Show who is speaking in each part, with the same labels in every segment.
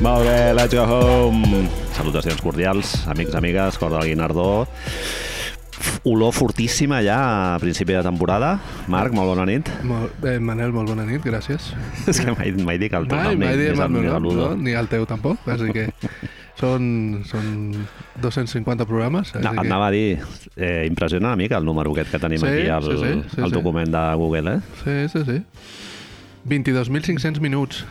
Speaker 1: Molt bé, let's go home. Salutacions cordials, amics, amigues, cor del Guinardó. Olor fortíssima ja a principi de temporada. Marc, molt bona nit.
Speaker 2: Molt, eh, Manel, molt bona nit, gràcies.
Speaker 1: És que mai, mai dic el teu
Speaker 2: Mai,
Speaker 1: nom,
Speaker 2: mai
Speaker 1: ni,
Speaker 2: diem el meu
Speaker 1: ni
Speaker 2: nom, no?
Speaker 1: saludo.
Speaker 2: ni el teu tampoc, així que són, són 250 programes.
Speaker 1: No,
Speaker 2: així
Speaker 1: et
Speaker 2: que...
Speaker 1: anava a dir, eh, impressiona una mica el número aquest que tenim
Speaker 2: Sí,
Speaker 1: aquí al,
Speaker 2: sí, sí, sí,
Speaker 1: al
Speaker 2: sí.
Speaker 1: document de Google, eh?
Speaker 2: Sí, sí, sí. 22.500 minuts.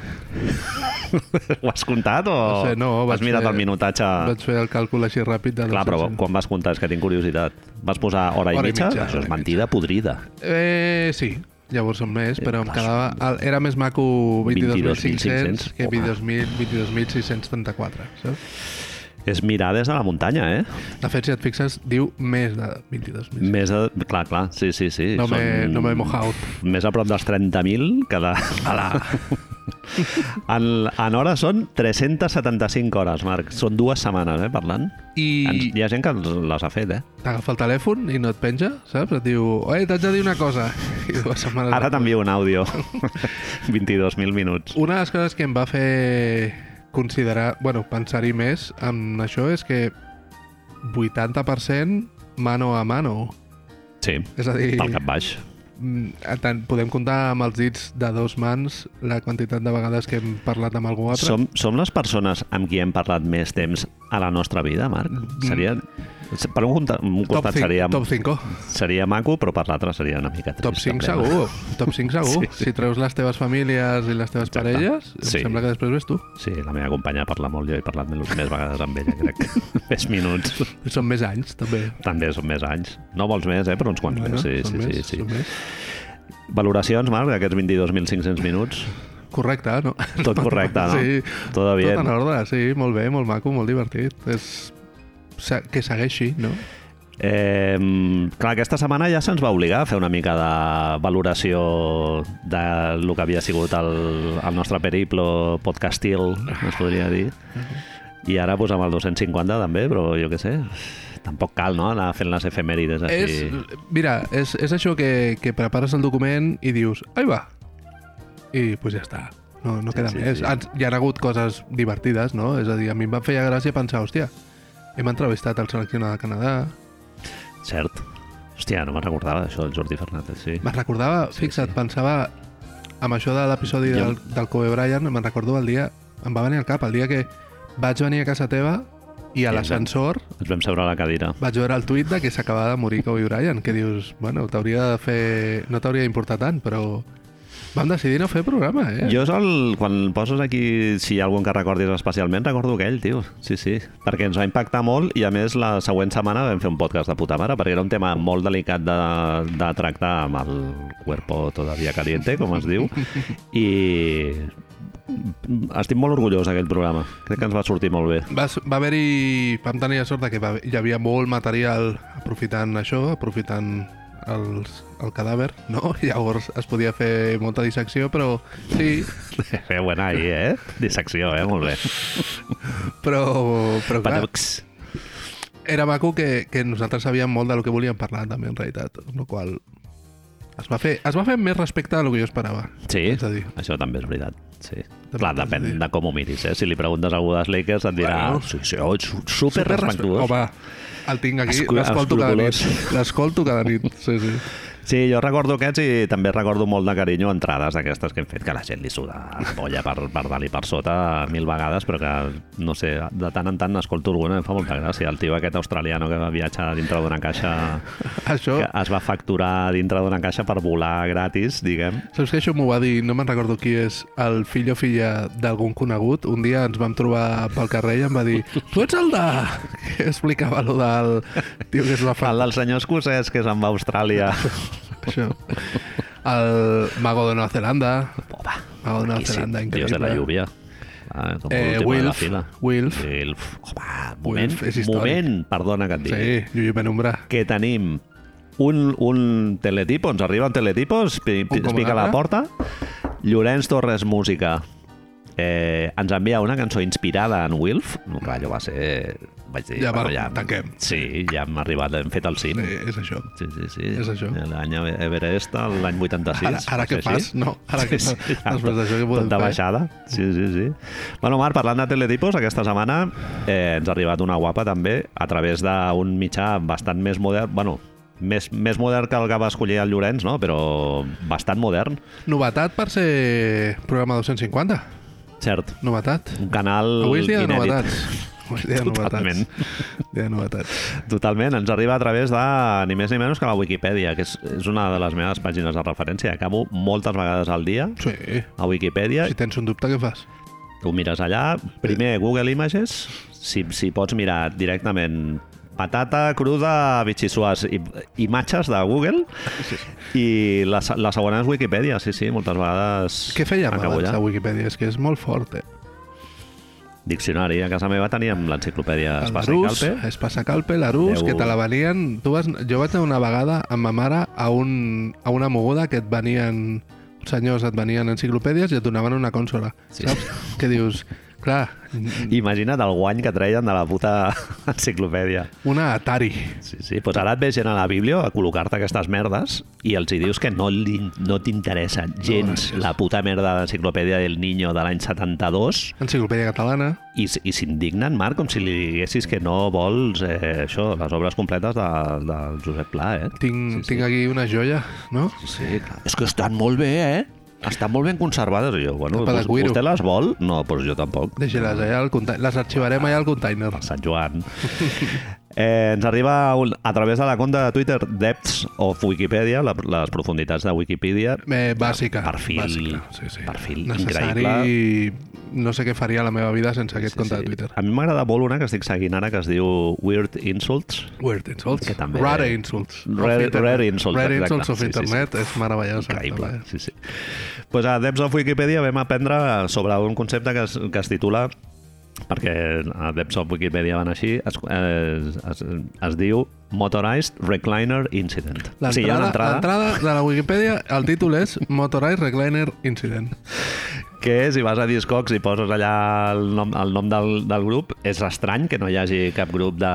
Speaker 1: Ho has comptat o
Speaker 2: No sé, no, vaig
Speaker 1: has mirat
Speaker 2: fer-
Speaker 1: el minutatge?
Speaker 2: Vaig fer el càlcul així ràpid. De
Speaker 1: Clar, però
Speaker 2: 200.
Speaker 1: quan vas comptar? És que tinc curiositat. Vas posar hora i,
Speaker 2: Hora i
Speaker 1: mitja?
Speaker 2: mitja,
Speaker 1: Això
Speaker 2: hora
Speaker 1: és
Speaker 2: i
Speaker 1: mentida podrida.
Speaker 2: Eh, sí, llavors són més, però em
Speaker 1: Eh,
Speaker 2: quedava... el- Era més maco
Speaker 1: 22.500,
Speaker 2: 22.500 que
Speaker 1: home.
Speaker 2: 22.000, 22.634, saps?
Speaker 1: És mirar des de la muntanya, eh?
Speaker 2: De fet, si et fixes, diu més de 22.000.
Speaker 1: Més de... Clar, clar, sí, sí, sí.
Speaker 2: No me- no me he mojado.
Speaker 1: Més a prop dels 30.000 que de... en, en hores són 375 hores, Marc. Són dues setmanes, eh, parlant. Ens,
Speaker 2: I
Speaker 1: hi ha gent que ens les ha fet, eh?
Speaker 2: t'agafa el telèfon i no et penja, saps? Et diu, oi, t'haig de dir una cosa. I dues setmanes...
Speaker 1: Ara t'envio un àudio. 22.000 minuts.
Speaker 2: Una de les coses que em va fer considerar, bueno, pensar-hi més amb això és que 80% mano a mano.
Speaker 1: Sí,
Speaker 2: És a dir,
Speaker 1: pel cap baix.
Speaker 2: Mm, a tant, podem comptar amb els dits de dos mans la quantitat de vegades que hem parlat amb algú altre.
Speaker 1: Som, som les persones amb qui hem parlat més temps a la nostra vida, Marc? Seria... Per un, compte- un
Speaker 2: Mm. top
Speaker 1: costat
Speaker 2: cinc-
Speaker 1: seria,
Speaker 2: Top 5.
Speaker 1: seria maco, però per l'altre seria una mica trist.
Speaker 2: Top 5
Speaker 1: també, no?
Speaker 2: segur. Top 5 segur.
Speaker 1: Sí, sí.
Speaker 2: Si treus les teves famílies i les teves
Speaker 1: Exacte.
Speaker 2: parelles,
Speaker 1: Sí.
Speaker 2: em sembla que després ves tu.
Speaker 1: Sí, la meva companya parla molt, jo he parlat més més vegades amb ella, crec. més minuts.
Speaker 2: Són més anys, també.
Speaker 1: També són més anys. No vols més, eh? però uns quants
Speaker 2: Bueno,
Speaker 1: més. Sí,
Speaker 2: són
Speaker 1: sí,
Speaker 2: més,
Speaker 1: sí,
Speaker 2: són
Speaker 1: sí.
Speaker 2: més.
Speaker 1: Valoracions, Marc, d'aquests 22.500 minuts?
Speaker 2: Correcte, no?
Speaker 1: Tot correcte, no?
Speaker 2: Sí,
Speaker 1: Tot
Speaker 2: tot
Speaker 1: aviat.
Speaker 2: en ordre, sí, molt bé, molt maco, molt divertit. És se- que segueixi, no?
Speaker 1: Eh, clar, aquesta setmana ja se'ns va obligar a fer una mica de valoració de lo que havia sigut el, el nostre periplo podcastil, es podria dir. I ara pues, amb el 250 també, però jo què sé, tampoc cal no? anar fent les efemèrides així.
Speaker 2: És, mira, és, és això que, que prepares el document i dius, ai va, i pues ja està. No, no
Speaker 1: Sí,
Speaker 2: queda
Speaker 1: sí,
Speaker 2: més.
Speaker 1: sí.
Speaker 2: Han- Hi ha hagut coses divertides, no? És a dir, a mi em va fer gràcia pensar, hòstia, hem entrevistat el seleccionador de Canadà.
Speaker 1: Cert. Hòstia, no me'n recordava això del Jordi Fernández, sí.
Speaker 2: Me'n recordava,
Speaker 1: Sí,
Speaker 2: fixa't,
Speaker 1: sí.
Speaker 2: pensava amb això de l'episodi
Speaker 1: Jo-
Speaker 2: del, del Kobe Bryant, me'n recordo el dia, em va venir al cap, el dia que vaig venir a casa teva i a
Speaker 1: Ja,
Speaker 2: l'ascensor
Speaker 1: Ens vam seure a la cadira.
Speaker 2: vaig veure el tuit de que s'acabava de morir Kobe Bryant, que dius, bueno, t'hauria de fer... no t'hauria d'importar tant, però vam decidir no fer programa, eh?
Speaker 1: Jo és el... Quan poses aquí, si hi ha algun que recordis especialment, recordo aquell, tio. Sí, sí. Perquè ens va impactar molt i, a més, la següent setmana vam fer un podcast de puta mare perquè era un tema molt delicat de, de tractar amb el cuerpo todavía caliente, com es diu. I estic molt orgullós d'aquell programa. Crec que ens va sortir molt bé.
Speaker 2: Va, s- va haver-hi... Vam tenir la sort de que va, hi havia molt material aprofitant això, aprofitant els, el cadàver, no? Llavors es podia fer molta dissecció, però sí,
Speaker 1: Feu anar ahir, eh? Dissecció, eh? Molt bé.
Speaker 2: però, però clar,
Speaker 1: Paducs.
Speaker 2: era maco que, que nosaltres sabíem molt del que volíem parlar també, en realitat, el qual es va fer, es va fer amb més respecte del que jo esperava.
Speaker 1: Sí,
Speaker 2: És a dir.
Speaker 1: això també és veritat. Sí.
Speaker 2: També
Speaker 1: Clar,
Speaker 2: és
Speaker 1: depèn
Speaker 2: veritat.
Speaker 1: de com ho miris, eh? Si li preguntes a algú dels Lakers et dirà
Speaker 2: Bueno.
Speaker 1: bueno, sí, sí, oh, su- super respectuós.
Speaker 2: Home, el tinc aquí,
Speaker 1: Escru-
Speaker 2: l'escolto cada nit.
Speaker 1: escrupolós.
Speaker 2: L'escolto cada nit, sí, sí.
Speaker 1: Sí, jo recordo aquests i també recordo molt de carinyo entrades d'aquestes que hem fet, que la gent li suda la polla per, per dalt i per sota mil vegades, però que, no sé, de tant en tant n'escolto alguna, em fa molta gràcia. El tio aquest australiano que va viatjar dintre d'una caixa,
Speaker 2: Això,
Speaker 1: que es va facturar dintre d'una caixa per volar gratis, diguem.
Speaker 2: saps que això m'ho va dir, no me'n recordo qui és, el fill o filla d'algun conegut. Un dia ens vam trobar pel carrer i em va dir tu ets el de... que explicava allò del... Tio, que és una
Speaker 1: El
Speaker 2: fan...
Speaker 1: del senyor escocès, que és amb Austràlia.
Speaker 2: Això. El mago de Nova Zelanda.
Speaker 1: Opa,
Speaker 2: Mago de Nova Zelanda,
Speaker 1: Dios de
Speaker 2: increïble.
Speaker 1: la lluvia. Ah, com
Speaker 2: Eh,
Speaker 1: l'últim de la
Speaker 2: Wilf,
Speaker 1: fila.
Speaker 2: Wilf,
Speaker 1: Wilf. Home, moment,
Speaker 2: Wilf és històric.
Speaker 1: moment, perdona que et digui.
Speaker 2: sí, Lluís Penumbra.
Speaker 1: Que tenim un, un teletipo, ens arriba un teletipo, es, pi,
Speaker 2: Un
Speaker 1: pi, es
Speaker 2: com
Speaker 1: pica a la
Speaker 2: l'altre.
Speaker 1: porta. Llorenç Torres Música. eh, ens envia una cançó inspirada en Wilf. No, clar, allò va ser... Vaig dir,
Speaker 2: Ja, va, tanquem.
Speaker 1: Sí, ja hem arribat, hem fet el cim.
Speaker 2: Eh, és això.
Speaker 1: Sí, sí, sí.
Speaker 2: És això.
Speaker 1: L'any Everest, l'any 86.
Speaker 2: Ara, ara què
Speaker 1: potser
Speaker 2: fas?
Speaker 1: així.
Speaker 2: No, ara què fas? Després d'això què
Speaker 1: Tot
Speaker 2: podem
Speaker 1: de
Speaker 2: fer?
Speaker 1: baixada. Sí, sí, sí. Bueno, Marc, parlant de teletipos, aquesta setmana eh, ens ha arribat una guapa també a través d'un mitjà bastant més modern, bueno, més, més modern que el que va escollir el Llorenç, no? però bastant modern,
Speaker 2: Novetat per ser programa 250.
Speaker 1: cert.
Speaker 2: Novetat.
Speaker 1: Un canal
Speaker 2: Avui és dia de
Speaker 1: inèdit.
Speaker 2: novetats. Avui és dia de
Speaker 1: Totalment.
Speaker 2: novetats. Dia de novetats.
Speaker 1: Totalment, ens arriba a través de ni més ni menys que la Wikipedia, que és, és una de les meves pàgines de referència. Acabo moltes vegades al dia
Speaker 2: Sí.
Speaker 1: a Wikipedia
Speaker 2: Si tens un dubte, què fas?
Speaker 1: Tu mires allà, primer Google Images, si, si pots mirar directament patata cruda bitxissuars i, imatges de Google i la, se- la segona és Wikipedia, sí, sí, moltes vegades
Speaker 2: Què fèiem
Speaker 1: acabo
Speaker 2: abans
Speaker 1: allà.
Speaker 2: a Wikipedia? És que és molt fort, eh?
Speaker 1: Diccionari, a casa meva teníem l'enciclopèdia Espasa i Calpe.
Speaker 2: es passa calpe, l'Arús,
Speaker 1: Déu.
Speaker 2: que te la venien... Tu vas, jo vaig anar una vegada amb ma mare a, un, a una moguda que et venien... uns Senyors, et venien enciclopèdies i et donaven una consola.
Speaker 1: Sí.
Speaker 2: Sí. Saps? Que dius, clar,
Speaker 1: Imagina't el guany que treien de la puta enciclopèdia.
Speaker 2: una Atari.
Speaker 1: Sí, sí, doncs ara et ve gent a la Bíblia a col·locar-te aquestes merdes i els hi dius que no, li, no t'interessa gens
Speaker 2: gràcies.
Speaker 1: la puta merda d'enciclopèdia del Niño de l'any 72
Speaker 2: Enciclopèdia catalana.
Speaker 1: I, s- i s'indignen, Marc, com si li diguessis que no vols eh, això, les obres completes de, del Josep Pla, eh?
Speaker 2: Tinc, sí, sí. tinc aquí una joia, no?
Speaker 1: Sí, clar. És que estan molt bé, eh? Estan molt ben conservades. I jo, bueno,
Speaker 2: Tapa de
Speaker 1: vos-
Speaker 2: cuiro.
Speaker 1: vostè les vol? No, doncs jo tampoc.
Speaker 2: Deixa-les allà al container. eh? Les arxivarem allà al container.
Speaker 1: Per Sant Joan. Eh, ens arriba un, a través de la compta de Twitter Depths of Wikipedia, la, les profunditats de Wikipedia.
Speaker 2: Eh, bàsica.
Speaker 1: Perfil-
Speaker 2: bàsica. Sí, sí.
Speaker 1: perfil
Speaker 2: Necessari... No sé què faria a la meva vida sense aquest sí, compte de Twitter.
Speaker 1: A mi m'agrada molt una que estic seguint ara que es diu Weird Insults.
Speaker 2: Weird insults.
Speaker 1: Que també-
Speaker 2: Rare insults.
Speaker 1: Rare-
Speaker 2: Of internet.
Speaker 1: rare insults,
Speaker 2: Rare
Speaker 1: exacte.
Speaker 2: insults of
Speaker 1: Sí, sí, sí.
Speaker 2: internet. És meravellós. eh,
Speaker 1: Increïble,
Speaker 2: també.
Speaker 1: sí, sí. Pues a Depths of Wikipedia vam aprendre sobre un concepte que es, que es titula perquè a Depths of Wikipedia van així, es, es, es, es diu Motorized Recliner Incident.
Speaker 2: L'entrada
Speaker 1: hi ha una entrada
Speaker 2: l'entrada de la Wikipedia, el títol és Motorized Recliner Incident.
Speaker 1: que si vas a Discogs i poses allà el nom, el nom del, del grup, és estrany que no hi hagi cap grup de,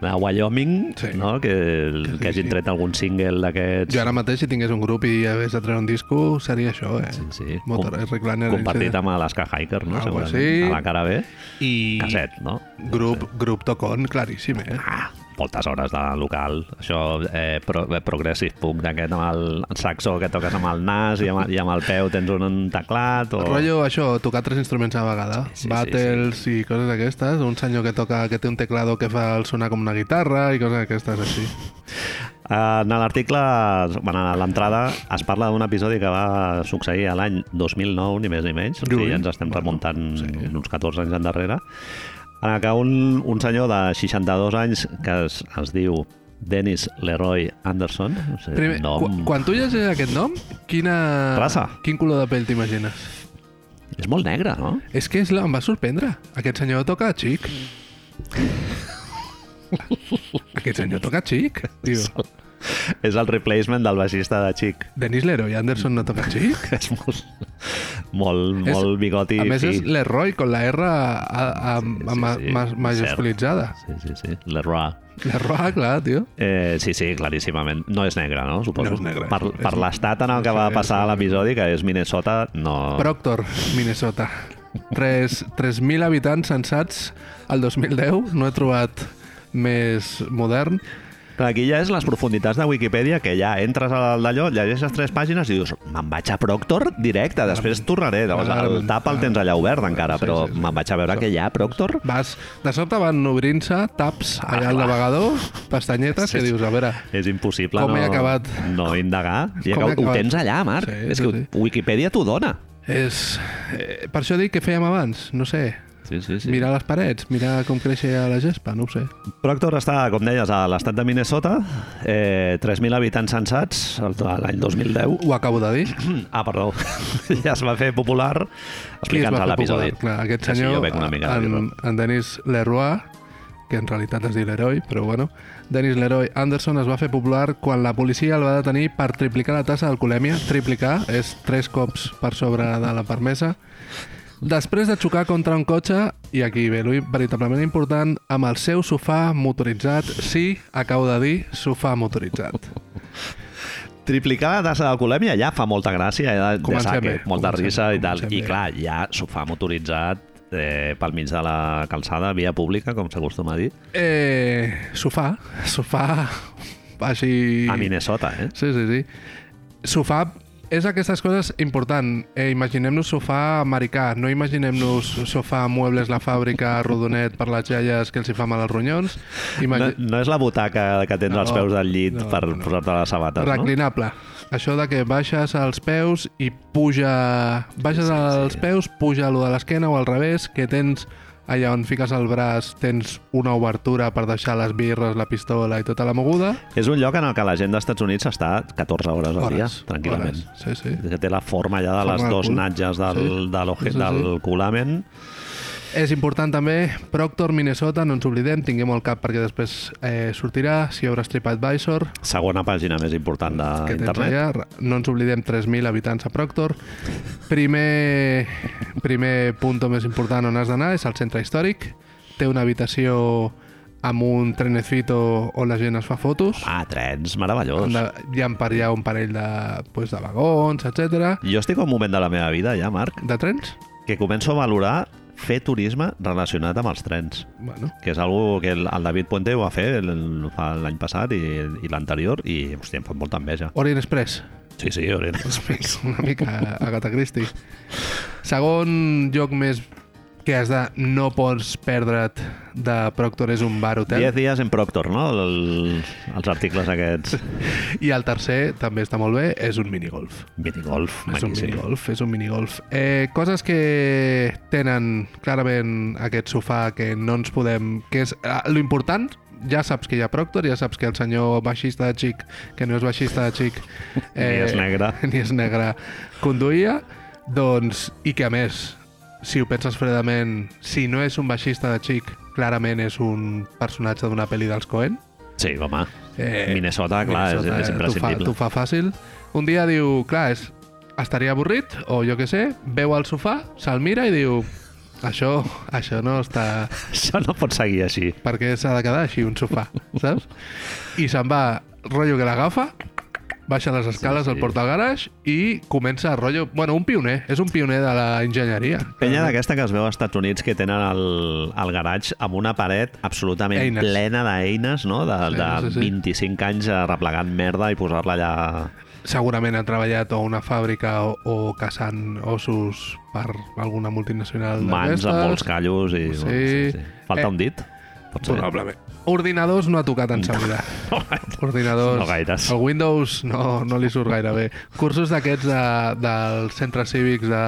Speaker 1: de Wyoming,
Speaker 2: Sí.
Speaker 1: no? que, que hagin tret algun single d'aquests.
Speaker 2: Jo ara mateix, si tingués un grup i hagués de treure un disco, seria això, eh?
Speaker 1: Sí, sí.
Speaker 2: Motorized Recliner
Speaker 1: compartit
Speaker 2: Incident.
Speaker 1: amb Alaska Hiker, no?
Speaker 2: eh? Algo
Speaker 1: Segurament.
Speaker 2: així.
Speaker 1: A la cara B.
Speaker 2: I
Speaker 1: Casset, no?
Speaker 2: grup, grup tocon, claríssim, eh?
Speaker 1: Ah, moltes hores de local. Això, eh, pro, eh, progressive punk d'aquest amb el saxo que toques amb el nas i amb, i amb el peu tens un, un teclat o...
Speaker 2: El rotllo, això, tocar tres instruments a la vegada.
Speaker 1: Oh. Sí, sí, sí,
Speaker 2: Battles i coses d'aquestes. Un senyor que toca, que té un teclado que fa el sonar com una guitarra i coses d'aquestes així.
Speaker 1: Eh, En l'article, bueno, a l'entrada, es parla d'un episodi que va succeir a l'any 2009, ni més ni menys. O sigui,
Speaker 2: Lluny.
Speaker 1: ja ens estem remuntant uns 14 anys endarrere. En el que un, un senyor de 62 anys que es, es diu Dennis Leroy Anderson... No sé,
Speaker 2: Primer,
Speaker 1: nom...
Speaker 2: quan, quan tu llegeixes aquest nom, quina...
Speaker 1: Raça.
Speaker 2: Quin color de pell t'imagines?
Speaker 1: És molt negre, no?
Speaker 2: És que és la... em va sorprendre. Aquest senyor toca xic. Aquest senyor toca xic, tio.
Speaker 1: És el replacement del baixista de Chic.
Speaker 2: Denis Leroy Anderson no toca xic?
Speaker 1: És molt, molt,
Speaker 2: És-
Speaker 1: molt bigoti.
Speaker 2: A més
Speaker 1: fi.
Speaker 2: és Leroy, con la R a, a,
Speaker 1: Sí,
Speaker 2: a,
Speaker 1: sí,
Speaker 2: ma-
Speaker 1: sí.
Speaker 2: ma- majusculitzada.
Speaker 1: Sí, sí, sí. L'error.
Speaker 2: Leroy, clar, tio.
Speaker 1: Eh, sí, sí, claríssimament. No és negre, no? Suposo.
Speaker 2: No és negre.
Speaker 1: Per,
Speaker 2: És
Speaker 1: per
Speaker 2: un-
Speaker 1: l'estat en el que
Speaker 2: sí,
Speaker 1: va
Speaker 2: és
Speaker 1: passar
Speaker 2: un-
Speaker 1: l'episodi, que és Minnesota, no...
Speaker 2: Proctor, Minnesota. Tres- 3.000 habitants censats al 2010. No he trobat més modern.
Speaker 1: Clar, aquí ja és les profunditats de Wikipedia, que ja entres al d'allò, llegeixes tres pàgines i dius me'n vaig a Proctor directe, després tornaré. Llavors, el
Speaker 2: Clarament.
Speaker 1: tap el tens allà obert encara,
Speaker 2: Sí,
Speaker 1: però
Speaker 2: sí, sí.
Speaker 1: me'n vaig a veure que hi ha Proctor.
Speaker 2: Vas, de sobte van obrint-se taps allà al
Speaker 1: Ah, clar.
Speaker 2: navegador, pestanyetes,
Speaker 1: Sí,
Speaker 2: que
Speaker 1: sí.
Speaker 2: dius, a veure...
Speaker 1: És impossible
Speaker 2: Com
Speaker 1: no,
Speaker 2: he acabat?
Speaker 1: no indagar. I
Speaker 2: Com he
Speaker 1: acab... Ho
Speaker 2: acabat?
Speaker 1: tens allà, Marc.
Speaker 2: Sí,
Speaker 1: Sí, és
Speaker 2: sí,
Speaker 1: que
Speaker 2: sí.
Speaker 1: Wikipedia t'ho dona.
Speaker 2: És... Eh, per això dic que fèiem abans, no sé.
Speaker 1: Sí, sí,
Speaker 2: Sí. Mirar les parets, mirar com creixia la gespa, no ho sé.
Speaker 1: Proctor està, com deies, a l'estat de Minnesota, eh, 3.000 habitants censats el- l'any 2010.
Speaker 2: Ho acabo de dir.
Speaker 1: Ah, perdó, ja es va fer popular
Speaker 2: Qui es
Speaker 1: explicant-se
Speaker 2: fer
Speaker 1: l'episodi.
Speaker 2: popular? Clar, aquest
Speaker 1: Sí, sí,
Speaker 2: senyor,
Speaker 1: jo bec una mica de
Speaker 2: en,
Speaker 1: birra.
Speaker 2: en Denis Leroy, que en realitat es diu Leroy, però bueno. Dennis Leroy Anderson es va fer popular quan la policia el va detenir per triplicar la tassa d'alcoholèmia. Triplicar és tres cops per sobre de la permesa. Després de xocar contra un cotxe, i aquí ve l'ull veritablement important, amb el seu sofà motoritzat, sí, acabo de dir, sofà motoritzat.
Speaker 1: Triplicar la tassa d'alcoholèmia ja fa molta gràcia, ja, ja
Speaker 2: Comencem
Speaker 1: sap
Speaker 2: bé,
Speaker 1: que molta
Speaker 2: comencem
Speaker 1: risa
Speaker 2: bé,
Speaker 1: i tal.
Speaker 2: comencem
Speaker 1: I
Speaker 2: bé.
Speaker 1: clar, ja s'ho fa motoritzat eh, pel mig de la calçada, via pública, com s'acostuma a dir,
Speaker 2: Eh, sofà, sofà així...
Speaker 1: a Minnesota, eh?
Speaker 2: Sí, sí, sí. Sofà és aquestes coses important. Eh, Imaginem-nos sofà americà, no imaginem-nos sofà muebles, la fàbrica, rodonet per les iaies que els hi fa mal als ronyons.
Speaker 1: No,
Speaker 2: Imagi...
Speaker 1: no és la butaca que tens
Speaker 2: No,
Speaker 1: als peus del llit
Speaker 2: no,
Speaker 1: per
Speaker 2: no, no.
Speaker 1: posar-te les sabates,
Speaker 2: Reclinable. Això de que baixes als peus i puja... Baixes
Speaker 1: Sí, sí, sí.
Speaker 2: als peus, puja a lo de l'esquena o al revés, que tens allà on fiques el braç tens una obertura per deixar les birres, la pistola i tota la moguda.
Speaker 1: no? És un lloc en el que la gent dels Estats Units està 14 hores al dia, tranquil·lament.
Speaker 2: Hores. Sí, sí.
Speaker 1: que té la forma ja de
Speaker 2: Forma
Speaker 1: les
Speaker 2: de
Speaker 1: dos
Speaker 2: cul.
Speaker 1: natges del,
Speaker 2: Sí.
Speaker 1: de l'oje-
Speaker 2: Sí, sí,
Speaker 1: del culamen.
Speaker 2: És important també Proctor, Minnesota, no ens oblidem, tinguem el cap perquè després eh, sortirà, si obres TripAdvisor,
Speaker 1: Segona pàgina més important
Speaker 2: que tens
Speaker 1: d'internet.
Speaker 2: allà, no ens oblidem 3.000 habitants a Proctor. Primer, primer punt més important on has d'anar és al centre històric, té una habitació amb un trenecito on la gent es fa fotos,
Speaker 1: Ah, trens, meravellós.
Speaker 2: Anda, hi ha per allà un parell de, pues, de vagons, etc.
Speaker 1: Jo estic a un moment de la meva vida, ja, Marc,
Speaker 2: De trens?
Speaker 1: que començo a valorar fer turisme relacionat amb els trens,
Speaker 2: Bueno,
Speaker 1: que és algo que el, el David Puente ho va fer el- fa l'any passat i, i l'anterior i, hòstia, em fa molta enveja.
Speaker 2: Orient Express.
Speaker 1: Sí, sí, Orient.
Speaker 2: Després, una mica Agatha Christie. Segon lloc més que has de... no pots perdre't de Proctor és un bar-hotel.
Speaker 1: 10 dies en Proctor, no? El, els articles aquests.
Speaker 2: I el tercer, també està molt bé, és un minigolf.
Speaker 1: Minigolf,
Speaker 2: És un
Speaker 1: maquíssim.
Speaker 2: minigolf, és un minigolf. Eh, coses que tenen clarament aquest sofà que no ens podem... que és eh, lo important ja saps que hi ha Proctor, ja saps que el senyor baixista de xic, que no és baixista de xic... eh,
Speaker 1: Ni és negre.
Speaker 2: Ni és negre. Conduïa, doncs, i que a més, si ho penses fredament, si no és un baixista de xic, clarament és un personatge d'una pel·li dels Coen.
Speaker 1: Sí, home.
Speaker 2: Eh,
Speaker 1: Minnesota, clar, és- és
Speaker 2: eh,
Speaker 1: imprescindible.
Speaker 2: T'ho fa, t'ho fa fàcil. Un dia diu, clar, és, estaria avorrit, o jo que sé, veu al sofà, se'l mira i diu, això, això no està...
Speaker 1: Això no pot seguir així.
Speaker 2: Per què s'ha de quedar així un sofà, saps? I se'n va, rotllo que l'agafa, baixa les escales,
Speaker 1: Sí, sí.
Speaker 2: sí, el porta al garage i comença rotllo... Bueno, un pioner, és un pioner de la enginyeria.
Speaker 1: Penya d'aquesta que es veu als Estats Units que tenen el, el garatge amb una paret absolutament
Speaker 2: Eines.
Speaker 1: plena d'eines, no? De,
Speaker 2: Sí,
Speaker 1: de
Speaker 2: sí, sí.
Speaker 1: 25 anys arreplegant merda i posar-la allà...
Speaker 2: segurament ha treballat o a una fàbrica o, o caçant ossos per alguna multinacional
Speaker 1: Mans amb molts
Speaker 2: d'aquestes.
Speaker 1: callos i...
Speaker 2: Sí.
Speaker 1: Falta
Speaker 2: Eh.
Speaker 1: un dit? Pot ser.
Speaker 2: Probablement. Ordinadors no ha tocat en sa vida. Ordinadors...
Speaker 1: No gaires.
Speaker 2: El Windows no, no li surt gaire bé. Cursos d'aquests de, dels centres cívics de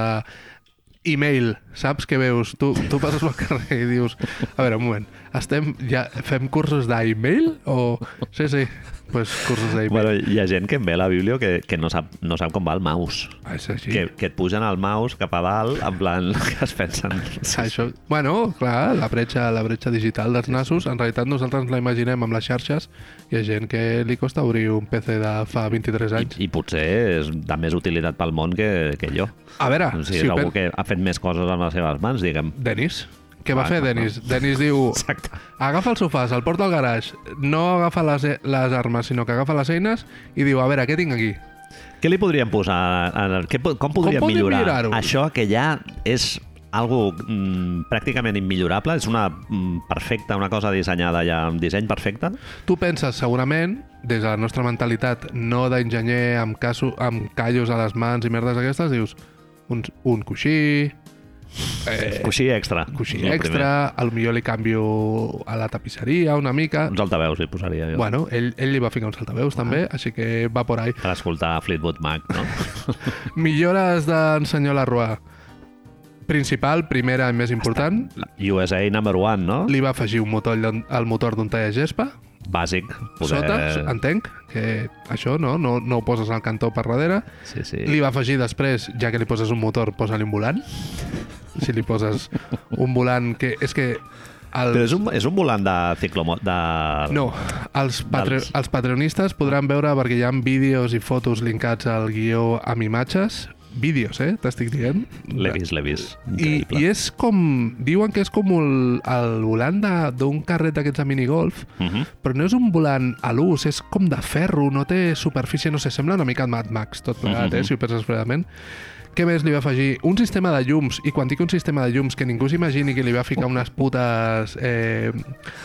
Speaker 2: e-mail, saps què veus? Tu, tu passes pel carrer i dius a veure, un moment, estem, ja fem cursos d'e-mail o... Sí, sí, pues cursos d'e-mail.
Speaker 1: Bueno, hi ha gent que em ve a la biblio que, que no, sap, no sap com va el mouse.
Speaker 2: Ah, és així.
Speaker 1: Que, que et pugen el mouse cap a dalt, en plan que es pensen...
Speaker 2: Sí, Ah, Això, bueno, clar, la bretxa, la bretxa digital dels nassos, en realitat nosaltres ens la imaginem amb les xarxes, hi ha gent que li costa obrir un PC de fa 23
Speaker 1: I,
Speaker 2: anys.
Speaker 1: I potser és de més utilitat pel món que, que jo.
Speaker 2: A veure,
Speaker 1: O sigui,
Speaker 2: si
Speaker 1: és
Speaker 2: ho
Speaker 1: algú
Speaker 2: pen...
Speaker 1: que ha fet més coses amb les seves mans, diguem.
Speaker 2: Denis, què va
Speaker 1: Ah,
Speaker 2: fer
Speaker 1: no, no.
Speaker 2: Denis? Denis diu,
Speaker 1: Exacte.
Speaker 2: agafa el sofà, se'l porta al garatge, no agafa les, e- les armes, sinó que agafa les eines i diu, a veure, què tinc aquí?
Speaker 1: Què li podríem posar? En el, què, po- com podríem
Speaker 2: podríem
Speaker 1: millorar
Speaker 2: millorar-ho?
Speaker 1: això que ja és algo mm, pràcticament immillorable? És una mm, perfecta, una cosa dissenyada ja amb disseny perfecte?
Speaker 2: Tu penses, segurament, des de la nostra mentalitat no d'enginyer amb, caso, amb callos a les mans i merdes aquestes, dius, un, un coixí,
Speaker 1: Eh, coixí extra.
Speaker 2: coixí
Speaker 1: El primer.
Speaker 2: extra, a lo millor li canvio a la tapisseria una mica.
Speaker 1: Uns altaveus hi posaria jo. Bueno.
Speaker 2: Bueno, ell, ell li va ficar uns altaveus també, així que va por ahí.
Speaker 1: Per escoltar Fleetwood Mac, no?
Speaker 2: Millores d'en senyor Larroa. Principal, primera i més important,
Speaker 1: USA number one, no?
Speaker 2: li va afegir un motor d'un- al motor d'un talla gespa,
Speaker 1: Bàsic. Poder...
Speaker 2: sota, entenc, que això no, no, no ho poses al cantó per darrere.
Speaker 1: Sí, sí.
Speaker 2: Li va afegir després, ja que li poses un motor, posa-li un volant. Si li poses un volant que... És que El...
Speaker 1: Però és un, és un volant de ciclomo... De...
Speaker 2: No, els, patre...
Speaker 1: Dels-
Speaker 2: els patreonistes podran veure, perquè hi ha vídeos i fotos linkats al guió amb imatges, vídeos, eh? T'estic dient?
Speaker 1: L'he vist, l'he vist.
Speaker 2: I,
Speaker 1: Increïble.
Speaker 2: I és com... Diuen que és com el, el volant de- d'un carret d'aquests de minigolf,
Speaker 1: Mhm.
Speaker 2: però no és un volant a l'ús, és com de ferro, no té superfície, no sé, sembla una mica Mad Max, tot plegat, eh, si ho penses fredament. Què més li va afegir? Un sistema de llums, i quan dic un sistema de llums, que ningú s'imagini que li va ficar unes putes eh,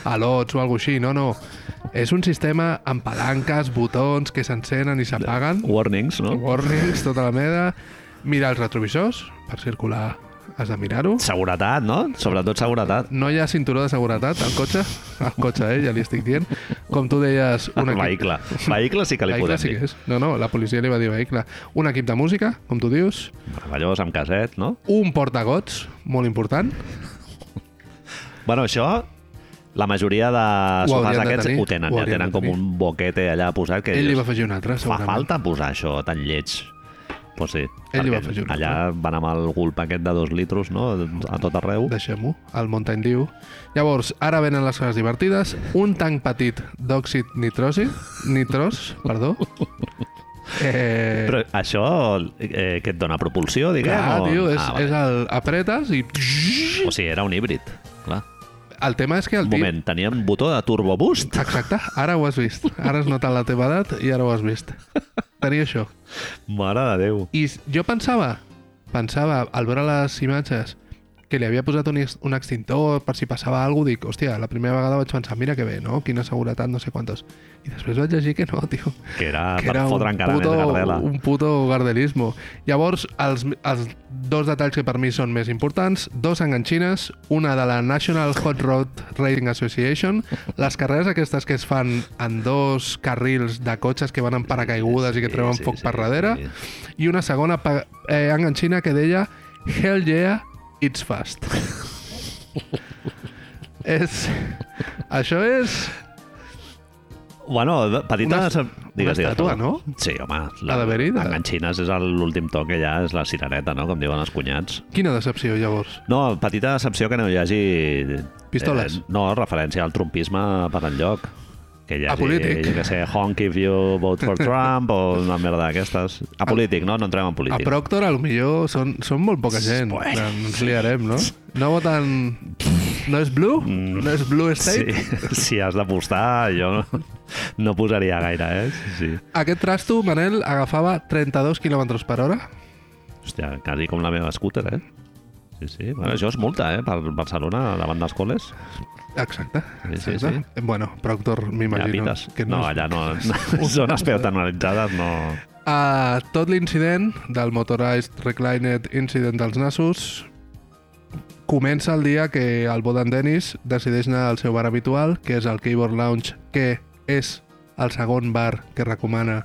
Speaker 2: alots o alguna així, no, no. És un sistema amb palanques, botons que s'encenen i s'apaguen,
Speaker 1: Warnings, no?
Speaker 2: warnings, tota la meda, mirar els retrovisors, per circular has de mirar-ho.
Speaker 1: Seguretat, no? Sobretot seguretat.
Speaker 2: No hi ha cinturó de seguretat al cotxe, al cotxe, eh, ja li estic dient. Com tu deies,
Speaker 1: Un
Speaker 2: un equip,
Speaker 1: vehicle. Vehicle sí Ah, que li
Speaker 2: Vehicle
Speaker 1: podem
Speaker 2: sí
Speaker 1: dir.
Speaker 2: que és. No, no, la policia li va dir vehicle. Un equip de música, com tu dius.
Speaker 1: Meravellós, amb caset, no?
Speaker 2: Un portagots, molt important.
Speaker 1: Bueno, això, la majoria de
Speaker 2: Ho
Speaker 1: sofàs
Speaker 2: haurien de
Speaker 1: aquests
Speaker 2: tenir,
Speaker 1: ho tenen,
Speaker 2: ho
Speaker 1: ja
Speaker 2: haurien
Speaker 1: tenen
Speaker 2: de
Speaker 1: com
Speaker 2: tenir.
Speaker 1: un boquete allà posat que
Speaker 2: Ell li
Speaker 1: dius,
Speaker 2: va afegir un altre,
Speaker 1: fa
Speaker 2: segurament.
Speaker 1: falta posar això tan lleig. Pues sí,
Speaker 2: Ell li va
Speaker 1: perquè
Speaker 2: afegir un
Speaker 1: allà van amb el gulp aquest de dos litros, no?, a tot arreu.
Speaker 2: Deixem-ho, al Mountain Dew. Llavors, ara venen les coses divertides. Un tanc petit d'òxid nitrosi, nitros, perdó. Eh,
Speaker 1: Però això eh, que et dona propulsió, diguem?
Speaker 2: clar,
Speaker 1: o...
Speaker 2: tio, és,
Speaker 1: ah,
Speaker 2: és
Speaker 1: vale.
Speaker 2: el... Apretes i...
Speaker 1: O sigui, era un híbrid, clar.
Speaker 2: El tema és que el
Speaker 1: Un
Speaker 2: tio...
Speaker 1: moment, tenia un botó de turbo boost?
Speaker 2: Exacte, ara ho has vist. Ara has notat la teva edat i ara ho has vist. Tenia això.
Speaker 1: Mare de Déu.
Speaker 2: I s- jo pensava, pensava, al veure les imatges, que li havia posat un, ex- un extintor per si passava alguna cosa, dic, hòstia, la primera vegada vaig pensar, mira que bé, no? Quina seguretat, no sé quantos. I després vaig llegir que no, tio.
Speaker 1: Que era
Speaker 2: Que
Speaker 1: per
Speaker 2: era
Speaker 1: fotre
Speaker 2: un
Speaker 1: encara més gardela.
Speaker 2: puto, un puto gardelismo. Llavors, els, els dos detalls que per mi són més importants, dos enganxines, una de la National Hot Rod Racing Association, les carreres aquestes que es fan en dos carrils de cotxes que van en paracaigudes i que treuen foc per darrere,
Speaker 1: Sí.
Speaker 2: i una segona pa- eh, enganxina que deia Hell yeah, it's fast. és... Això és
Speaker 1: Bueno, de-
Speaker 2: Una-
Speaker 1: petites... digues,
Speaker 2: una estàtua,
Speaker 1: perdó.
Speaker 2: no?
Speaker 1: Sí, home.
Speaker 2: La de Verida.
Speaker 1: Enganxines és el- l'últim toc que ja és la cirereta, no? Com diuen els cunyats.
Speaker 2: Quina decepció, llavors.
Speaker 1: No, petita decepció que no hi hagi...
Speaker 2: Pistoles.
Speaker 1: Eh, no, referència al trumpisme per enlloc. Que hi hagi,
Speaker 2: Apolític.
Speaker 1: Jo què sé, honk if you vote for Trump o una merda d'aquestes. A polític, no? No entrem en
Speaker 2: A
Speaker 1: polític.
Speaker 2: Proctor, a lo millor, són, són molt poca gent.
Speaker 1: Bueno.
Speaker 2: Ens liarem, no? No voten... No és Blue? No és Blue
Speaker 1: Mm. Sí,
Speaker 2: State?
Speaker 1: si has d'apostar, jo no, no posaria gaire, eh? Sí, sí.
Speaker 2: Aquest trasto, Manel, agafava 32 km per hora.
Speaker 1: Hòstia, quasi com la meva scooter, eh? Sí, sí. Bueno, això és multa, eh? Per Barcelona, davant dels col·les.
Speaker 2: Exacte.
Speaker 1: Sí, sí,
Speaker 2: exacte. Bueno, Proctor,
Speaker 1: Allà
Speaker 2: m'imagino.
Speaker 1: pites.
Speaker 2: que
Speaker 1: No,
Speaker 2: és-
Speaker 1: allà no. no zones peatonalitzades no...
Speaker 2: A tot l'incident del Motorized Reclined Incident dels Nassos comença el dia que el Bodan Dennis decideix anar al seu bar habitual, que és el Keyboard Lounge, que és el segon bar que recomana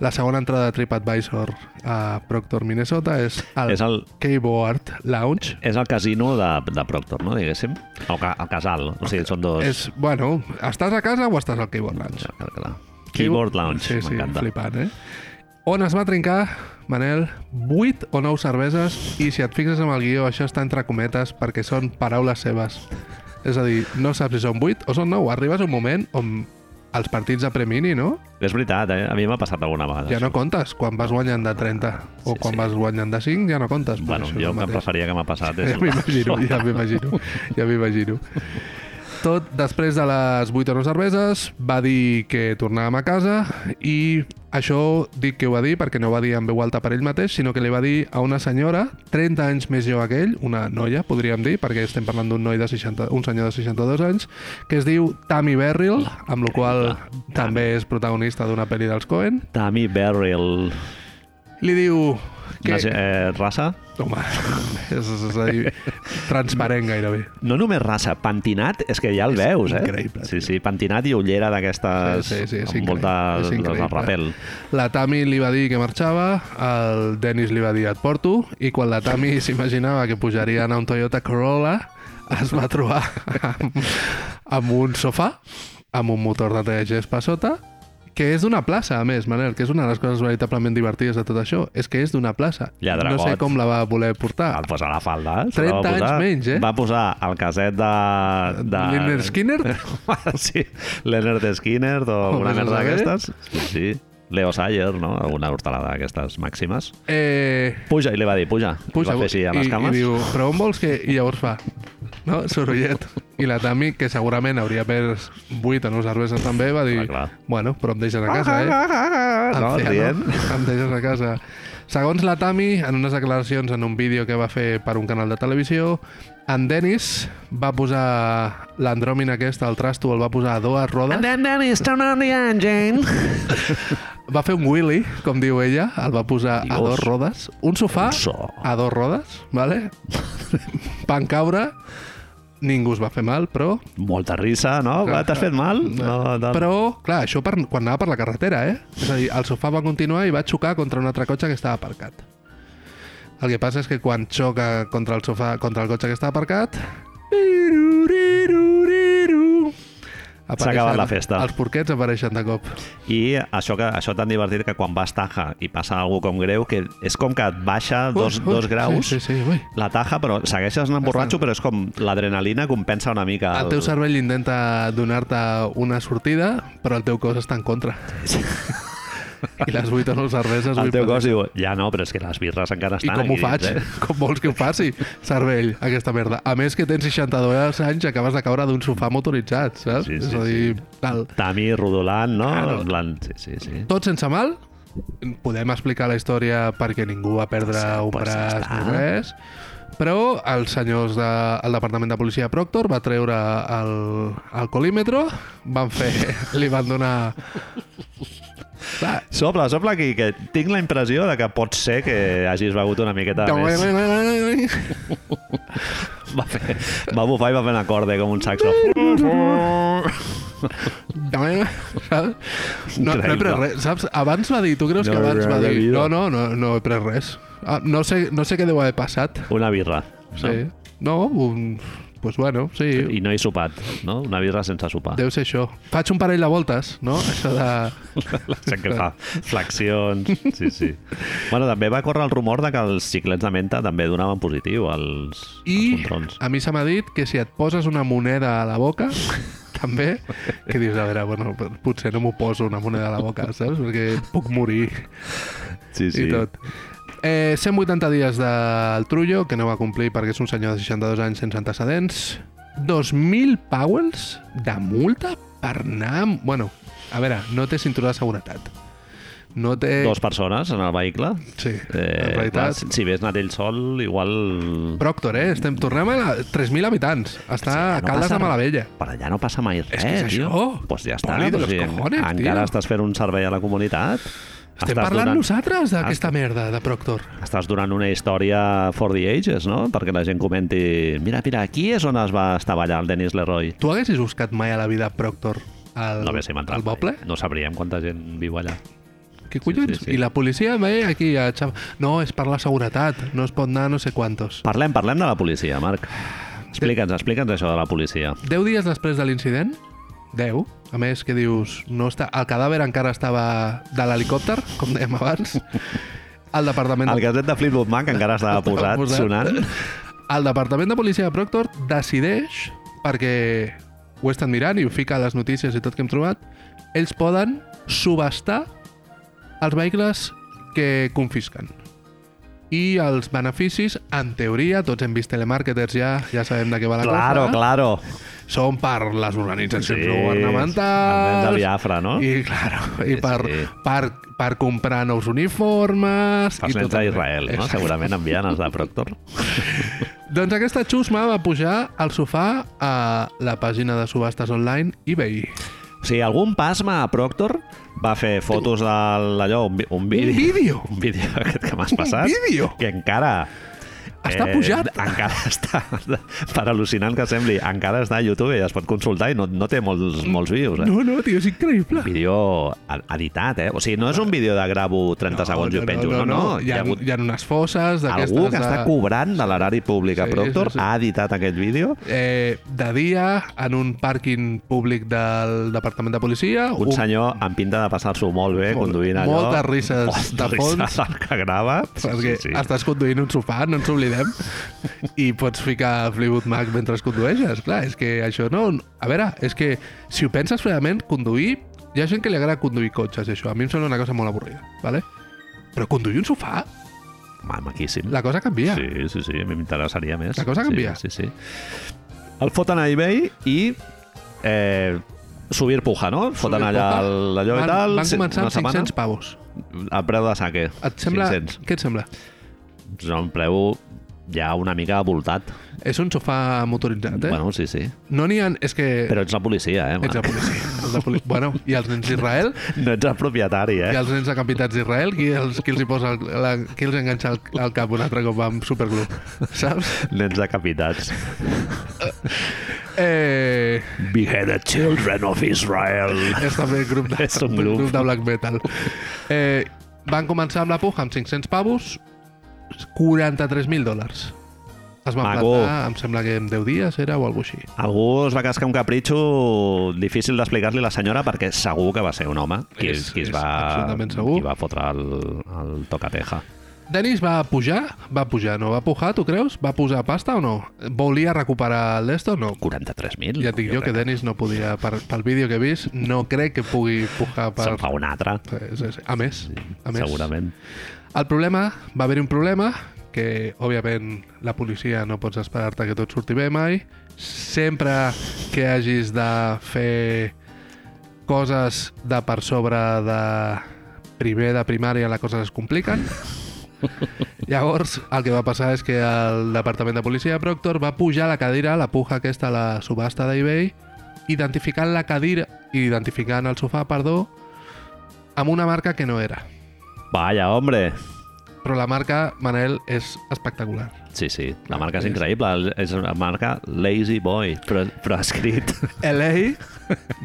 Speaker 2: la segona entrada de TripAdvisor a Proctor, Minnesota, és el,
Speaker 1: És el,
Speaker 2: Keyboard Lounge.
Speaker 1: és el casino de, de Proctor, no? Diguéssim. O ca, el casal. O sigui, són dos...
Speaker 2: És, bueno, estàs a casa o estàs al Keyboard Lounge?
Speaker 1: Clar, clar. Keyboard Lounge,
Speaker 2: sí, sí,
Speaker 1: m'encanta.
Speaker 2: flipant, eh? On es va trincar, Manel, 8 o 9 cerveses i si et fixes amb el guió, això està entre cometes perquè són paraules seves. És a dir, no saps si són 8 o són 9. Arribes a un moment on els partits de premini, no?
Speaker 1: És veritat, eh? A mi m'ha passat alguna vegada.
Speaker 2: Ja no comptes. Quan vas guanyant de 30 o
Speaker 1: Sí,
Speaker 2: quan
Speaker 1: sí.
Speaker 2: vas guanyant de 5, ja no comptes. Pues
Speaker 1: Bueno,
Speaker 2: això és
Speaker 1: jo
Speaker 2: el
Speaker 1: que em
Speaker 2: mateix.
Speaker 1: referia que m'ha passat és...
Speaker 2: Ja m'imagino, ja m'imagino, ja m'imagino. Tot després de les 8 o 9 cerveses va dir que tornàvem a casa i això dic que ho va dir perquè no ho va dir en veu alta per ell mateix, sinó que li va dir a una senyora 30 anys més jove que ell, una noia, podríem dir, perquè estem parlant d'un noi de 60, un senyor de 62 anys, que es diu Tammy Berryl, amb la qual
Speaker 1: Increïble.
Speaker 2: també és protagonista d'una pel·li dels Coen.
Speaker 1: Tammy Berryl.
Speaker 2: Li diu
Speaker 1: Que...
Speaker 2: que...
Speaker 1: Eh, raça?
Speaker 2: Home, és, és a dir, transparent gairebé.
Speaker 1: No només raça, pentinat, és que ja el veus, eh?
Speaker 2: increïble,
Speaker 1: Sí, sí, pentinat i ullera d'aquestes...
Speaker 2: Sí, sí, sí, és
Speaker 1: amb molta...
Speaker 2: increïble, és
Speaker 1: de
Speaker 2: increïble.
Speaker 1: rapel.
Speaker 2: La Tami li va dir que marxava, el Dennis li va dir et porto, i quan la Tami s'imaginava que pujaria a un Toyota Corolla, es va trobar amb, amb un sofà, amb un motor de 3 gespa a sota, que és d'una plaça, a més, Manel, que és una de les coses veritablement divertides de tot això, és que és d'una plaça.
Speaker 1: Lladregot.
Speaker 2: No sé com la va voler portar.
Speaker 1: El posar Ah, la falda. eh? se
Speaker 2: 30
Speaker 1: la va posar-
Speaker 2: anys menys, eh?
Speaker 1: Va posar el caset de... de...
Speaker 2: Leonard Skinner?
Speaker 1: sí, Leonard Skinner o alguna
Speaker 2: vas a
Speaker 1: merda
Speaker 2: saber?
Speaker 1: d'aquestes. Sí, sí. Leo Sayer, no? Alguna hortalada d'aquestes màximes.
Speaker 2: Eh,
Speaker 1: Puja, i li va dir, puja. I
Speaker 2: puja,
Speaker 1: va fer així a les
Speaker 2: i,
Speaker 1: cames.
Speaker 2: i diu, però on vols que... I llavors fa, no? Sorollet. I la Tami, que segurament hauria pres 8 o 9 cerveses també, va dir,
Speaker 1: Clar, clar. Ah,
Speaker 2: bueno, però em deixes a casa, eh?
Speaker 1: No,
Speaker 2: Em feia,
Speaker 1: rient.
Speaker 2: no? Em deixes a casa. Segons la Tami, en unes declaracions en un vídeo que va fer per un canal de televisió, en Dennis va posar l'andròmina aquesta, el trasto, el va posar a dues rodes.
Speaker 1: then Dennis, turn on the engine.
Speaker 2: Va fer un Willy, com diu ella, el va posar a
Speaker 1: Dios.
Speaker 2: dues rodes. Un sofà
Speaker 1: Un so.
Speaker 2: a dues rodes, vale? Van caure, ningú es va fer mal, però...
Speaker 1: Molta risa, no? Va, T'has fet mal? No, no.
Speaker 2: Però, clar, això per, quan anava per la carretera, eh? És a dir, el sofà va continuar i va xocar contra un altre cotxe que estava aparcat. El que passa és que quan xoca contra el sofà, contra el cotxe que estava aparcat... piruriru,
Speaker 1: S'ha acabat la
Speaker 2: apareixen-
Speaker 1: festa.
Speaker 2: Els porquets apareixen de cop.
Speaker 1: I això, que, això tan divertit que quan vas taja i passa alguna com greu, que és com que et baixa dos,
Speaker 2: Ui, ui,
Speaker 1: dos graus
Speaker 2: Sí, sí, sí, ui.
Speaker 1: la taja, però segueixes anant borratxo, però és com l'adrenalina compensa una mica.
Speaker 2: El teu cervell intenta donar-te una sortida, però el teu cos està en contra. I les 8 o 9 cerveses...
Speaker 1: el
Speaker 2: vull
Speaker 1: teu
Speaker 2: patir.
Speaker 1: cos diu, ja no, però és que les birres encara
Speaker 2: I
Speaker 1: estan
Speaker 2: com ho
Speaker 1: aquí eh?
Speaker 2: faig?
Speaker 1: dins,
Speaker 2: Com vols que ho faci, cervell, aquesta merda? A més que tens 62 anys i acabes de caure d'un sofà motoritzat, saps?
Speaker 1: Sí, sí,
Speaker 2: És a dir, tal.
Speaker 1: eh? Tami rodolant, no?
Speaker 2: Claro.
Speaker 1: En plan, sí, sí, sí.
Speaker 2: Tot sense mal? Podem explicar la història perquè ningú va perdre
Speaker 1: Pues,
Speaker 2: un
Speaker 1: pues, ja
Speaker 2: braç
Speaker 1: està.
Speaker 2: ni res. Però els senyors del de, el Departament de Policia de Proctor va treure el, el colímetro, van fer, li van donar... Va,
Speaker 1: Sopla, sopla aquí, que tinc la impressió de que pot ser que hagis begut una miqueta més.
Speaker 2: eh,
Speaker 1: Va, fer, va bufar i va fer un acorde com un saxo.
Speaker 2: No, no he pres res, saps? Abans va dir, tu creus que
Speaker 1: No,
Speaker 2: abans va
Speaker 1: no,
Speaker 2: dir
Speaker 1: no.
Speaker 2: no, no, no, no he pres res. Ah, no, sé, no sé què deu haver passat.
Speaker 1: Una birra. No?
Speaker 2: Sí. No, un... Pues bueno, sí,
Speaker 1: I no he sopat, no? Una birra sense sopar.
Speaker 2: deu ser això. Faig un parell de voltes, no? Això de...
Speaker 1: La gent que fa flexions. Sí, sí. Bueno, també va córrer el rumor de que els xiclets de menta també donaven positiu als, als
Speaker 2: I
Speaker 1: controls.
Speaker 2: a mi se m'ha dit que si et poses una moneda a la boca, també, que dius, a veure, bueno, potser no m'ho poso una moneda a la boca, saps? Perquè puc morir.
Speaker 1: Sí,
Speaker 2: sí. i tot. Eh, 180 dies del Trullo, que no va complir perquè és un senyor de 62 anys sense antecedents. 2.000 powells de multa per anar... amb- Bueno, a veure, no té cinturó de seguretat. No té...
Speaker 1: Dos persones en el vehicle.
Speaker 2: Sí,
Speaker 1: Eh,
Speaker 2: en
Speaker 1: clar,
Speaker 2: realitat...
Speaker 1: si si hagués anat ell sol, igual...
Speaker 2: Proctor, eh? Estem, tornem a la- 3.000 habitants. Està
Speaker 1: Sí,
Speaker 2: a Caldes
Speaker 1: passa
Speaker 2: de Malavella.
Speaker 1: res. Per allà no passa mai res,
Speaker 2: És que és
Speaker 1: tio.
Speaker 2: això.
Speaker 1: Pues ja està.
Speaker 2: Poli de
Speaker 1: pues
Speaker 2: los
Speaker 1: sí,
Speaker 2: cojones,
Speaker 1: encara
Speaker 2: tio.
Speaker 1: estàs fent un servei a la comunitat.
Speaker 2: Estem
Speaker 1: Estàs
Speaker 2: parlant
Speaker 1: donant-
Speaker 2: nosaltres d'aquesta merda de Proctor.
Speaker 1: Estàs donant una història for the ages, no? Perquè la gent comenti... Mira, mira, aquí és on es va estavellar el Denis Leroy.
Speaker 2: Tu haguessis buscat mai a la vida Proctor al,
Speaker 1: No haguéssim entrat
Speaker 2: al poble?
Speaker 1: mai. No sabríem quanta gent viu allà.
Speaker 2: Què collons?
Speaker 1: sí, sí.
Speaker 2: I la policia ve aquí a xaf... No, és per la seguretat, no es pot anar no sé quantos.
Speaker 1: Parlem, parlem de la policia, Marc. Explica'ns, explica'ns això de la policia.
Speaker 2: Deu dies després de l'incident, 10, a més que dius, no està... el cadàver encara estava de l'helicòpter, com dèiem abans, el Departament
Speaker 1: El
Speaker 2: de...
Speaker 1: caset de Fleetwood Mac encara estava posat,
Speaker 2: posat.
Speaker 1: sonant.
Speaker 2: El Departament de Policia de Proctor decideix, perquè ho he estat mirant i ho fica a les notícies i tot que hem trobat, ells poden subestar els vehicles que confisquen. I els beneficis, en teoria, tots hem vist telemarketers ja, ja sabem de què va la
Speaker 1: Claro,
Speaker 2: cosa, eh?
Speaker 1: claro.
Speaker 2: són per les organitzacions
Speaker 1: Sí,
Speaker 2: no
Speaker 1: els nens
Speaker 2: governamentals...
Speaker 1: de Biafra, no?
Speaker 2: I, claro, i
Speaker 1: Sí,
Speaker 2: per,
Speaker 1: sí.
Speaker 2: per, per comprar nous uniformes...
Speaker 1: Els
Speaker 2: i
Speaker 1: nens
Speaker 2: tot el-
Speaker 1: d'Israel, no?
Speaker 2: Exacte.
Speaker 1: Segurament enviant els de Proctor.
Speaker 2: Doncs aquesta xusma va pujar al sofà a la pàgina de subhastes online eBay.
Speaker 1: O sigui, algun pasma a Proctor va fer fotos d'allò, un, vi- un
Speaker 2: Un
Speaker 1: vídeo.
Speaker 2: vídeo!
Speaker 1: Un vídeo aquest que m'has passat.
Speaker 2: vídeo!
Speaker 1: Que encara...
Speaker 2: Està pujat.
Speaker 1: Encara Eh, està, per al·lucinant que sembli, encara està a YouTube i es pot consultar i no, no té molts, molts views. Eh?
Speaker 2: No, no, tio, és increïble.
Speaker 1: Vídeo ed- editat, eh? O sigui, no és un vídeo de gravo 30 segons i ho penjo. No, no,
Speaker 2: Hi, ha, hi ha unes fosses d'aquestes...
Speaker 1: Algú que
Speaker 2: de-
Speaker 1: està cobrant de l'erari públic a
Speaker 2: Sí,
Speaker 1: Proctor
Speaker 2: sí, sí.
Speaker 1: ha editat aquest vídeo
Speaker 2: Eh, de dia, en un pàrquing públic del Departament de Policia...
Speaker 1: un senyor amb pinta de passar-s'ho molt bé
Speaker 2: Molt-
Speaker 1: conduint allò.
Speaker 2: moltes risses de
Speaker 1: risses
Speaker 2: fons.
Speaker 1: al que grava.
Speaker 2: Perquè sí, sí. estàs conduint un sofà, no ens oblidem, i pots ficar Fleetwood Mac mentre condueixes. Clar, és que això no... A veure, és que si ho penses fredament, conduir... Hi ha gent que li agrada conduir cotxes, i això. A mi em sembla una cosa molt avorrida, ¿vale? Però conduir un sofà,
Speaker 1: Ma, maquíssim.
Speaker 2: la cosa canvia. Sí.
Speaker 1: Sí, sí, sí, a mi m'interessaria més.
Speaker 2: La cosa canvia.
Speaker 1: Sí, sí, sí. El foten a eBay i... Eh, subir puja, no? Foten
Speaker 2: Subir
Speaker 1: allà
Speaker 2: puja.
Speaker 1: el- allò i
Speaker 2: Van,
Speaker 1: tal,
Speaker 2: van
Speaker 1: sí,
Speaker 2: començar
Speaker 1: una
Speaker 2: amb 500 pavos.
Speaker 1: setmana, a preu de saque.
Speaker 2: Et sembla...
Speaker 1: 500.
Speaker 2: Què et sembla?
Speaker 1: És un preu ja una mica voltat.
Speaker 2: És un sofà motoritzat, eh? Bueno.
Speaker 1: Bueno, sí, sí.
Speaker 2: No n'hi ha... És que...
Speaker 1: Però ets la policia, eh?
Speaker 2: Ets la
Speaker 1: Marc?
Speaker 2: policia. Ets la policia. bueno, i els nens d'Israel,
Speaker 1: No ets el propietari, eh?
Speaker 2: i els nens decapitats d'Israel, qui, els, qui els hi posa, el, la, qui els enganxa al, al cap un altre cop amb superglue, saps?
Speaker 1: Nens decapitats.
Speaker 2: Eh,
Speaker 1: Beheaded children of Israel.
Speaker 2: és també grup de,
Speaker 1: És un grup.
Speaker 2: de black metal. Eh, van començar amb la puja amb 500 pavos, 43.000 dòlars. Es van
Speaker 1: Maco.
Speaker 2: plantar, em sembla que en 10 dies era o alguna així.
Speaker 1: Algú es va cascar un capritxo difícil d'explicar-li a la senyora perquè segur que va ser un home qui,
Speaker 2: És-
Speaker 1: qui, es
Speaker 2: és
Speaker 1: va,
Speaker 2: absolutament segur.
Speaker 1: qui va fotre el, el tocateja.
Speaker 2: Denis va pujar? Va pujar, no va pujar, tu creus? Va posar pasta o no? Volia recuperar l'esto? No.
Speaker 1: 43.000?
Speaker 2: Ja et dic jo que
Speaker 1: crec.
Speaker 2: Dennis no podia, per, pel vídeo que he vist, no crec que pugui pujar per...
Speaker 1: Se'n fa un altre,
Speaker 2: Sí, sí, sí. A més, a més.
Speaker 1: segurament.
Speaker 2: El problema, va haver-hi un problema, que òbviament la policia no pots esperar-te que tot surti bé mai. Sempre que hagis de fer coses de per sobre de primer de primària les coses es compliquen. Llavors, el que va passar és que el Departament de Policia de Proctor va pujar la cadira, la puja aquesta a la subhasta d'eBay, identificant la cadira, identificant el sofà, perdó, amb una marca que no era.
Speaker 1: Vaya, hombre!
Speaker 2: Però la marca, Manel, és espectacular.
Speaker 1: Sí, sí, la marca és
Speaker 2: Eh,
Speaker 1: increïble. El- És una marca Lazy Boy, però, però escrit
Speaker 2: LA,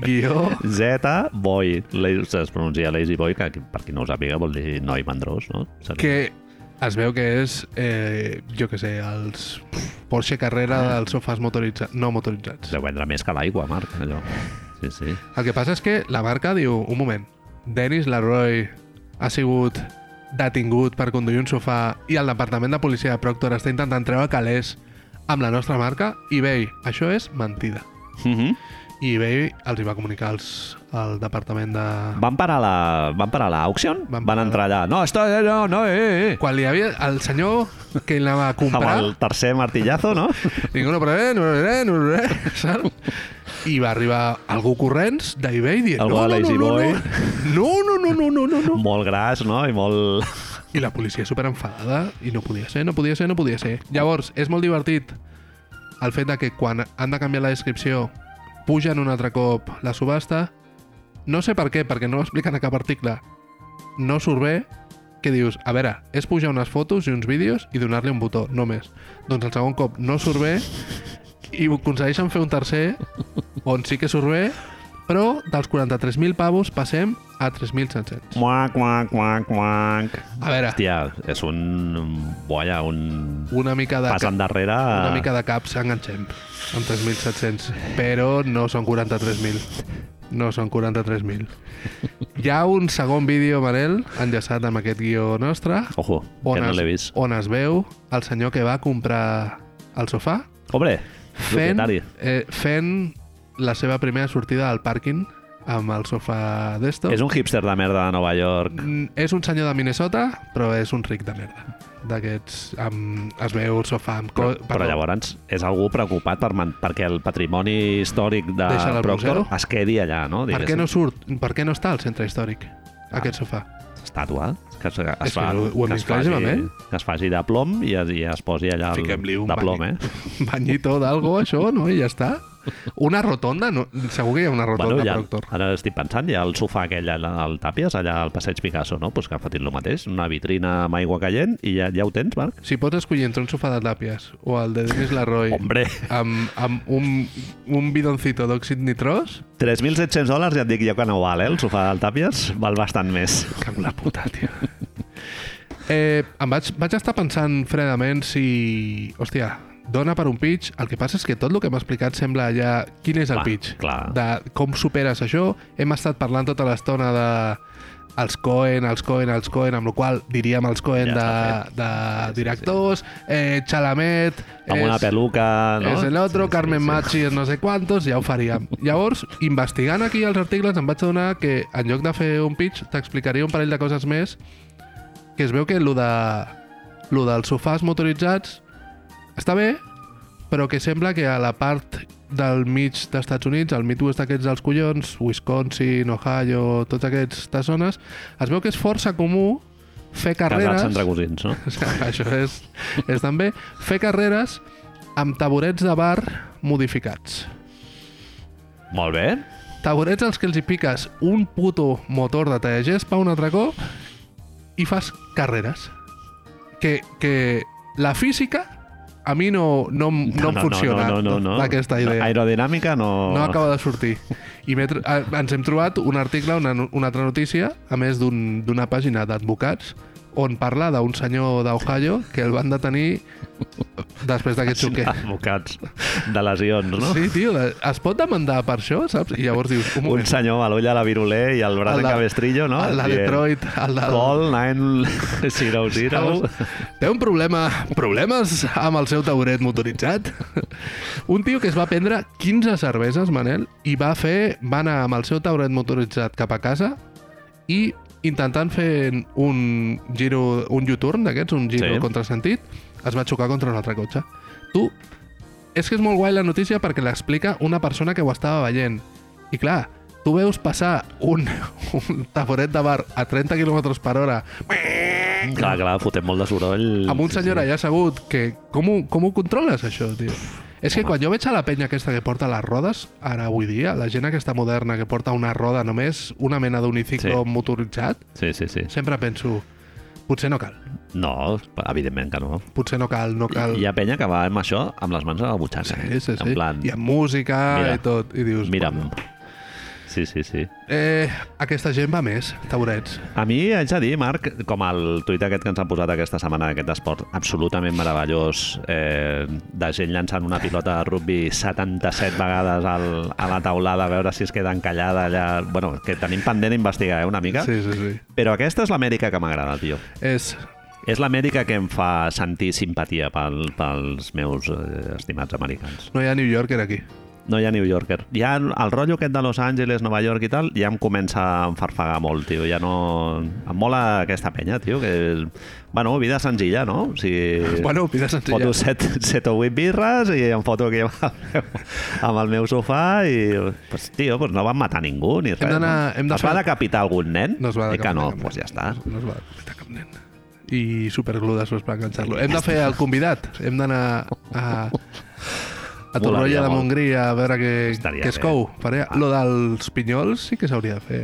Speaker 2: guió...
Speaker 1: Z Boy. La- Es pronuncia Lazy Boy, que per qui no ho sàpiga vol dir noi mandrós, no?
Speaker 2: que es veu que és, eh, jo que sé, els Porsche Carrera dels sofàs motoritzats, no motoritzats.
Speaker 1: Deu vendre més que l'aigua, Marc, allò. Sí, sí.
Speaker 2: El que passa és que la marca diu, un moment, Dennis Leroy ha sigut detingut per conduir un sofà i el Departament de Policia de Proctor està intentant treure calés amb la nostra marca, eBay, això és mentida.
Speaker 1: Mm
Speaker 2: Mhm.
Speaker 1: -hmm.
Speaker 2: I eBay els hi va comunicar als, al Departament de...
Speaker 1: Van parar la, van parar la auction? Van, van
Speaker 2: Van parar-
Speaker 1: entrar allà. No, esto, eh, no, no, eh, eh.
Speaker 2: Quan li havia... El senyor que anava a
Speaker 1: Amb
Speaker 2: comprar...
Speaker 1: el tercer martillazo, no?
Speaker 2: Ningú no prevé, eh, no prevé, no prevé, saps? I va arribar algú corrents d'eBay dient...
Speaker 1: Algú
Speaker 2: no,
Speaker 1: de
Speaker 2: no,
Speaker 1: Lazy
Speaker 2: no,
Speaker 1: Boy".
Speaker 2: No, no, no, no, no, no, no, no.
Speaker 1: molt gras, no? I molt...
Speaker 2: I la policia super enfadada i no podia ser, no podia ser, no podia ser. Llavors, és molt divertit el fet de que quan han de canviar la descripció pugen un altre cop la subhasta. No sé per què, perquè no ho expliquen a cap article. No surt bé que dius, a veure, és pujar unes fotos i uns vídeos i donar-li un botó, només. Doncs el segon cop no surt bé i ho aconsegueixen fer un tercer on sí que surt bé, però dels 43.000 pavos passem a 3.700.
Speaker 1: Quac, quac, quac, quac.
Speaker 2: A veure,
Speaker 1: Hòstia, és un... Boia, un...
Speaker 2: una mica de...
Speaker 1: Pas endarrere...
Speaker 2: una mica de caps enganxem amb 3.700, però no són 43.000. No són 43.000. Hi ha un segon vídeo, Manel, enllaçat amb aquest guió nostre,
Speaker 1: Ojo, que no l'he vist.
Speaker 2: on es veu el senyor que va comprar el sofà
Speaker 1: Hombre,
Speaker 2: fent,
Speaker 1: propietari.
Speaker 2: eh, fent la seva primera sortida al pàrquing amb el sofà d'esto.
Speaker 1: És un hipster de merda de Nova York.
Speaker 2: Mm, és un senyor de Minnesota, però és un ric de merda. D'aquests... amb- Es veu el sofà amb... Co
Speaker 1: Però, però llavors és algú preocupat per man, perquè el patrimoni històric de
Speaker 2: Deixa'l al
Speaker 1: Proctor
Speaker 2: museu?
Speaker 1: es quedi allà, no?
Speaker 2: Per què no surt? Per què no està al centre històric, ah. aquest sofà?
Speaker 1: estàtua que es, que es,
Speaker 2: És
Speaker 1: fa,
Speaker 2: que
Speaker 1: que
Speaker 2: ho- ho hem
Speaker 1: es
Speaker 2: vist
Speaker 1: faci,
Speaker 2: claríssimament.
Speaker 1: que es faci de plom i es, i es posi allà el,
Speaker 2: Fiquem-li un
Speaker 1: de plom, eh?
Speaker 2: bany- Banyito d'algo, això, no? I ja està. Una rotonda? No, segur que hi ha una rotonda,
Speaker 1: Bueno,
Speaker 2: bueno,
Speaker 1: ja,
Speaker 2: Proctor.
Speaker 1: ara estic pensant, hi ha el sofà aquell al, al Tàpies, allà al passeig Picasso, no? Pues que ha fet el mateix, una vitrina amb aigua caient i ja, ja ho tens, Marc?
Speaker 2: Si pots escollir entre un sofà de tàpies o el de Denis Larroy
Speaker 1: Hombre.
Speaker 2: amb, amb un, un bidoncito d'òxid nitrós,
Speaker 1: 3.700 dòlars, ja et dic jo que no val, eh? El sofà del Tàpies val bastant més.
Speaker 2: Cago en la puta, tio. Eh, em vaig, vaig estar pensant fredament si... Hòstia, dona per un pitch. El que passa és que tot el que m'ha explicat sembla ja... Quin és el
Speaker 1: Clar,
Speaker 2: pitch?
Speaker 1: clar.
Speaker 2: De com superes això. Hem estat parlant tota l'estona de els Cohen, els Cohen, els Cohen, amb la qual cosa diríem els Cohen
Speaker 1: Ja
Speaker 2: de,
Speaker 1: està
Speaker 2: de directors, eh, Chalamet... eh,
Speaker 1: Amb una peluca, no?
Speaker 2: És el otro, Carmen Machi, és no sé quantos, ja ho faríem. Llavors, investigant aquí els articles, em vaig adonar que en lloc de fer un pitch, t'explicaria un parell de coses més, que es veu que lo, de, lo dels sofàs motoritzats està bé, però que sembla que a la part del mig d'Estats Units, al Midwest d'aquests dels collons, Wisconsin, Ohio, totes aquestes zones, es veu que és força comú fer carreres...
Speaker 1: Casats entre cosins, no?
Speaker 2: O sigui, això és, és també fer carreres amb taburets de bar modificats.
Speaker 1: Molt bé.
Speaker 2: Taburets als que els hi piques un puto motor de tallagespa un altre cop i fas carreres. Que, que la física a mi no, no, em- no, em funciona
Speaker 1: no, no, no, no.
Speaker 2: aquesta idea.
Speaker 1: Aerodinàmica no...
Speaker 2: No acaba de sortir. I m'he tr- a- ens hem trobat un article, una, no- una altra notícia, a més d'un- d'una pàgina d'advocats, on parla d'un senyor d'Ohio que el van detenir després d'aquest xoquer.
Speaker 1: Advocats de lesions, no?
Speaker 2: Sí, tio, de- es pot demandar per això, saps? I llavors dius, un
Speaker 1: Un
Speaker 2: moment,
Speaker 1: senyor amb l'ull a la viruler i el braç
Speaker 2: El
Speaker 1: en
Speaker 2: de-
Speaker 1: cabestrillo, no?
Speaker 2: el de
Speaker 1: Dient,
Speaker 2: Detroit, el de...
Speaker 1: Call 9000.
Speaker 2: Saps? Té un problema, problemes amb el seu tauret motoritzat? Un tio que es va prendre 15 cerveses, Manel, i va fer, va anar amb el seu tauret motoritzat cap a casa i intentant fer un giro, un U-turn d'aquests, un giro
Speaker 1: Sí.
Speaker 2: sí. contrasentit, es va xocar contra un altre cotxe. Tu, és que és molt guai la notícia perquè l'explica una persona que ho estava veient. I clar, tu veus passar un, un taboret de bar a 30 km per hora
Speaker 1: Clar, clar, fotem molt de soroll.
Speaker 2: amb un
Speaker 1: Sí,
Speaker 2: senyor
Speaker 1: sí.
Speaker 2: allà assegut que... Com ho, com ho controles, això, tio? És que quan jo veig a la penya aquesta que porta les rodes, ara avui dia, la gent aquesta moderna que porta una roda només, una mena d'uniciclo
Speaker 1: Sí.
Speaker 2: sí. motoritzat,
Speaker 1: Sí, sí, sí.
Speaker 2: sempre penso, potser no cal,
Speaker 1: No, evidentment que no.
Speaker 2: potser no cal, no cal.
Speaker 1: Hi ha penya que va amb això amb les mans a la butxaca.
Speaker 2: Sí, sí, sí.
Speaker 1: En plan,
Speaker 2: I amb música
Speaker 1: Mira.
Speaker 2: i tot. I dius,
Speaker 1: mira'm. Sí, sí, sí.
Speaker 2: Eh, aquesta gent va més, taurets.
Speaker 1: A mi, haig de dir, Marc, com el tuit aquest que ens han posat aquesta setmana d'aquest esport absolutament meravellós, eh, de gent llançant una pilota de rugby 77 vegades al, a la taulada, a veure si es queda encallada allà... Bueno, que tenim pendent investigar, eh, una mica.
Speaker 2: Sí, sí, sí.
Speaker 1: Però aquesta és l'Amèrica que m'agrada, tio.
Speaker 2: És...
Speaker 1: És l'Amèrica que em fa sentir simpatia pel, pels meus eh, estimats americans.
Speaker 2: No hi ha New Yorker aquí.
Speaker 1: No hi ha New Yorker. Ja el, el rotllo aquest de Los Angeles, Nova York i tal, ja em comença a enfarfegar molt, tio. Ja no... Em mola aquesta penya, tio, que... Bueno, vida senzilla, no? O sigui...
Speaker 2: Bueno, vida
Speaker 1: Foto
Speaker 2: senzilla.
Speaker 1: set, set o vuit birres i em foto aquí amb el meu, amb el meu sofà i, pues, tio, pues no van matar ningú ni res.
Speaker 2: d'anar-
Speaker 1: no?
Speaker 2: hem de
Speaker 1: es
Speaker 2: fer-
Speaker 1: va decapitar algun nen?
Speaker 2: No es va
Speaker 1: Eh que
Speaker 2: decapitar
Speaker 1: no,
Speaker 2: cap nen.
Speaker 1: pues ja està.
Speaker 2: No es va decapitar cap nen. I superglú després per enganxar-lo. Hem de fer el convidat. Hem d'anar a... A Torroella de
Speaker 1: molt.
Speaker 2: Montgrí a veure què,
Speaker 1: Estaria
Speaker 2: què es
Speaker 1: bé. Ah.
Speaker 2: cou. Faré... Lo dels pinyols sí que s'hauria de fer.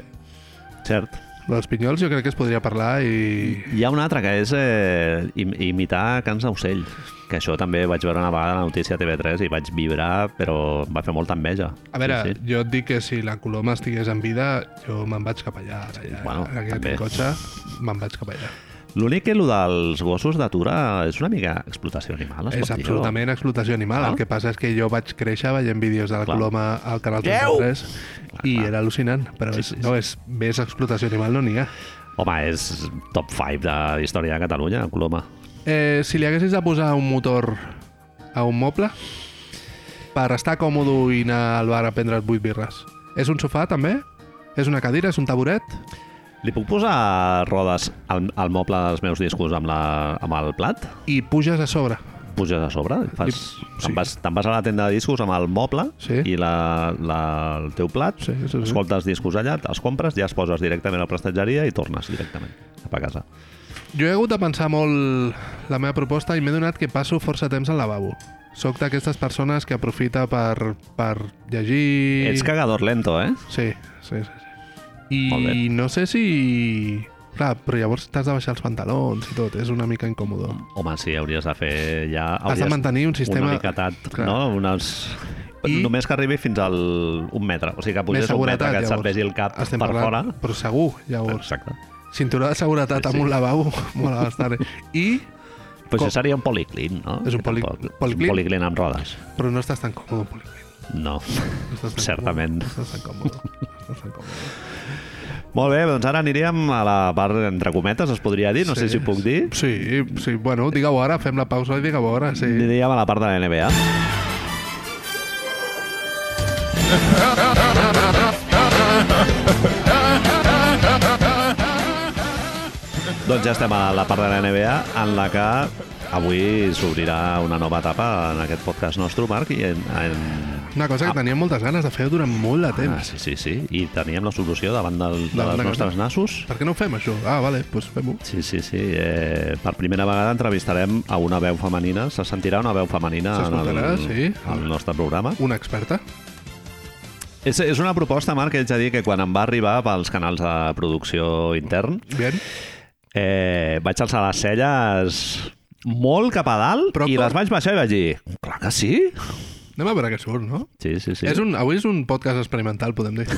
Speaker 1: Cert.
Speaker 2: Lo dels pinyols jo crec que es podria parlar i...
Speaker 1: Hi ha un altre que és eh, im- imitar cants d'ocell, que això també vaig veure una vegada a la notícia a TV3 i vaig vibrar, però em va fer molta enveja.
Speaker 2: A veure,
Speaker 1: Sí, sí.
Speaker 2: sí, sí. jo et dic que si la Coloma estigués en vida, jo me'n vaig cap allà. ara, allà
Speaker 1: bueno,
Speaker 2: bueno, en aquest
Speaker 1: també.
Speaker 2: també. cotxe me'n vaig cap allà.
Speaker 1: L'únic que el dels gossos d'atura és una mica explotació animal. es
Speaker 2: És
Speaker 1: pot dir,
Speaker 2: absolutament explotació animal.
Speaker 1: Clar.
Speaker 2: El que passa és que jo vaig créixer veient vídeos de la
Speaker 1: Clar.
Speaker 2: Coloma al Canal
Speaker 1: Déu!
Speaker 2: 33 i
Speaker 1: clar.
Speaker 2: era al·lucinant, però
Speaker 1: Sí,
Speaker 2: és,
Speaker 1: sí,
Speaker 2: no, és, més explotació animal no n'hi ha.
Speaker 1: o... Home, és top 5 de la història de Catalunya, Coloma.
Speaker 2: Eh, si li haguessis de posar un motor a un moble per estar còmode i anar al bar a prendre't 8 birres, és un sofà també? És una cadira? És un taburet?
Speaker 1: Li puc posar rodes al, al moble dels meus discos amb, la, amb el plat?
Speaker 2: I puges a sobre.
Speaker 1: Puges a sobre? i Fas,
Speaker 2: Li-
Speaker 1: te'n
Speaker 2: sí.
Speaker 1: vas, te'n vas a la tenda de discos amb el moble
Speaker 2: Sí.
Speaker 1: i la, la, el teu plat
Speaker 2: Sí, sí, sí.
Speaker 1: escoltes discos allà, els compres, ja es poses directament a la prestatgeria i tornes directament cap a casa.
Speaker 2: Jo he hagut de pensar molt la meva proposta i m'he donat que passo força temps al lavabo. Soc d'aquestes persones que aprofita per, per llegir...
Speaker 1: Ets cagador lento, eh?
Speaker 2: Sí, sí, sí. sí.
Speaker 1: Molt bé.
Speaker 2: I no sé si... Clar, però llavors t'has de baixar els pantalons i tot, és una mica incòmode.
Speaker 1: Home, sí, hauries de fer ja...
Speaker 2: Has de
Speaker 1: hauries-
Speaker 2: mantenir un
Speaker 1: Una
Speaker 2: sistema...
Speaker 1: miquetat,
Speaker 2: Clar.
Speaker 1: no? Unes...
Speaker 2: I-
Speaker 1: I... Només que arribi fins al un metre. O sigui, que
Speaker 2: Més
Speaker 1: pugis un metre,
Speaker 2: seguretat,
Speaker 1: que et se't
Speaker 2: llavors.
Speaker 1: vegi el cap
Speaker 2: Estem
Speaker 1: per
Speaker 2: parlant,
Speaker 1: fora.
Speaker 2: Però segur, llavors.
Speaker 1: Exacte.
Speaker 2: Cinturó de seguretat
Speaker 1: Sí,
Speaker 2: amb
Speaker 1: sí.
Speaker 2: un lavabo, mola bastant. eh? I
Speaker 1: Pues
Speaker 2: Com-
Speaker 1: això seria un policlin, no?
Speaker 2: És un
Speaker 1: Que
Speaker 2: poli-
Speaker 1: tampoc- és
Speaker 2: policlin?
Speaker 1: Un policlin amb rodes.
Speaker 2: Però no estàs tan còmode, Poliquín.
Speaker 1: No.
Speaker 2: No estàs tan
Speaker 1: Certament.
Speaker 2: Còmode. No estàs tan còmode. No estàs tan còmode.
Speaker 1: Molt bé, doncs ara aniríem a la part entre cometes, es podria dir, no sé
Speaker 2: Sí,
Speaker 1: si ho puc dir.
Speaker 2: Sí, sí, bueno, digue-ho ara, fem la pausa i digue-ho ara, sí.
Speaker 1: Aniríem a la part de la NBA. Doncs ja estem a la part de la NBA en la que avui s'obrirà una nova etapa en aquest podcast nostre, Marc, i en, en
Speaker 2: Una cosa que teníem moltes ganes de fer durant molt de
Speaker 1: Ah,
Speaker 2: temps.
Speaker 1: sí, sí, sí. I teníem la solució davant del, de
Speaker 2: Davant
Speaker 1: les
Speaker 2: de
Speaker 1: nostres nassos.
Speaker 2: Per què no ho fem, això? Ah, vale, doncs fem-ho.
Speaker 1: Sí, sí, sí. Eh, per primera vegada entrevistarem a una veu femenina. Se sentirà una veu femenina en el,
Speaker 2: S'escoltarà, sí.
Speaker 1: al nostre programa.
Speaker 2: Una experta?
Speaker 1: És, és una proposta, Marc, que haig de dir que quan em va arribar pels canals de producció intern,
Speaker 2: Bien.
Speaker 1: eh, vaig alçar les celles molt cap a dalt
Speaker 2: Però
Speaker 1: i
Speaker 2: com?
Speaker 1: les vaig baixar i vaig dir, clar que sí.
Speaker 2: Anem a veure què surt, no?
Speaker 1: Sí, sí, sí.
Speaker 2: Sí. És un, avui és un podcast experimental, podem dir.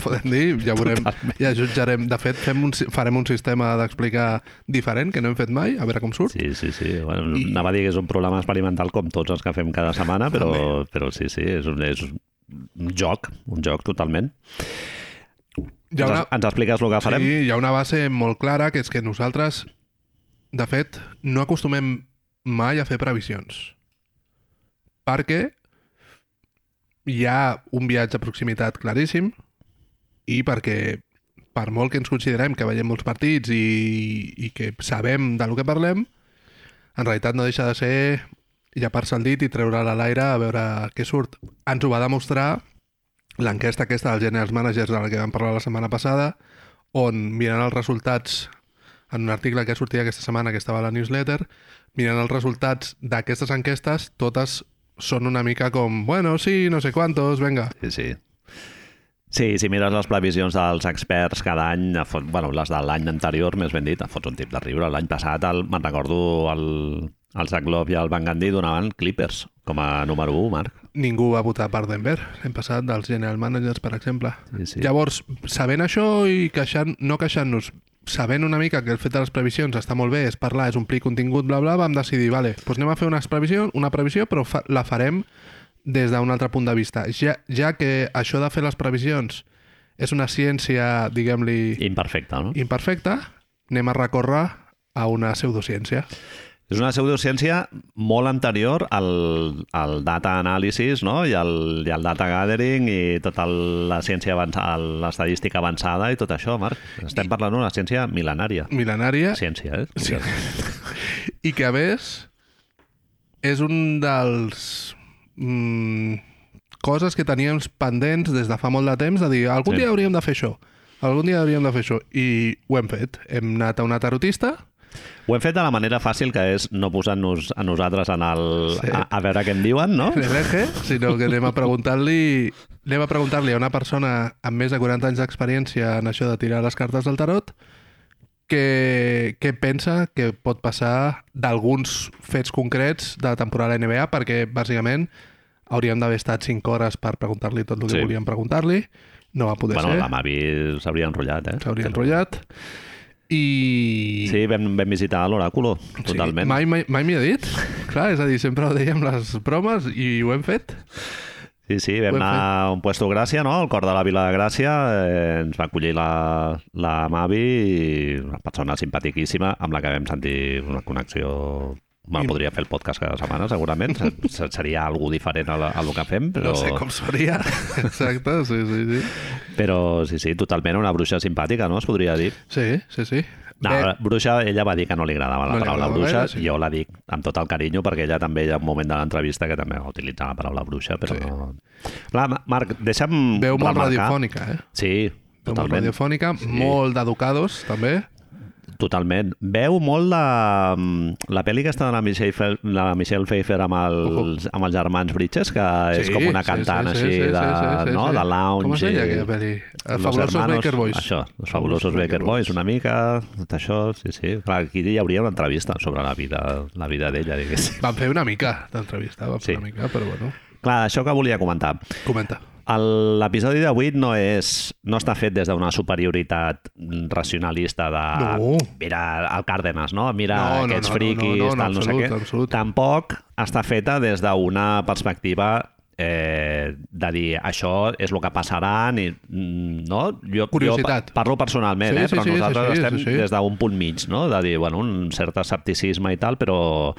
Speaker 2: podem dir, ja veurem, ja jutjarem. De fet, fem un, si- farem un sistema d'explicar diferent, que no hem fet mai, a veure com surt.
Speaker 1: Sí, sí, sí. Bueno,
Speaker 2: I-
Speaker 1: I... Anava a dir que és un programa experimental com tots els que fem cada setmana, però,
Speaker 2: També.
Speaker 1: però sí, sí, és un, és un joc, un joc totalment.
Speaker 2: Hi ha
Speaker 1: Ens-
Speaker 2: una-
Speaker 1: Ens expliques el que farem?
Speaker 2: Sí, hi ha una base molt clara, que és que nosaltres, de fet, no acostumem mai a fer previsions. Perquè hi ha un viatge a proximitat claríssim i perquè per molt que ens considerem que veiem molts partits i, i que sabem de lo que parlem, en realitat no deixa de ser llapar-se el dit i treure-la a l'aire a veure què surt. Ens ho va demostrar l'enquesta aquesta dels Generals Managers de la que vam parlar la setmana passada, on mirant els resultats en un article que sortia aquesta setmana, que estava a la newsletter, mirant els resultats d'aquestes enquestes, totes són una mica com, bueno, sí, no sé quantos, venga.
Speaker 1: Sí, sí. Sí, si mires les previsions dels experts cada any, a fot, bueno, les de l'any anterior, més ben dit, a fots un tip de riure. L'any passat, el, me'n recordo, el, el Zach Love i el Van Gandhi donaven Clippers com a número 1, Marc.
Speaker 2: Ningú va votar per Denver. Hem passat dels General Managers, per exemple.
Speaker 1: Sí, sí.
Speaker 2: Llavors, sabent això i queixant, no queixant-nos, sabent una mica que el fet de les previsions està molt bé, és parlar, és omplir contingut, bla, bla, vam decidir, vale, doncs anem a fer una previsió, una previsió però fa, la farem des d'un altre punt de vista. Ja, ja que això de fer les previsions és una ciència, diguem-li,
Speaker 1: Imperfecte, no?
Speaker 2: imperfecta, anem a recórrer a una pseudociència.
Speaker 1: És una pseudociència molt anterior al, al data analysis no? I, al, i al data gathering i tota el- la ciència avançada, l'estadística avançada i tot això, Marc. Estem parlant d'una ciència mil·lenària.
Speaker 2: Milenària,
Speaker 1: Ciència, eh?
Speaker 2: Sí. I que, a més, és un dels... Mm, coses que teníem pendents des de fa molt de temps, de dir, algun
Speaker 1: Sí.
Speaker 2: sí. dia hauríem de fer això, algun dia hauríem de fer això, i ho hem fet. Hem anat a una tarotista,
Speaker 1: Ho hem fet de la manera fàcil, que és no posar-nos a nosaltres en el... Sí. A, a veure què en diuen, no?
Speaker 2: l'Ereje, sinó que anem a preguntar-li anem a preguntar-li a una persona amb més de 40 anys d'experiència en això de tirar les cartes del tarot que, què pensa que pot passar d'alguns fets concrets de la temporada NBA perquè bàsicament hauríem d'haver estat 5 hores per preguntar-li tot el que
Speaker 1: Sí.
Speaker 2: sí. volíem preguntar-li no va poder
Speaker 1: Bueno, la
Speaker 2: ser,
Speaker 1: Mavi s'hauria enrotllat, eh?
Speaker 2: s'hauria enrotllat i...
Speaker 1: Sí, vam, vam visitar l'oràculo, totalment.
Speaker 2: Sí, mai mai, mai m'hi he dit. Clar, és a dir, sempre ho dèiem les bromes i ho hem fet.
Speaker 1: Sí, sí, vam
Speaker 2: Ho hem
Speaker 1: anar a un puesto Gràcia, no? Al cor de la Vila de Gràcia. Eh, ens va acollir la, la Mavi, i una persona simpatiquíssima amb la que vam sentir una connexió... Bueno,
Speaker 2: I-
Speaker 1: podria fer el podcast cada setmana, segurament. Se- se- Seria algú diferent a, la, a lo que fem, però...
Speaker 2: No sé com seria. Exacte, sí, sí, sí.
Speaker 1: Però sí, sí, totalment una bruixa simpàtica, no? Es podria dir.
Speaker 2: Sí, sí, sí.
Speaker 1: No,
Speaker 2: Bé,
Speaker 1: bruixa, ella va dir que no li agradava la
Speaker 2: No li
Speaker 1: paraula
Speaker 2: agradava
Speaker 1: bruixa,
Speaker 2: gaire, sí.
Speaker 1: jo la dic amb tot el carinyo perquè ella també hi ha un moment de l'entrevista que també va utilitzar la paraula bruixa, però
Speaker 2: Sí.
Speaker 1: sí. no... Clar, Ma- Marc, deixa'm
Speaker 2: veu molt
Speaker 1: remarcar...
Speaker 2: radiofònica, eh?
Speaker 1: Sí,
Speaker 2: Veu molt
Speaker 1: totalment.
Speaker 2: radiofònica, molt d'educados, també.
Speaker 1: Totalment. Veu molt la, la pel·li que està de la Michelle, Fel, la Michelle Pfeiffer amb els, amb els germans Bridges, que és com una cantant així de, no? de lounge.
Speaker 2: Com es
Speaker 1: i-
Speaker 2: deia aquella pel·li? Eh,
Speaker 1: Los
Speaker 2: Fabulosos
Speaker 1: hermanos-
Speaker 2: Baker Boys.
Speaker 1: Això, els fabulosos Baker Boys, una mica, tot això, sí, sí. Clar, aquí hi hauria una entrevista sobre la vida, la vida d'ella, diguéssim.
Speaker 2: Van fer una mica d'entrevista, van fer
Speaker 1: Sí.
Speaker 2: una mica, però bueno.
Speaker 1: Clar, això que volia comentar.
Speaker 2: Comenta.
Speaker 1: El- L'episodi d'avui no és no està fet des d'una superioritat racionalista de
Speaker 2: No.
Speaker 1: mira el Cárdenas, no? Mira
Speaker 2: No, no,
Speaker 1: aquests
Speaker 2: no, no,
Speaker 1: friquis,
Speaker 2: no, no, no,
Speaker 1: tal, no sé
Speaker 2: absolut,
Speaker 1: què.
Speaker 2: absolut.
Speaker 1: Tampoc està feta des d'una perspectiva eh, de dir això és el que passarà i, mm, no? Jo,
Speaker 2: Curiositat.
Speaker 1: jo pa- parlo personalment,
Speaker 2: Sí,
Speaker 1: eh?
Speaker 2: sí,
Speaker 1: però
Speaker 2: sí, sí,
Speaker 1: nosaltres
Speaker 2: sí,
Speaker 1: estem
Speaker 2: sí, sí.
Speaker 1: des d'un punt mig, no? de dir bueno, un cert escepticisme i tal, però...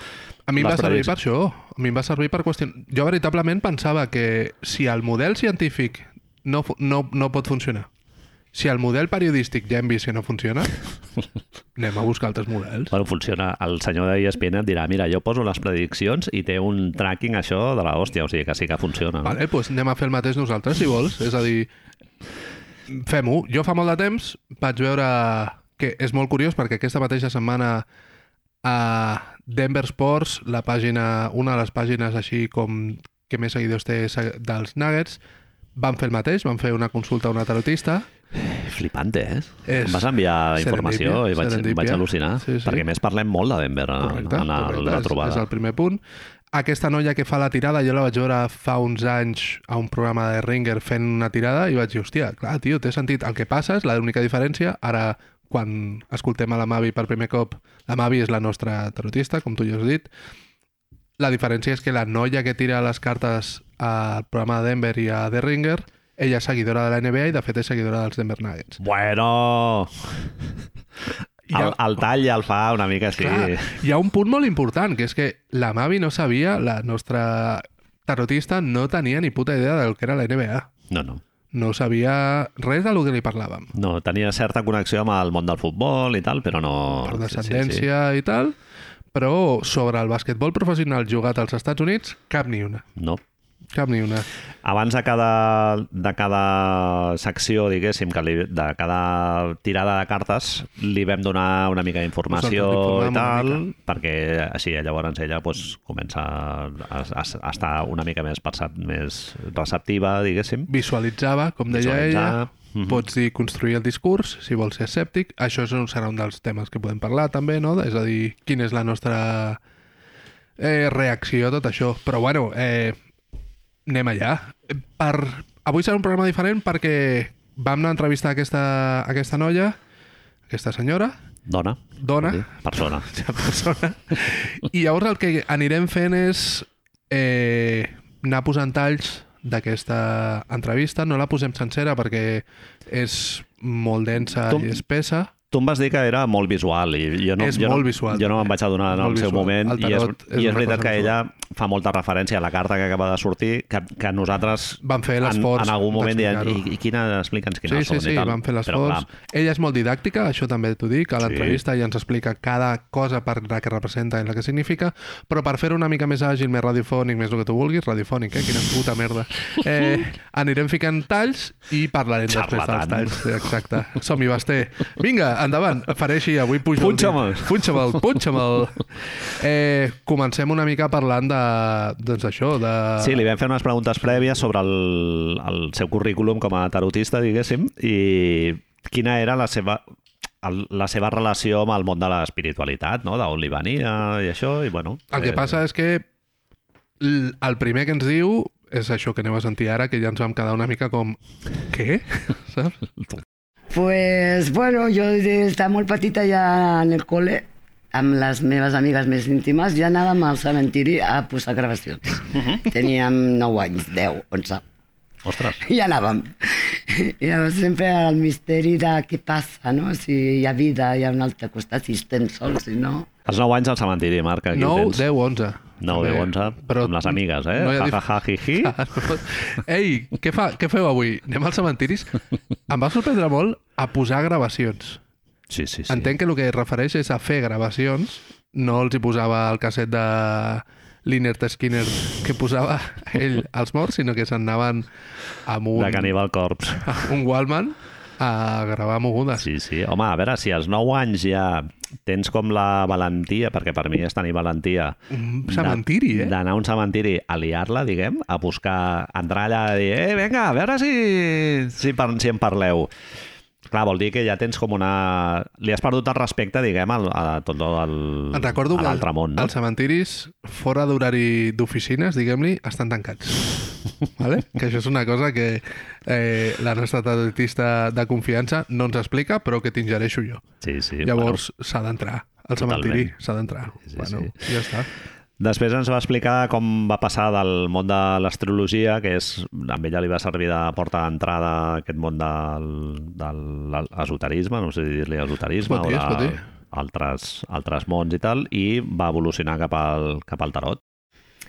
Speaker 2: A mi em va
Speaker 1: les
Speaker 2: servir
Speaker 1: previsions-
Speaker 2: per això. A mi em va servir per qüestionar... Jo veritablement pensava que si el model científic no, fu- no, no pot funcionar, si el model periodístic ja hem vist que no funciona, anem a buscar altres models.
Speaker 1: Bueno, funciona. El senyor de E ESPN et dirà, mira, jo poso les prediccions i té un tracking això de la hòstia, o sigui que sí que funciona. no?
Speaker 2: Vale, doncs anem a fer el mateix nosaltres, si vols. És a dir, fem-ho. Jo fa molt de temps vaig veure que és molt curiós perquè aquesta mateixa setmana a Denver Sports, la pàgina, una de les pàgines així com que més seguidors té se- dels Nuggets, van fer el mateix, van fer una consulta a una tarotista.
Speaker 1: Flipante, eh?
Speaker 2: És
Speaker 1: Em vas enviar
Speaker 2: serendípia,
Speaker 1: informació i vaig,
Speaker 2: serendípia.
Speaker 1: vaig al·lucinar.
Speaker 2: Sí, sí.
Speaker 1: Perquè a més parlem molt de Denver en,
Speaker 2: Correcte,
Speaker 1: en Ah, la,
Speaker 2: correcte,
Speaker 1: la
Speaker 2: és- És,
Speaker 1: trobada.
Speaker 2: el primer punt. Aquesta noia que fa la tirada, jo la vaig veure fa uns anys a un programa de Ringer fent una tirada i vaig dir, hòstia, clar, tio, té sentit. El que passa és l'única diferència. Ara, quan escoltem a la Mavi per primer cop, la Mavi és la nostra tarotista, com tu ja has dit, la diferència és que la noia que tira les cartes al programa de Denver i a The Ringer, ella és seguidora de la NBA i, de fet, és seguidora dels Denver Nuggets.
Speaker 1: Bueno!
Speaker 2: ha-
Speaker 1: El, el tall ja el fa una mica així.
Speaker 2: Clar, hi ha un punt molt important, que és que la Mavi no sabia, la nostra tarotista no tenia ni puta idea del que era la NBA.
Speaker 1: No, no.
Speaker 2: No sabia res del que li parlàvem.
Speaker 1: No, tenia certa connexió amb el món del futbol i tal, però no...
Speaker 2: Per
Speaker 1: sí, sí, sí.
Speaker 2: descendència i tal, però sobre el basquetbol professional jugat als Estats Units, cap ni una.
Speaker 1: No.
Speaker 2: Cap ni una.
Speaker 1: Abans de cada, de cada secció, diguéssim, que li, de cada tirada de cartes, li vam donar una mica d'informació
Speaker 2: Nosaltres
Speaker 1: i
Speaker 2: l'informem
Speaker 1: tal,
Speaker 2: una
Speaker 1: perquè així llavors ella pues, comença a, a, a estar una mica més, percep, més receptiva, diguéssim.
Speaker 2: Visualitzava, com deia ella,
Speaker 1: Visualitzar,
Speaker 2: mm -hmm. pots dir construir el discurs, si vols ser escèptic. Això és un, serà un dels temes que podem parlar, també, no? És a dir, quina és la nostra eh, reacció a tot això. Però, bueno, eh, anem allà. Per... Avui serà un programa diferent perquè vam anar a entrevistar aquesta, aquesta noia, aquesta senyora,
Speaker 1: Dona.
Speaker 2: dona,
Speaker 1: Sí, Persona.
Speaker 2: aquesta persona. I llavors el que anirem fent és eh, anar posant talls d'aquesta entrevista. No la posem sencera perquè és molt densa
Speaker 1: Tu-
Speaker 2: i espessa.
Speaker 1: Tu em vas dir que era molt visual i jo no,
Speaker 2: És
Speaker 1: jo
Speaker 2: molt
Speaker 1: no,
Speaker 2: visual,
Speaker 1: Jo no me'n vaig adonar en
Speaker 2: Molt
Speaker 1: el seu
Speaker 2: visual.
Speaker 1: moment
Speaker 2: El
Speaker 1: i és,
Speaker 2: tarot és
Speaker 1: i
Speaker 2: una
Speaker 1: és veritat
Speaker 2: cosa
Speaker 1: que ella fa molta referència a la carta que acaba de sortir que, que nosaltres
Speaker 2: Van fer
Speaker 1: en,
Speaker 2: l'esforç
Speaker 1: en algun moment dient i,
Speaker 2: d'explicar-ho.
Speaker 1: i quina, explica'ns quina
Speaker 2: Sí, sí,
Speaker 1: són
Speaker 2: sí,
Speaker 1: i tal.
Speaker 2: van fer
Speaker 1: Però, clar,
Speaker 2: l'esforç. Ella és molt didàctica, això també t'ho dic, a
Speaker 1: Sí.
Speaker 2: l'entrevista ja ens explica cada cosa per la que representa i la que significa, però per fer-ho una mica més àgil, més radiofònic, més el que tu vulguis, radiofònic, eh? Quina puta merda. Eh, anirem ficant talls i parlarem després dels
Speaker 1: Xarlatan.
Speaker 2: talls. Sí, Exacte. Som-hi, Basté. Vinga, endavant. Faré així, avui pujo el dit.
Speaker 1: Punxa'm-el.
Speaker 2: Punxa'm-el, punxa'm-el. Eh, comencem una mica parlant de, doncs això, de...
Speaker 1: Sí, li vam fer unes preguntes prèvies sobre el, el seu currículum com a tarotista, diguéssim, i quina era la seva el, la seva relació amb el món de l'espiritualitat, no? d'on li venia i això, i bueno... eh,
Speaker 2: El que passa és que l- el primer que ens diu és això que aneu a sentir ara, que ja ens vam quedar una mica com... Què? Saps?
Speaker 3: Pues bueno, jo des d'estar molt petita ja en el col·le, amb les meves amigues més íntimes, ja anàvem al cementiri a posar gravacions. Teníem 9 anys, 10, 11.
Speaker 1: Ostres,
Speaker 3: I anàvem. I llavors sempre el misteri de què passa, no? Si hi ha vida, hi ha un altre costat, si estem sols, si no...
Speaker 1: als 9 anys al cementiri, Marc, aquí
Speaker 2: 9,
Speaker 1: ho tens.
Speaker 2: 10, 11.
Speaker 1: 9, 10, 11,
Speaker 2: Eh, Però-
Speaker 1: amb les amigues, eh?
Speaker 2: No hi ha
Speaker 1: ha
Speaker 2: dif-
Speaker 1: ha, ha, hi, hi.
Speaker 2: Ei, què, fa, què feu avui? Anem als cementiris? Em va sorprendre molt a posar gravacions.
Speaker 1: Sí, sí, sí.
Speaker 2: Sí. Entenc que el que es refereix és a fer gravacions, no els hi posava el casset de Lynyrd Skinner que posava ell als morts, sinó que s'anaven amb un... Ah.
Speaker 1: De Cannibal Corpse.
Speaker 2: un Wallman a gravar mogudes.
Speaker 1: Sí, sí. Home, a veure, si als 9 anys ja tens com la valentia, perquè per mi és tenir valentia...
Speaker 2: Un cementiri, eh?
Speaker 1: D'anar a un cementiri a liar-la, diguem, a buscar... Entrar allà i dir, eh, vinga, a veure si, si, par si en parleu. Clar, vol dir que ja tens com una... Li has perdut el respecte, diguem, al, a tot el...
Speaker 2: Et recordo
Speaker 1: a
Speaker 2: que
Speaker 1: l'altre món, no?
Speaker 2: els cementiris, fora d'horari d'oficines, diguem-li, estan tancats. Vale? Que això és una cosa que eh, la nostra tarotista de confiança no ens explica, però que t'ingereixo jo.
Speaker 1: Sí, sí.
Speaker 2: Llavors s'ha d'entrar al cementiri,
Speaker 1: Totalment.
Speaker 2: s'ha d'entrar.
Speaker 1: Sí, sí,
Speaker 2: bueno,
Speaker 1: sí.
Speaker 2: ja està.
Speaker 1: Després ens va explicar com va passar del món de l'astrologia, que és, a ella li va servir de porta d'entrada a aquest món del, del esoterisme, no sé si dir-li esoterisme,
Speaker 2: Es pot dir, es
Speaker 1: o
Speaker 2: pot
Speaker 1: de
Speaker 2: dir.
Speaker 1: altres, altres mons i tal, i va evolucionar cap al, cap al tarot.